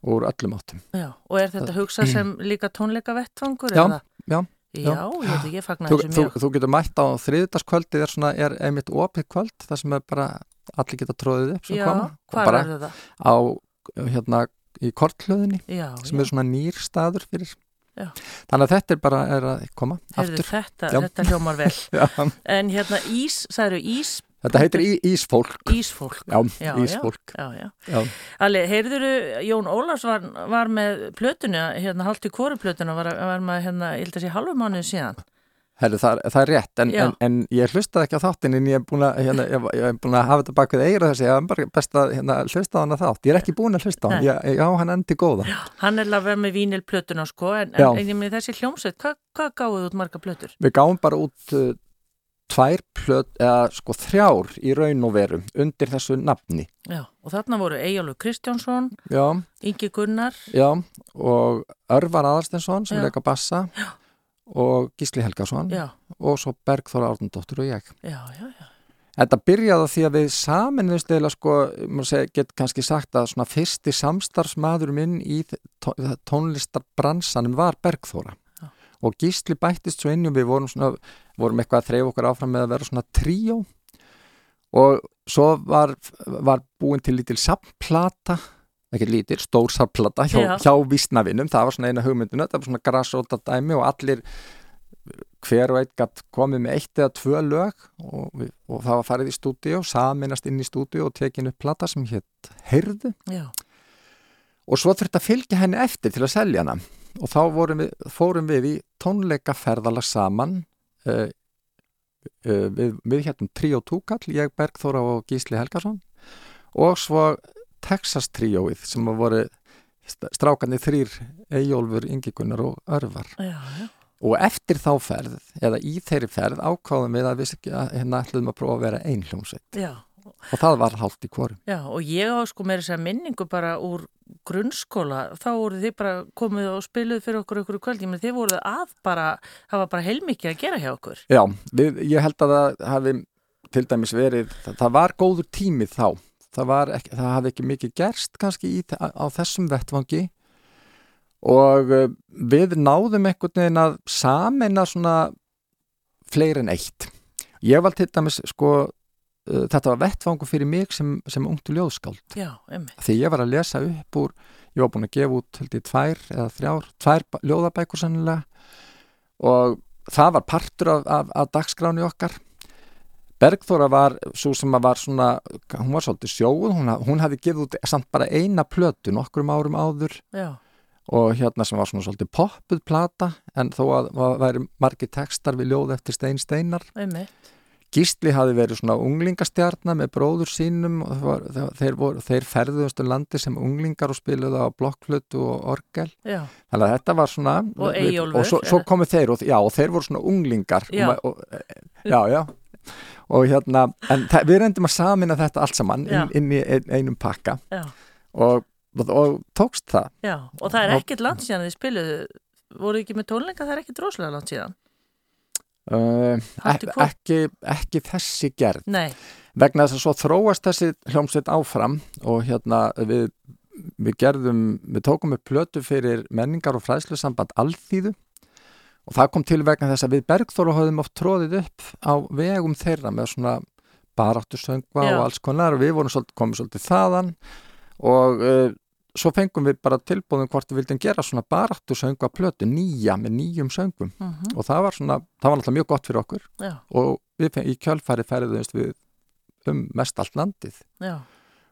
Speaker 4: úr öllum áttum.
Speaker 1: já. Og er þetta hugsað sem líka tónleika vettvangur?
Speaker 4: Já,
Speaker 1: eða?
Speaker 4: já.
Speaker 1: Já, ég veit ekki, ég fagna
Speaker 4: Þú,
Speaker 1: þessu
Speaker 4: þú,
Speaker 1: mjög.
Speaker 4: þú getur mætt á þriðudagskvöldið er, svona, er einmitt opið kvöld þar sem er bara allir geta tróðið upp sem
Speaker 1: Já,
Speaker 4: koma og
Speaker 1: hvað
Speaker 4: bara
Speaker 1: er þetta?
Speaker 4: á hérna í kortlöðinni
Speaker 1: Já,
Speaker 4: sem
Speaker 1: já.
Speaker 4: er svona nýr staður fyrir
Speaker 1: Já.
Speaker 4: þannig að þetta er bara er að koma
Speaker 1: Heyrðu,
Speaker 4: aftur
Speaker 1: þetta,
Speaker 4: Já.
Speaker 1: þetta hljómar vel.
Speaker 4: Já,
Speaker 1: En hérna ís, sagður ís,
Speaker 4: þetta heitir í, Ísfólk
Speaker 1: ísfólk.
Speaker 4: Já,
Speaker 1: Já,
Speaker 4: Ísfólk
Speaker 1: Já, já.
Speaker 4: Já.
Speaker 1: Alli, heyrðuru, Jón Ólafs var, var með plötuna, hérna halvt í kóru plötuna, var, var með hérna, ég held að sé halvu mánuð síðan.
Speaker 4: Herru, það, er- það er rétt, en,
Speaker 1: Já.
Speaker 4: en, en ég hlustaði ekki á þáttin en ég er búin að, hérna, ég, ég er búin að hafa þetta bak við eigra þessi, ég er bara best að hérna, hlusta á hana þátt, ég er ekki búin að hlusta á hann,
Speaker 1: Nei.
Speaker 4: ég, ég á hann endi góða.
Speaker 1: Hann er alveg með vínil plötuna, sko, en,
Speaker 4: Já.
Speaker 1: en, en ég með þessi hljómsveit, hvað hva gáðuð út marga plötur?
Speaker 4: Við gáum bara út uh, tvær plöt, eða sko þrjár í raun og veru undir þessu nafni.
Speaker 1: Já, og þarna voru Eyjálfur Kristjánsson,
Speaker 4: Já,
Speaker 1: Ingi Gunnar,
Speaker 4: já, og Örvar Aðarstensson sem
Speaker 1: Já.
Speaker 4: leika bassa já. og Gísli Helgason
Speaker 1: já,
Speaker 4: og svo Bergþóra Árnundóttir og ég.
Speaker 1: já, já, já.
Speaker 4: Þetta byrjaði á því að við saminist eða sko, maður segi, get kannski sagt að svona fyrsti samstarfsmaður minn í þ- tó- tónlistarbransanum var Bergþóra
Speaker 1: Já.
Speaker 4: og Gísli bættist svo inn og við vorum svona, vorum eitthvað að þreyfa okkur áfram með að vera svona tríó og svo var, var búin til lítil samplata ekki lítil, stór samplata hjá,
Speaker 1: Já.
Speaker 4: hjá vísnavinum, það var svona eina hugmyndinu þetta var svona grassóta dæmi og allir hver og einn gatt komið með eitt eða tvö lög og, við, og það var farið í stúdíu, saminast inn í stúdíu og tekin upp plata sem hétt Heyrðu
Speaker 1: já.
Speaker 4: og svo þurfti að fylgja henni eftir til að selja hana og þá vorum við, fórum við í tónleikaferðala saman uh, uh, við, við héttum Trio Túkall, ég Bergþóra og Gísli Helgason og svo Texas Trioið sem voru st- strákarnir þrýr Eyjólfur, Ingikunnar og Örvar
Speaker 1: Já, já.
Speaker 4: og eftir þá ferð eða í þeirri ferð ákváðum við að við s- að hérna ætluðum að prófa að vera einhljómsveit
Speaker 1: Já,
Speaker 4: og það var hálft í kvorum
Speaker 1: já, og ég á sko meira þess að segja minningu bara úr grunnskóla, þá voru þið bara komið og spiluð fyrir okkur okkur kvöld, ég menn þið voruð að bara, það var bara heilmikið að gera hjá okkur.
Speaker 4: Já, við, ég held að það hafi til dæmis verið, það, það var góður tími þá, það, var ekki, það hafi ekki mikið gerst kannski í, þe- á, á þessum vettvangi og eh, við náðum einhvern veginn að samina svona fleiri en eitt. Ég var til dæmis sko, eh, þetta var vettvangu fyrir mig sem, sem ungtu ljóðskáld
Speaker 1: Já, emmi,
Speaker 4: því ég var að lesa upp úr ég var búin að gefa út held ég tvær eða þrjár, tvær ba- ljóðabækur sannilega og það var partur af, af, af dagskráni okkar Bergþóra var svo sem að var svona, hún var svolítið sjóð hún, ha- hún hafði gefið út samt bara eina plötu nokkrum árum áður
Speaker 1: já,
Speaker 4: og hérna sem var svona svolítið poppuð plata en þó að það væri margir textar við ljóð eftir stein steinar
Speaker 1: emmi,
Speaker 4: Gísli hafi verið svona unglingastjarnar með bróður sínum og það var, það, þeir, voru, þeir ferðuðust um landi sem unglingar og spiluðu á blokkflutu og orgel.
Speaker 1: já,
Speaker 4: Þannig að þetta var svona...
Speaker 1: Og
Speaker 4: við-
Speaker 1: Eyjólfur,
Speaker 4: Og svo, svo
Speaker 1: eða?
Speaker 4: komu þeir og, já, og þeir voru svona unglingar.
Speaker 1: Já.
Speaker 4: Og, ma- og, já, já. Og hérna, en það, við reyndum að samina þetta allt saman
Speaker 1: Já.
Speaker 4: inn, inn í ein- einum pakka
Speaker 1: já,
Speaker 4: og, og, og tókst það.
Speaker 1: já, og það er
Speaker 4: Og-
Speaker 1: ekkert langt síðan að þið spiluðu, voruð ekki með tónleika, það er ekkert rosalega langt síðan.
Speaker 4: Uh,
Speaker 1: Haltu hvor-
Speaker 4: ekki, ekki þessi gerð.
Speaker 1: Nei,
Speaker 4: vegna þess að svo þróast þessi hljómsveit áfram og hérna við, við gerðum, við tókum upp plötu fyrir menningar og fræðslusamband alþýðu og það kom til vegna þess að við Bergþóru höfðum oft tróðið upp á vegum þeirra með svona baráttusöngva
Speaker 1: Já.
Speaker 4: og alls konar og við vorum svolítið, komum svolítið þaðan og uh, svo fengum við bara tilbúðum hvort við vildum gera svona baráttusöngva plötu nýja með nýjum söngum
Speaker 1: mm
Speaker 4: og það var svona, það var náttúrulega mjög gott fyrir okkur
Speaker 1: já,
Speaker 4: og við fengið í kjölfæri ferðumst við um mest allt landið
Speaker 1: já,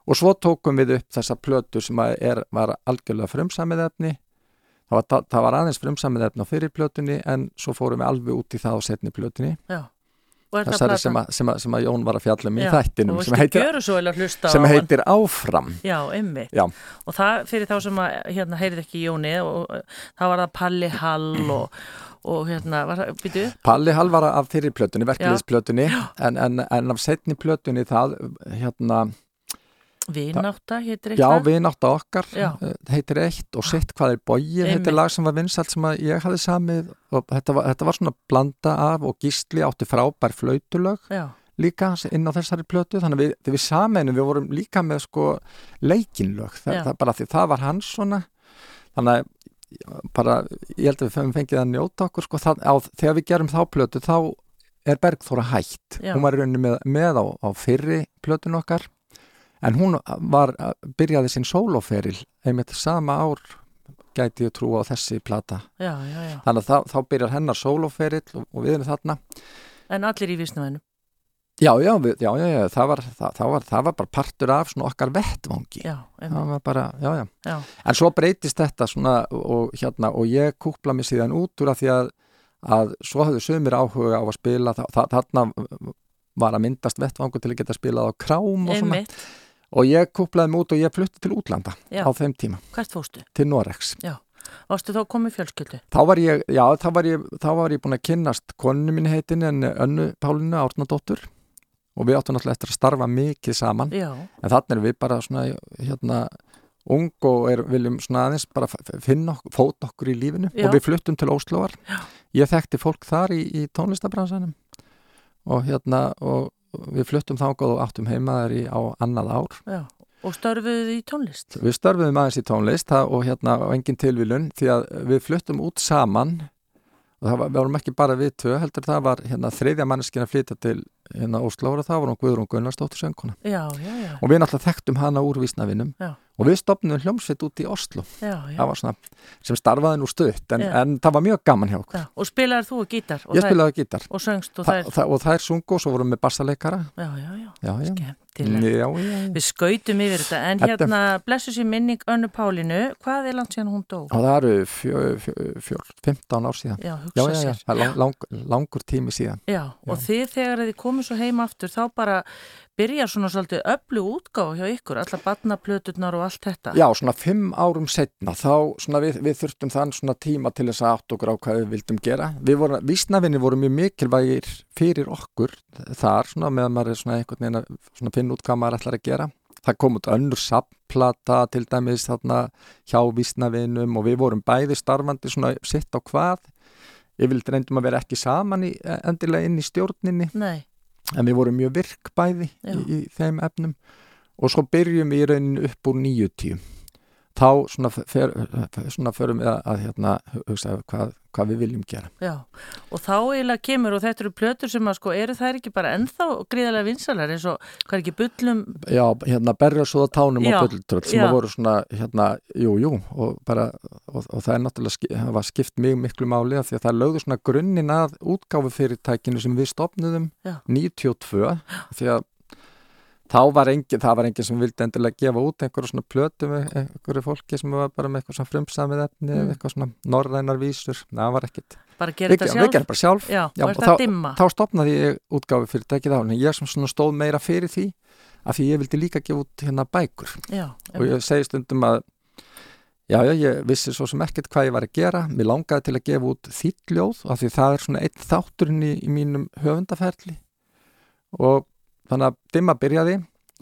Speaker 4: og svo tókum við upp þessa plötu sem að er, var algjörlega frumsamið efni það var, það, það var aðeins frumsamið efni á fyrir plötunni en svo fórum við alveg út í það á setni plötunni
Speaker 1: já. Og er
Speaker 4: þessari sem að, sem, að, sem að Jón var að fjalla um í
Speaker 1: Já,
Speaker 4: þættinum
Speaker 1: og
Speaker 4: sem
Speaker 1: viltu
Speaker 4: heitir,
Speaker 1: gjöra svo vel að hlusta á
Speaker 4: sem
Speaker 1: hann.
Speaker 4: heitir Áfram
Speaker 1: Já, einmitt.
Speaker 4: Já.
Speaker 1: Og það fyrir þá sem að, hérna, heyrið ekki í Jóni og uh, það var það Palli Hall og, og hérna, var það, býtu?
Speaker 4: Palli Halvara af fyrir plötunni, verkliðisplötunni en, en, en af setni plötunni það hérna,
Speaker 1: Vináta heitir
Speaker 4: já
Speaker 1: eitthvað.
Speaker 4: við nátt okkar
Speaker 1: Já. Ah,
Speaker 4: eh, heitir eitt og sitt hvað er bógin heitir
Speaker 1: Einmitt.
Speaker 4: lag sem var vinsalt sem að ég hafði samið og þetta var, þetta var svona blanda af og gísli átti frábær flöytulög
Speaker 1: Já,
Speaker 4: líka inn á þessari plötu þannig að við, þegar við saminu við vorum líka með sko leikinlög það,
Speaker 1: Já.
Speaker 4: það bara því það var hans svona þannig að bara, ég held að við höfum fengið að njóta okkur sko, það, á, þegar við gerum þá plötu þá er Bergþóra hætt
Speaker 1: Já.
Speaker 4: hún var í rauninni með, með á, á fyrri plötun okkar en hún var, byrjaði sín sóloferil einmitt sama ár gæti ég trú á þessi plata
Speaker 1: já, já, já.
Speaker 4: þannig að þá, þá byrjar hennar sóloferil og, og við erum þarna
Speaker 1: En allir í vísnumænum.
Speaker 4: já, já, við, já, já, já það, var, það, það, var, það var bara partur af svona okkar vettvangi
Speaker 1: Já, einmitt.
Speaker 4: það var bara, já, já
Speaker 1: Já,
Speaker 4: En svo breytist þetta svona og, hérna, og ég kúpla mig síðan út úr að því að, að svo hafðu sömur áhuga á að spila þa þa þarna var að myndast vettvangu til að geta spilað á krám og svona
Speaker 1: einmitt.
Speaker 4: og ég kúplaði mig út og ég flutti til útlanda
Speaker 1: Já.
Speaker 4: á þeim tíma,
Speaker 1: Hvert fórstu?
Speaker 4: til Norex
Speaker 1: Varstu þá komið fjölskyldu?
Speaker 4: þá var ég, já, þá var ég, þá var ég búin að kynnast konu mín heitin en önnu Pálinu Árnadóttur og við áttum náttúrulega eftir að starfa mikið saman
Speaker 1: Já,
Speaker 4: en þannig erum við bara svona hérna ung og er, viljum svona aðeins bara f- f- finna okkur, fót okkur í lífinu
Speaker 1: Já.
Speaker 4: og við fluttum til Óslóar
Speaker 1: Já.
Speaker 4: ég þekkti fólk þar í, í tónlistabransanum og hérna og við fluttum þangað og áttum heimaðar í, á annað ár
Speaker 1: já. Og störfuðu í tónlist?
Speaker 4: við störfum aðeins í tónlist það, og hérna á engin tilvílun því að við fluttum út saman og það var, við varum ekki bara við tvö heldur það var hérna þriðja manneskina flytja til hérna Óslóar og það var hún Guðrún Gunnarsdóttir sönguna
Speaker 1: Já, já, já.
Speaker 4: Mm. og við náttúrulega þekktum hana úr vísnavinum
Speaker 1: Já.
Speaker 4: og við stopnum hljómsveit út í Oslo
Speaker 1: já, já.
Speaker 4: það var svona, sem starfaði nú stutt en,
Speaker 1: Já.
Speaker 4: en það var mjög gaman hjá okkur
Speaker 1: já. Og spilaðar þú og gítar? Og
Speaker 4: ég
Speaker 1: þær-
Speaker 4: spilaði á gítar
Speaker 1: Og söngst og
Speaker 4: Þa,
Speaker 1: það er...
Speaker 4: þa- og þær sungu og svo vorum við bassaleikara
Speaker 1: Já, já, já.
Speaker 4: já, já,
Speaker 1: Skemmtilegt.
Speaker 4: já, já, já.
Speaker 1: Við skautum yfir þetta, en
Speaker 4: Þetta-
Speaker 1: hérna, blessu sér minning Önnu Pálinu, hvað er langt síðan hún dó?
Speaker 4: og það eru fjör, fjör, fjör, 15 ár síðan
Speaker 1: Já,
Speaker 4: já,
Speaker 1: hugsa
Speaker 4: já, já,
Speaker 1: sér.
Speaker 4: það er lang, lang, langur tími síðan
Speaker 1: Já, og þið þegar þið komið svo heim aftur, þá bara byrjar svona svolítið öflug útgáfa hjá ykkur, alla batnaplöturnar og allt þetta.
Speaker 4: já, svona 5 árum setna þá svona við, við þurftum þann svona tíma til þess að átt okkur á hvað við vildum gera við vorum, vísnavinni voru mjög mikilvægir fyrir okkur þar svona meðan maður er svona einhvern veginn að svona finna út hvað maður ætlar að gera það kom út önnur sapplata til dæmis þarna hjá vísnavinum og við vorum bæði starfandi svona sitt á hvað ég vildi reyndum að vera ekki saman í, endilega inn í stjórninni
Speaker 1: Nei,
Speaker 4: en við vorum mjög virk bæði
Speaker 1: Já.
Speaker 4: í, í þeim efnum og svo byrjum við í rauninu upp úr 90 þá svona, fer, svona förum við að, að hérna, hugsa hvað, hvað við viljum gera
Speaker 1: já, og þá eiginlega kemur og þetta eru plötur sem að sko, eru þær ekki bara ennþá gríðarlega vinsalar eins og, hvað er ekki, bullum,
Speaker 4: já, hérna berja svo á tánum
Speaker 1: Já,
Speaker 4: og bölltröld sem
Speaker 1: já.
Speaker 4: að voru svona, hérna, jú, jú og bara, og, og það er náttúrulega ski- það var skipt mjög miklu máli af því að það lögðu svona grunnin að útgáfu fyrirtækinu sem við stopnuðum
Speaker 1: Já.
Speaker 4: 92 því að þá var engin, það var engin sem vildi endilega gefa út einhverju svona plötu með einhverju fólki sem var bara með eitthvað svona frumsamið efni eða
Speaker 1: Mm.
Speaker 4: eitthvað svona norrænar vísur, Nei, það var ekkit
Speaker 1: bara
Speaker 4: við,
Speaker 1: gera þetta
Speaker 4: við
Speaker 1: sjálf?
Speaker 4: gerum bara sjálf
Speaker 1: Já,
Speaker 4: Já,
Speaker 1: og er
Speaker 4: og
Speaker 1: það dimma?
Speaker 4: þá stopnaði ég útgáfi fyrirtækið á en ég sem svona stóð meira fyrir því af því ég vildi líka gefa út hérna bækur
Speaker 1: Já,
Speaker 4: og ég segi stundum að já, já, ég vissi svo sem ekkert hvað ég var að gera mér langaði til að gefa út þitt ljóð af því það er svona einn þátturinn í, í mínum höfundaferli og þannig að dimma byrjaði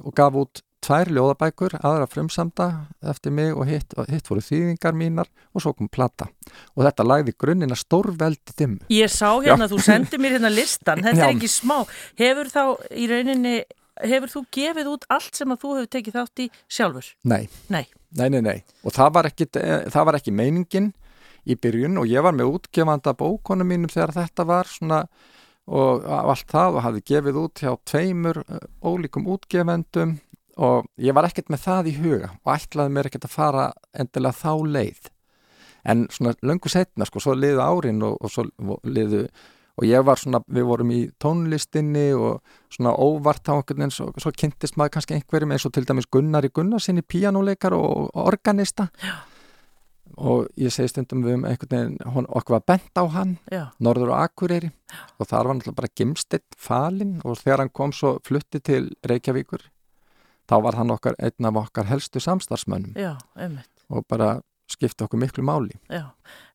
Speaker 4: og gaf út tvær ljóðabækur aðra frumsamda eftir mig og hitt, og hitt voru þýðingar mínar og svo kom plata og þetta lagði grunnina stórveldi dimmu
Speaker 1: Ég sá hérna, þú sendið mér hérna listan, þetta er
Speaker 4: Já.
Speaker 1: ekki smá. Hefur þá í rauninni, hefur þú gefið út allt sem að þú hefur tekið þátt í sjálfur?
Speaker 4: Nei.
Speaker 1: Nei.
Speaker 4: Nei, nei, nei. Og það var ekki, eh, það var ekki meiningin í byrjun og ég var með útgefanda bókonum mínum þegar þetta var svona og allt það og hafði gefið út hjá tveimur eh, ólíkum útgefendum og ég var ekkert með það í huga og ætlaði mér ekkert að fara endilega þá leið. En svona löngu setna, sko, svo liðu árin og, og svo liðu og ég var svona, við vorum í tónlistinni og svona óvart á einhvern veginn svo, svo kynntist maður kannski einhverjum eins og til dæmis Gunnari Gunnarsinni píanuleikar og, og organista Já. og ég segi stundum við um einhvern veginn, hon, okkur var bent á hann
Speaker 1: Já,
Speaker 4: norður á Akureyri og þar var náttúrulega bara gimstitt falinn og þegar hann kom svo flutti til Reykjavíkur þá var hann okkar einn af okkar helstu samstarfsmönnum
Speaker 1: já, einmitt.
Speaker 4: og bara skipti okkur miklu máli
Speaker 1: Já,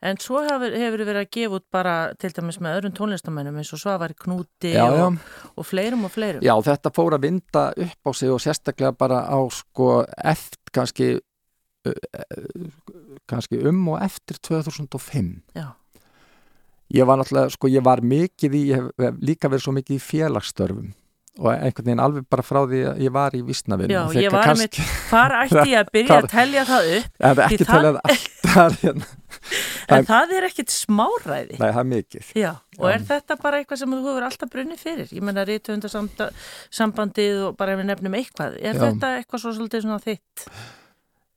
Speaker 1: en svo hefur, hefur verið að gefa út bara til dæmis með öðrum tónlistamennum eins og Svavari Knúti
Speaker 4: Já, já.
Speaker 1: og, og fleirum og fleirum.
Speaker 4: Já, þetta fór að vinda upp á sig og sérstaklega bara á sko eftir kannski uh, uh, kannski um og eftir 2005.
Speaker 1: Já.
Speaker 4: Ég var náttúrulega, sko, ég var mikið í, ég hef- hef líka verið svo mikið í félagsstörfum og einhvern veginn alveg bara frá því að ég var í vísnavinn.
Speaker 1: Já, ég var einmitt- Hvar ætti ég að byrja
Speaker 4: Hvar-
Speaker 1: að telja það upp?
Speaker 4: Það er
Speaker 1: Því
Speaker 4: ekki
Speaker 1: það-
Speaker 4: talað allt. það er hérna,
Speaker 1: En það er ekkit smáræði.
Speaker 4: nei, það er mikið.
Speaker 1: Já, og er þetta bara eitthvað sem þú hefur alltaf brunnið fyrir? Ég menna rítuðundarsambandið og bara ef við nefnum eitthvað. Er
Speaker 4: Já.
Speaker 1: þetta eitthvað svo svolítið svona þitt?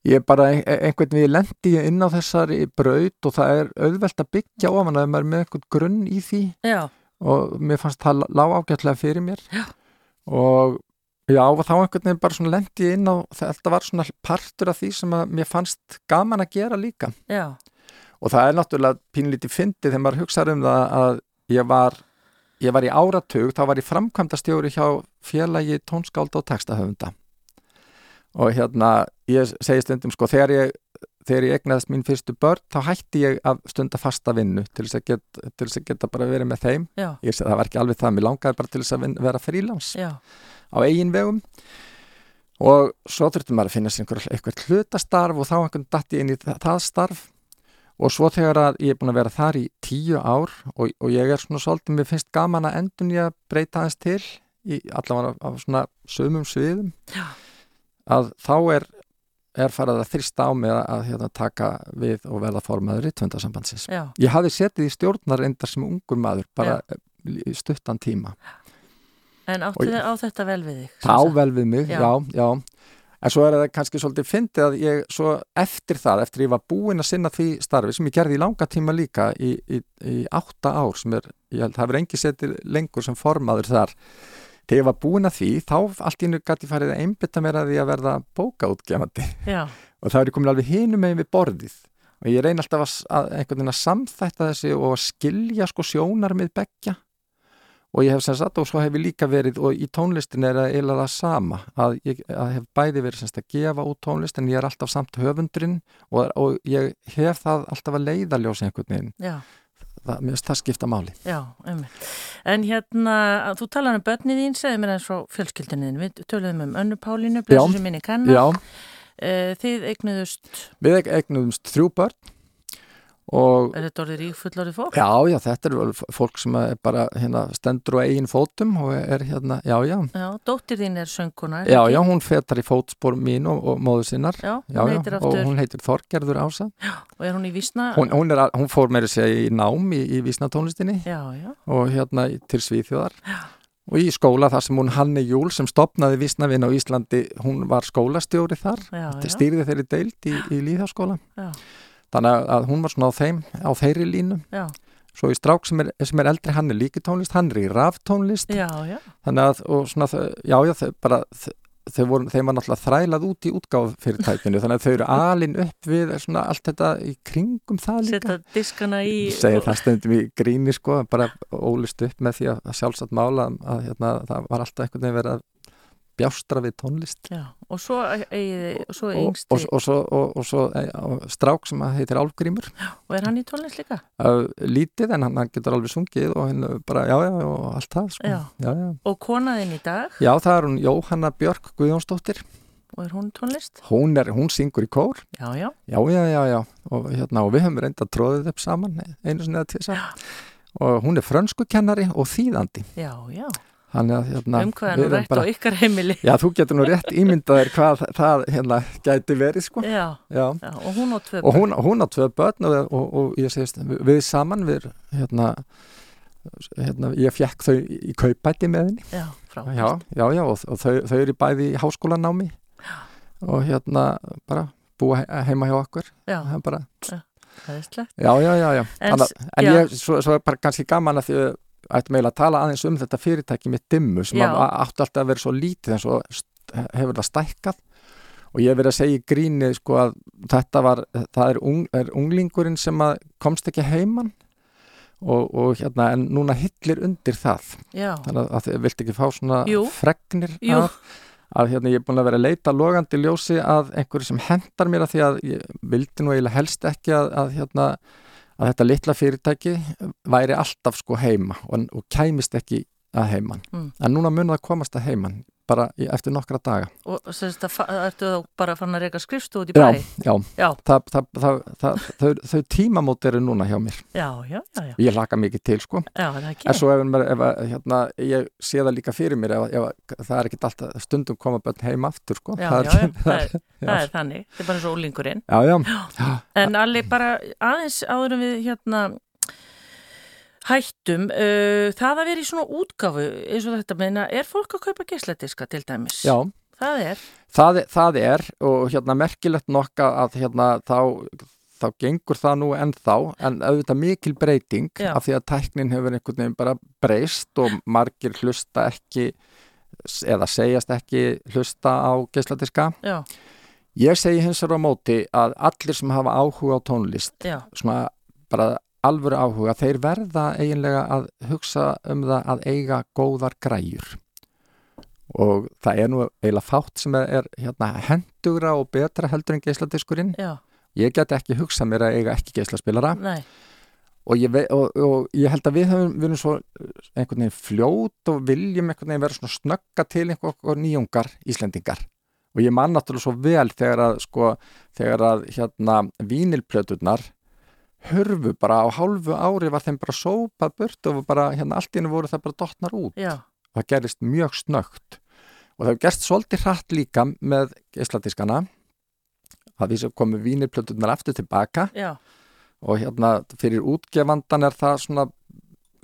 Speaker 4: Ég er bara ein- e, einhvern veginn lendi ég inn á þessari braut og það er auðvelt að byggja ofan að maður er með einhvern grunn í því
Speaker 1: Já,
Speaker 4: og mér fannst það lág ágætlega fyrir mér já. og já, og þá einhvern veginn bara svona lendi ég inn á þetta var svona partur af því sem að mér fannst gaman að gera líka
Speaker 1: já,
Speaker 4: og það er náttúrulega pínlítið fyndið þegar maður hugsaður um það að ég var ég var í áratug, þá var ég framkvæmdastjóri hjá félagi tónskálda og textahöfunda og hérna, ég segi stundum sko, þegar ég þegar ég egnaðist mín fyrstu börn þá hætti ég að stunda fasta vinnu til þess að, get, til þess að geta bara verið með þeim
Speaker 1: já,
Speaker 4: ég segi það var ekki alveg það, mér langaði bara til þess að vin- vera frílans
Speaker 1: já,
Speaker 4: á eigin vegum og svo þurfti maður að finna sér einhver, einhver hlutastarf og þá einhvern datt ég inn í það, það starf og svo þegar að ég er búin að vera þar í tíu ár og, og ég er svona svolítið, mér finnst gaman að endun ég að breyta aðeins til í allavega á, á svona sömum sviðum
Speaker 1: Já.
Speaker 4: að þá er, er farið að þrista á mig að, að hérna, taka við og verða formaður í tvöndasambandsins
Speaker 1: já.
Speaker 4: Ég hafði setið í stjórnar endar sem ungur maður, bara í stuttan tíma.
Speaker 1: En
Speaker 4: Og
Speaker 1: áttu
Speaker 4: ég-
Speaker 1: þið á þetta vel við þig? sem
Speaker 4: Það á
Speaker 1: sagt?
Speaker 4: vel við mig,
Speaker 1: Já.
Speaker 4: já. já, En svo er það kannski svolítið fyndið að ég svo eftir það, eftir ég var búin að sinna því starfi sem ég gerði í langa tíma líka í, í, í átta ár sem er, ég held, það verið engi setið lengur sem formaður þar. Þegar ég var búin að því, þá allt í nú gæti farið að einbytta mér að því að verða bókaútgefandi
Speaker 1: Já,
Speaker 4: og þá er ég komin alveg hinum megin við borðið og ég reyni alltaf að, að einhvern veginn að samþætta þessi og að skilja sko sjónarmið beggja og ég hef sem sagt og svo hef ég líka verið og í tónlistin er það eiginlega það sama að ég að hef bæði verið sem sagt að gefa út tónlist en ég er alltaf samt höfundurinn og, og ég hef það alltaf að leiðaljósa einhvern veginn,
Speaker 1: já.
Speaker 4: það, mér finnst það skipta máli
Speaker 1: Já, einmitt. En hérna, þú talar um börnið þín, segði mér eins frá fjölskyldinni þín. Við töluðum um Önnu Pálínu, blessu
Speaker 4: Já.
Speaker 1: sem minni kannar.
Speaker 4: Já,
Speaker 1: Þið eignuðust,
Speaker 4: við eign- eignuðumst þrjú börn og
Speaker 1: er þetta orðið rík fullorðið fólk?
Speaker 4: Já, já, þetta er vel f- fólk sem er bara hérna, stendur á eigin fótum og er hérna, já, já,
Speaker 1: Já, dóttir þín er sönguna. er
Speaker 4: já,
Speaker 1: ekki?
Speaker 4: já, hún fetar í fótspor mín og, og móðu sinnar,
Speaker 1: Já, hún
Speaker 4: já, já,
Speaker 1: heitir
Speaker 4: og
Speaker 1: aftur,
Speaker 4: hún heitir Þorgerður Ása.
Speaker 1: og er hún í Vísna?
Speaker 4: Hún, hún, er, að- hún fór meira að segja í nám í, í vísnatónlistinni
Speaker 1: Já, já,
Speaker 4: og hérna í- til Svíþjóðar og í skóla þar sem hún Hanni Júl sem stopnaði vísnavinn á Íslandi, hún var skólastjóri þar,
Speaker 1: já, já,
Speaker 4: stýrði þeirri deild í, í líðháskóla.
Speaker 1: já,
Speaker 4: Þannig að- að hún var svona á þeim, á þeirri línu.
Speaker 1: já,
Speaker 4: Svo í strák sem er, sem er eldri, hann er líki tónlist, hann er í raftónlist
Speaker 1: já, já,
Speaker 4: þannig að, og svona, þau- já, já, þau bara þau- þau voru, þeim var náttúrulega þrælað út í útgáfyrirtækinu, þannig að þau eru alin upp við svona allt þetta í kringum það líka.
Speaker 1: setja diskana í...
Speaker 4: Segir það stundum í gríni, sko, en bara ólist upp með því að, að sjálfsagt mála að, að hérna, það var alltaf einhvern veginn verið að bjástra við tónlist.
Speaker 1: Já, og svo eigið, og svo
Speaker 4: Og,
Speaker 1: yngsti,
Speaker 4: og, og svo, og, og svo e, og strák sem að heitir Álgrímur
Speaker 1: og er hann í tónlist líka?
Speaker 4: uh, lítið en hann, hann getur alveg sungið og hann bara já já og allt það sko.
Speaker 1: Já.
Speaker 4: Já, já.
Speaker 1: Og konaðin í dag,
Speaker 4: já það er hún Jóhanna Björk Guðjónsdóttir
Speaker 1: og er hún í tónlist?
Speaker 4: hún, er, hún syngur í kór
Speaker 1: Já, já,
Speaker 4: Já, já, já, já, og, hérna, og við höfum reynda tróðið upp saman einu sinni eða tvisar og hún er frönskukennari og þýðandi
Speaker 1: já, já,
Speaker 4: þannig að hérna,
Speaker 1: um hvað er nú
Speaker 4: við erum
Speaker 1: rætt á ykkar heimili?
Speaker 4: Já, þú getur nú rétt ímyndaðir hvað það hérna, gæti verið sko
Speaker 1: Já,
Speaker 4: já.
Speaker 1: já, og hún á tvö
Speaker 4: og hún, hún á tvö börn og, og, og ég segist, við, við saman við hérna, hérna ég fjekk þau í kaupæti með henni
Speaker 1: Já, frábært.
Speaker 4: Já, já, já, og, og þau, þau eru bæði í háskólanámi og hérna bara búa he- heima hjá okkur
Speaker 1: Já,
Speaker 4: það er bara
Speaker 1: það er slett.
Speaker 4: Já, já, já, já.
Speaker 1: En
Speaker 4: En,
Speaker 1: s-
Speaker 4: en
Speaker 1: já.
Speaker 4: ég, svo, svo er bara kannski gaman að því að ættum eiginlega að tala aðeins um þetta fyrirtæki með dimmu sem
Speaker 1: Já.
Speaker 4: að, að- átti alltaf að vera svo lítið en svo st- hefur það stækkað og ég hef verið að segja í gríni sko að þetta var, það er, ung, er unglingurinn sem að komst ekki heiman og, og hérna en núna hillir undir það
Speaker 1: Já,
Speaker 4: þannig að- að þið vilt ekki fá svona
Speaker 1: Jú.
Speaker 4: fregnir
Speaker 1: Jú.
Speaker 4: að, að hérna ég er búin að vera að leita logandi ljósi að einhverju sem hendar mér að því að ég vildi nú eiginlega helst ekki að, að hérna að þetta litla fyrirtæki væri alltaf sko heima og, og kæmist ekki að heiman
Speaker 1: Mm.
Speaker 4: en núna mun það komast að heiman bara í- eftir nokkra daga
Speaker 1: Og sem sagt, það fa- ertu þá bara fann að reyka skrifstu út í
Speaker 4: já,
Speaker 1: bæ?
Speaker 4: já,
Speaker 1: Já,
Speaker 4: það, það, það, það, þau, þau tímamót eru núna hjá mér
Speaker 1: já, já, já, já,
Speaker 4: ég laka mikið til sko
Speaker 1: já, það er ekki.
Speaker 4: en svo ef, maður- ef að, hérna, ég sé það líka fyrir mér ef, að- ef, að- það er ekki alltaf stundum koma börn heim aftur sko
Speaker 1: já,
Speaker 4: það,
Speaker 1: já,
Speaker 4: er-
Speaker 1: já, það er, það
Speaker 4: já.
Speaker 1: er þannig, þetta er bara svo úlingurinn.
Speaker 4: Já, já, já,
Speaker 1: En allir bara aðeins áðurum við hérna hættum, uh, það að vera í svona útgáfu eins og þetta meina, er fólk að kaupa geisladiska til dæmis?
Speaker 4: já.
Speaker 1: Það er,
Speaker 4: Það, það er og hérna merkilegt nokka að hérna þá, þá gengur það nú ennþá en auðvitað mikil breyting
Speaker 1: Já.
Speaker 4: af því að tæknin hefur einhvern veginn bara breyst og margir hlusta ekki eða segjast ekki hlusta á geisladiska.
Speaker 1: já,
Speaker 4: Ég segi hins vegar á móti að allir sem hafa áhuga á tónlist,
Speaker 1: já,
Speaker 4: svona bara alvöru áhuga, þeir verða eiginlega að hugsa um það að eiga góðar græjur og það er nú eiginlega fátt sem er hérna hendugra og betra heldur en geisladiskurinn.
Speaker 1: já,
Speaker 4: Ég get ekki hugsað mér að eiga ekki geislaspilara
Speaker 1: nei,
Speaker 4: og ég, vei, og, og ég held að við höfum verið svo eh, einhvern veginn fljót og viljum einhvern veginn vera svona snögga til einhver okkur nýjungar Íslendingar og ég man náttúrulega svo vel þegar að sko, þegar að hérna vínilplöturnar hörfu bara á hálfu ári var þeim bara sópað burt og bara hérna allt í hennu voru það bara dottnar út
Speaker 1: já,
Speaker 4: það gerist mjög snögt og það hefur gerst svolítið hratt líka með geisladiskana að því sem komu vínilplöturnar aftur tilbaka
Speaker 1: já,
Speaker 4: og hérna fyrir útgefandan er það svona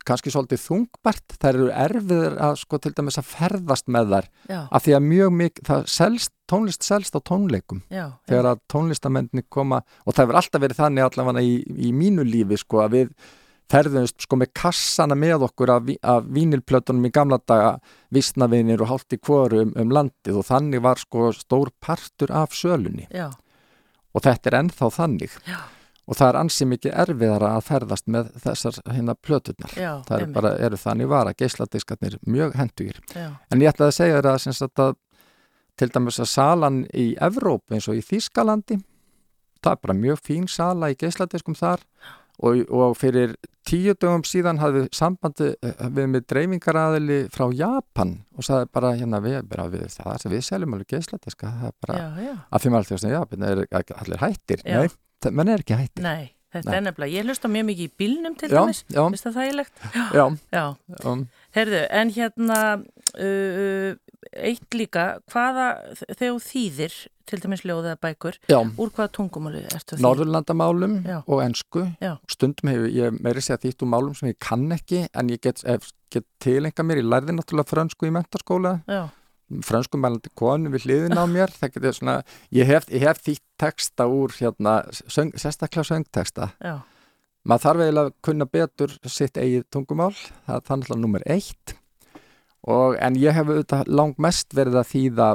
Speaker 4: kannski svolítið þungbært, þær eru erfiðir að sko til dæmis að ferðast með þær
Speaker 1: já,
Speaker 4: af því að mjög mikið, það selst, tónlist selst á tónleikum,
Speaker 1: já, já,
Speaker 4: þegar að tónlistamenninni koma, og það hefur alltaf verið þannig allavega í, í mínu lífi sko að við ferðumst sko með kassana með okkur af, ví- af vínilplötunum í gamla daga, vissnavinir og hálft í kvoru um, um landið og þannig var sko stór partur af sölunni
Speaker 1: já,
Speaker 4: og þetta er ennþá þannig
Speaker 1: Já.
Speaker 4: og það er ansið mikið erfiðara að ferðast með þessar hérna plöturnar
Speaker 1: já,
Speaker 4: það eru
Speaker 1: einmitt,
Speaker 4: bara, eru þannig vara, geisladiskarnir mjög hendugir,
Speaker 1: já,
Speaker 4: en ég ætlaði að segja þér að, sem sagt, að til dæmis að salan í Evróp eins og í Þýskalandi það er bara mjög fín sala í geisladiskum þar og, og fyrir tíu dögum síðan hafði sambandi eh, við með dreifingaraðili frá Japan og sagði bara hérna við, bara, við það sem við seljum alveg geisladiska það er bara
Speaker 1: já, já,
Speaker 4: að því maður alltaf svona, já, menn er ekki- allir hættir
Speaker 1: Já.
Speaker 4: nei, það- menn er ekki hættir
Speaker 1: nei, þetta
Speaker 4: Nei.
Speaker 1: er nefnilega, ég hlusta mjög mikið í bílnum til
Speaker 4: já,
Speaker 1: dæmis,
Speaker 4: já,
Speaker 1: finnst það þægilegt?
Speaker 4: já,
Speaker 1: Já,
Speaker 4: um,
Speaker 1: heyrðu, en hérna, uh, eitt líka, hvaða þegar þú þýðir, til dæmis ljóðaða bækur,
Speaker 4: já
Speaker 1: úr hvaða tungumáli ertu að þýða?
Speaker 4: Norðurlandamálum
Speaker 1: Já.
Speaker 4: og ensku
Speaker 1: Já.
Speaker 4: stundum hefur ég meiri segja þýtt úr málum sem ég kann ekki en ég get, ef, get tilenga mér, ég lærði náttúrulega frönsku í mentaskóla,
Speaker 1: Já,
Speaker 4: frönsku mælandi konu við hliðin á mér það getur svona, ég hef, ég hef þýtt texta úr hérna, söng, sérstaklega söngtexta
Speaker 1: já,
Speaker 4: maður þarf eiginlega að kunna betur sitt eigið tungumál, það er þannig að nummer eitt og, en ég hef auðvitað langmest verið að þýða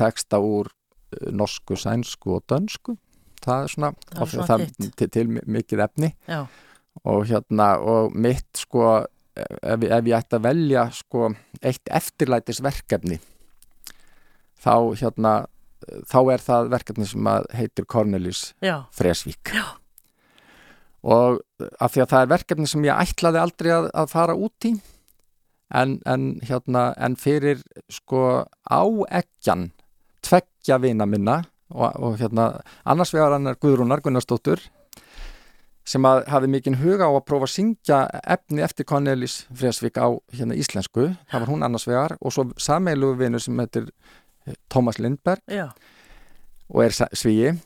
Speaker 4: texta úr eh, norsku, sænsku og dönsku það er svona,
Speaker 1: Það er svona þitt.
Speaker 4: til, til mikið efni
Speaker 1: já,
Speaker 4: og hérna og mitt sko ef, ef ég ætti að velja sko eitt eftirlætis verkefni þá hérna eh, þá er það verkefni sem að heitir Cornelis
Speaker 1: já,
Speaker 4: Fresvík og af því að það er verkefni sem ég ætlaði aldrei að, að fara út í en, en, hérna, en fyrir sko áeggjan tveggja vina minna og, og hérna annars vegar annar Guðrúnar Gunnarsdóttur sem að hafi mikinn huga á að prófa að syngja efni eftir Cornelis Fresvík á hérna íslensku, það var hún annars vegar og svo sameilugu vinur sem heitir eh, Tómas Lindberg
Speaker 1: já,
Speaker 4: og er svíi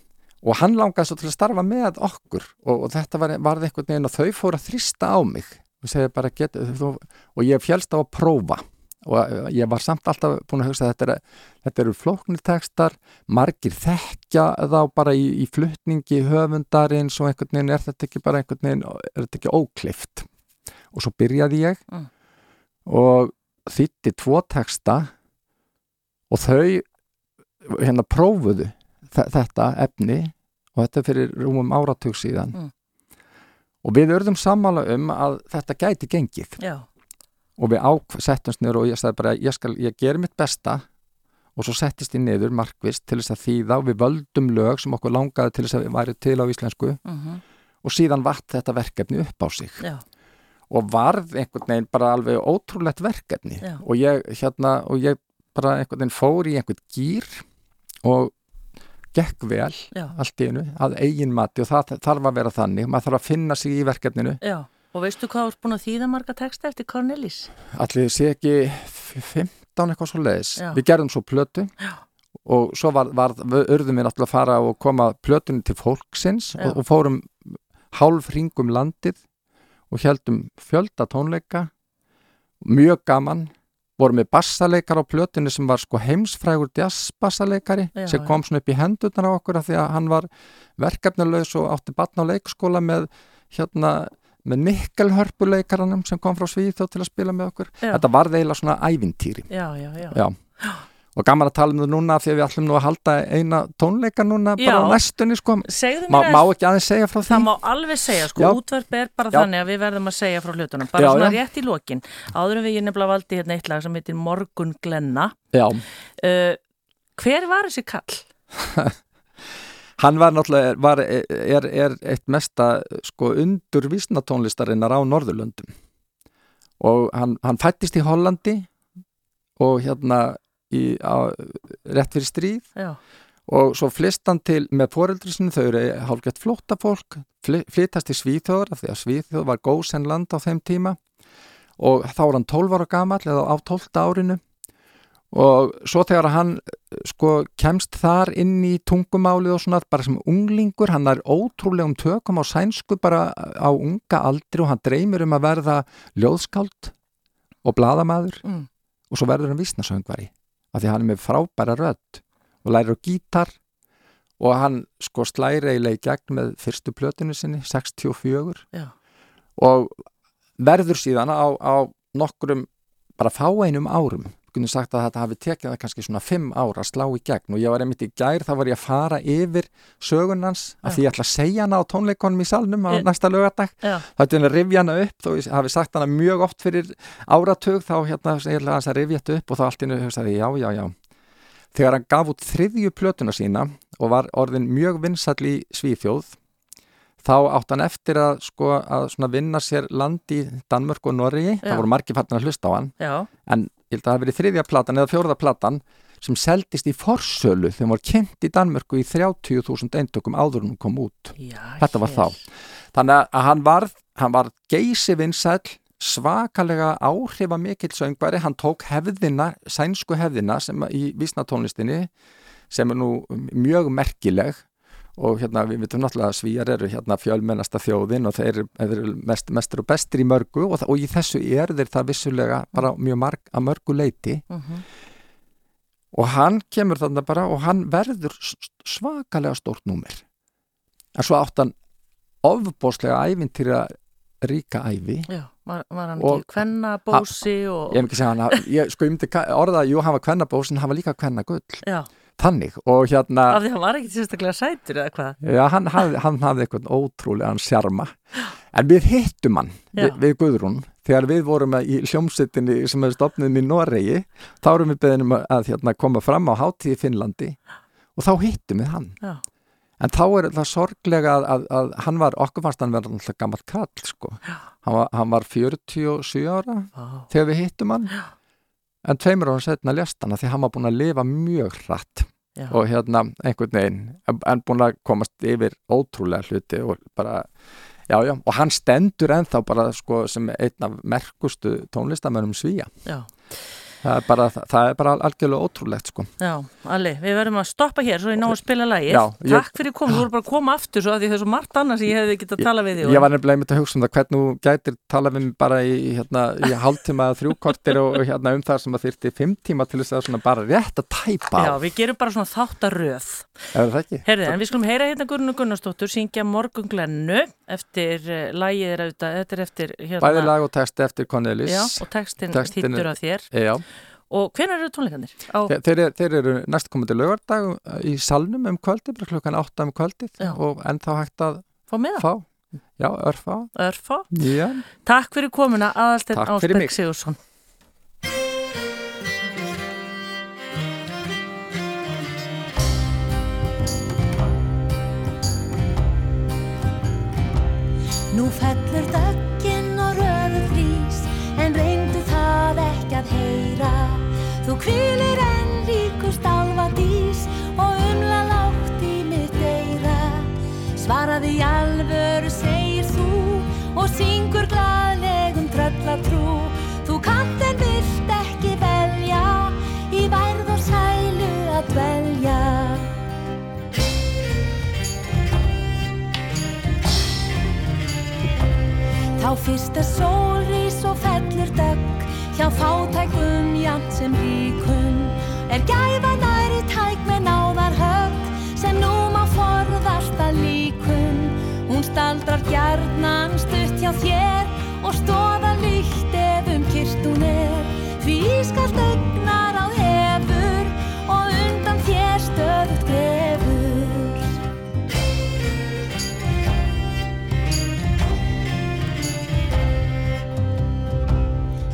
Speaker 4: og hann langaði svo til að starfa með okkur og, og þetta var, varði einhvern veginn og þau fóru að þrýsta á mig og, segja bara, get, þú, og ég fjálst á að prófa og eh, ég var samt alltaf búin að hugsa að þetta, er, þetta eru flóknir tekstar margir þekkja þá bara í, í flutningi höfundarins og einhvern veginn er þetta ekki bara einhvern veginn er þetta ekki ókleift og svo byrjaði ég
Speaker 1: Mm.
Speaker 4: og þýtti tvo teksta og þau hérna prófuðu þe- þetta efni og þetta er fyrir rúmum áratug síðan
Speaker 1: Mm.
Speaker 4: og við urðum sammála um að þetta gæti gengið
Speaker 1: já,
Speaker 4: og við ák- settumst niður og ég sagði bara ég, skal, ég ger mitt besta og svo settist ég niður markvist til þess að þýða og við völdum lög sem okkur langaði til þess að við væri til á íslensku
Speaker 1: mhm,
Speaker 4: og síðan vatt þetta verkefni upp á sig
Speaker 1: já,
Speaker 4: og varð einhvern veginn bara alveg ótrúlegt verkefni
Speaker 1: Já.
Speaker 4: og ég hérna og ég bara einhvern veginn fór í einhvern gýr og gekk vel
Speaker 1: já,
Speaker 4: allt í einu að eigin mati og það þarf að vera þannig, maður þarf að finna sig í verkefninu
Speaker 1: já. Og veistu hvað þú ert búin að þýða marga texta eftir Cornelis?
Speaker 4: allir sé ekki f- 15 eitthvað svo leiðis
Speaker 1: Já.
Speaker 4: við gerðum svo plötu
Speaker 1: Já.
Speaker 4: og svo var, var, við urðum við náttúrulega að fara og koma plötunni til fólksins
Speaker 1: Já.
Speaker 4: og, og fórum hálf ringum landið og heldum fjölda tónleika mjög gaman vorum með bassaleikar á plötunni sem var sko heimsfrægur jazzbassaleikari
Speaker 1: Já,
Speaker 4: sem
Speaker 1: já.
Speaker 4: kom svona upp í hendurnar á okkur af því að hann var verkefnulegs og átti batna á leikskóla með hérna með nikkelhörpuleikaranum sem kom frá Svíþjóð til að spila með okkur
Speaker 1: Já.
Speaker 4: þetta varð eiginlega svona ævintýri
Speaker 1: Já, já, já.
Speaker 4: Já. og gaman að tala um það núna af því að við ætlum nú að halda eina tónleika núna bara
Speaker 1: Já.
Speaker 4: á næstunni sko
Speaker 1: Segðu
Speaker 4: má,
Speaker 1: mér
Speaker 4: má
Speaker 1: að
Speaker 4: ekki aðeins segja frá því
Speaker 1: það má alveg segja, sko,
Speaker 4: Já.
Speaker 1: útvarp er bara
Speaker 4: Já.
Speaker 1: þannig að við verðum að segja frá hlutunum, bara
Speaker 4: Já,
Speaker 1: svona
Speaker 4: já.
Speaker 1: rétt í lokin. Áður en við ég nefnilega valdi hérna eitt lag sem heitir Morgun Glenna.
Speaker 4: Já,
Speaker 1: Uh, hver var þessi kall?
Speaker 4: hann var náttúrulega var, er, er eitt mesta sko undur vísnatónlistarinnar á Norðurlöndum og hann, hann fættist í Hollandi og hérna í, á, rétt fyrir stríð
Speaker 1: Já,
Speaker 4: og svo flyst hann til með foreldri sinni, þau eru hálfgett flótta fólk, flytast til Svíþjóður af því að Svíþjóð var góðsenn land á þeim tíma og þá er hann 12 ára gamall eða á 12 árinu og svo þegar hann eh, sko kemst þar inn í tungumálið og svona bara sem unglingur, hann er ótrúlegum tökum á sænsku bara á unga aldri og hann dreymir um að verða ljóðskáld og bladamaður
Speaker 1: Mm.
Speaker 4: og svo verður hann vísnasöngvari af því að hann er með frábæra rödd og lærir á gítar og hann sko slæri eiginlega í gegn með fyrstu plötinu sinni, 64
Speaker 1: já,
Speaker 4: og verður síðan á, á nokkrum bara fáeinum árum kunni sagt að þetta hafi tekið það kannski svona fimm ára að slá í gegn og ég var einmitt í gær þá var ég að fara yfir sögunans af því ég ætla að segja hana á tónleikonum í salnum á
Speaker 1: Eh.
Speaker 4: næsta lögadag
Speaker 1: já,
Speaker 4: þá ætti hann að rifja hana upp þó ég hafi sagt hana mjög oft fyrir áratug þá hérna segirlega hans að rifja þetta upp og þá allt innu hugsaði ég, já, já, já þegar hann gaf út þriðju plötuna sína og var orðin mjög vinsall í Svíþjóð þá átt hann eftir að sko að svona vinna sér land í Danmörk og Noregi,
Speaker 1: Já.
Speaker 4: það voru margir fattin að hlusta á hann
Speaker 1: já,
Speaker 4: en ég held að það hafi verið þriðja platan eða fjórða platan sem seldist í forsölu þegar hann var kynnt í Danmörku í 30.000 eintökum áður en hún kom út
Speaker 1: já.
Speaker 4: Þetta var
Speaker 1: hér.
Speaker 4: þá. Þannig að hann var, hann var geysi vinsæll, svakalega áhrifa mikill söngvari, hann tók hefðina, sænsku hefðina sem að- í vísnatónlistinni sem er nú mjög merkileg og hérna við vitum náttúrulega að svíjar eru hérna fjölmennasta þjóðin og þeir eru- þeir eru mest, mestur og bestir í mörgu og, þa- og í þessu er þeir það vissulega bara mjög marg að mörgu leiti
Speaker 1: Mhm.
Speaker 4: og hann kemur þarna bara og hann verður s- svakalega stórt númer en svo átt hann ofbóðslega ævintýra ríka ævi
Speaker 1: Já, var, var hann
Speaker 4: Og-
Speaker 1: ekki kvenna, bósi og...
Speaker 4: ég hef ekki segja hann, að- ég, sko ég myndi ka- orða að jú, hann var kvennabós en hann var líka kvennagull
Speaker 1: Já,
Speaker 4: þannig og
Speaker 1: af
Speaker 4: hérna
Speaker 1: því hann var ekkit sérstaklega sætur eða hvað.
Speaker 4: já, hann, hafði, hann hafði eitthvað ótrúlegan sjarma en við hittum hann
Speaker 1: Já.
Speaker 4: við, við Guðrún þegar við vorum að- í hljómsveitinni sem hefði stopnum í Noregi þá erum við beðinum að, að hérna, koma fram á hátíði í Finnlandi og þá hittum við hann
Speaker 1: Já,
Speaker 4: En þá er það sorglega að, að, að hann var, okkur fannst hann vera alltaf gammal kall, sko. Hann var, hann var 47 ára
Speaker 1: Vá.
Speaker 4: þegar við hittum hann, en tveimur ára setna lest hann að því hann var búin að lifa mjög hratt
Speaker 1: já.
Speaker 4: og hérna einhvern veginn, en- en búin að komast yfir ótrúlega hluti og bara, já, já, og hann stendur ennþá bara, sko, sem einn af merkustu tónlistamönnum svíja.
Speaker 1: já.
Speaker 4: Það er bara, það er bara algjörlega ótrúlegt, sko.
Speaker 1: Já, Alli, við verðum að stoppa hér svo ég ná að spila lagið.
Speaker 4: Já, ég-
Speaker 1: Takk fyrir komin, þú voru bara að koma aftur svo að því það er svo margt annað sem ég hefði getað að tala við þig.
Speaker 4: Ég var nefnilega einmitt að hugsa um það hvernig þú gætir tala við mig bara í, hérna, í hálftíma eða þrjúkortir og og hérna um það sem að þyrfti fimm tíma til þess að svona bara rétt að tæpa
Speaker 1: Já,
Speaker 4: á.
Speaker 1: við gerum bara svona þáttaröð.
Speaker 4: er það ekki?
Speaker 1: Herðið, en við skulum heyra hérna Gurnu Gunnarsdóttur syngja Morgunglennu eftir uh, lagið er auðvitað, þetta er eftir hérna.
Speaker 4: Bæði lag og texti eftir Cornelis
Speaker 1: Já, og textin,
Speaker 4: Textin
Speaker 1: textin
Speaker 4: er-
Speaker 1: þýttur af þér.
Speaker 4: Já.
Speaker 1: Og hvenær eru tónleikanir? Á,
Speaker 4: Þe- Þeir, eru- þeir eru næstkomandi lögardag í salnum um kvöldið, bara klukkan 8 um kvöldið
Speaker 1: Já.
Speaker 4: og ennþá hægt að
Speaker 1: fá með það,
Speaker 4: fá Já, örfá
Speaker 1: örfá.
Speaker 4: Já,
Speaker 1: Takk fyrir komuna, aðalstinn
Speaker 4: Takk fyrir mig.
Speaker 1: Ásberg Sigursson.
Speaker 5: Nú fellur dögginn og röður frýs En reyndu það ekki að heyra Þú kvílir Svaraði í alvöru, segir þú Og syngur glaðlegum tröllatrú Þú kannt en vilt ekki velja Í værð og sælu að dvelja Þá fyrst er sólrís og fellur dögg Hjá fátækum jant sem ríkum Er gæfa næri tæk með náðar högg Sem nú má forðast að líkum Hún staldrar gjarnan stutt hjá þér Og stóða líkt ef um kirtun er Því ískalt augnar á hefur Og undan þér stöðut grefur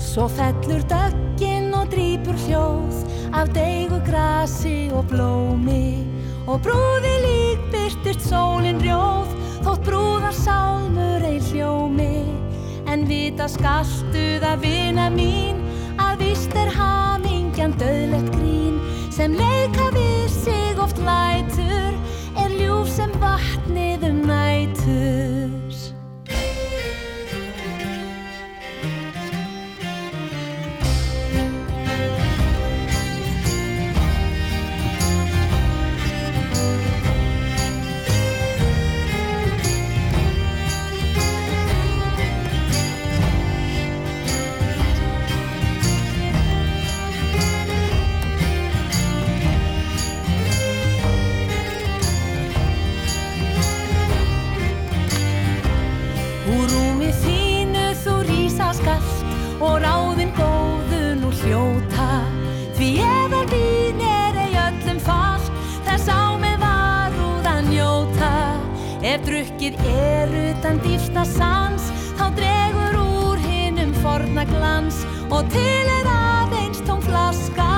Speaker 5: Svo fellur dögginn og drýpur hljóð af deigu grasi og blómi og brúði lík byrtist sólin rjóð þótt brúðar sálmur ei hljómi en vita skaltuð að vina mín að vist er hamingjan döðlegt grín sem leika við sig oft lætur er ljúf sem vatnið um nætur Úr rúmi þínu þú rísa skallt og ráðin góðun og hljóta. Því eða vín er ei öllum fall, þess á með varúðan njóta. Ef drukkið er utan dýfsta sans, þá dregur úr hinnum forna glans og til er aðeins tóm flaska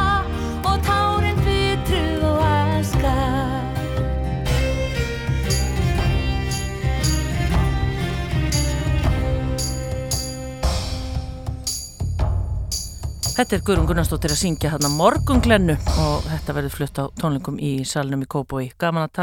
Speaker 5: og tárin bytru og aska.
Speaker 1: Þetta er Guðrún Gunnarsdóttir að syngja hérna morgunglennu og þetta verður flutt á tónleikum í salnum í Kópói. Gaman að tala.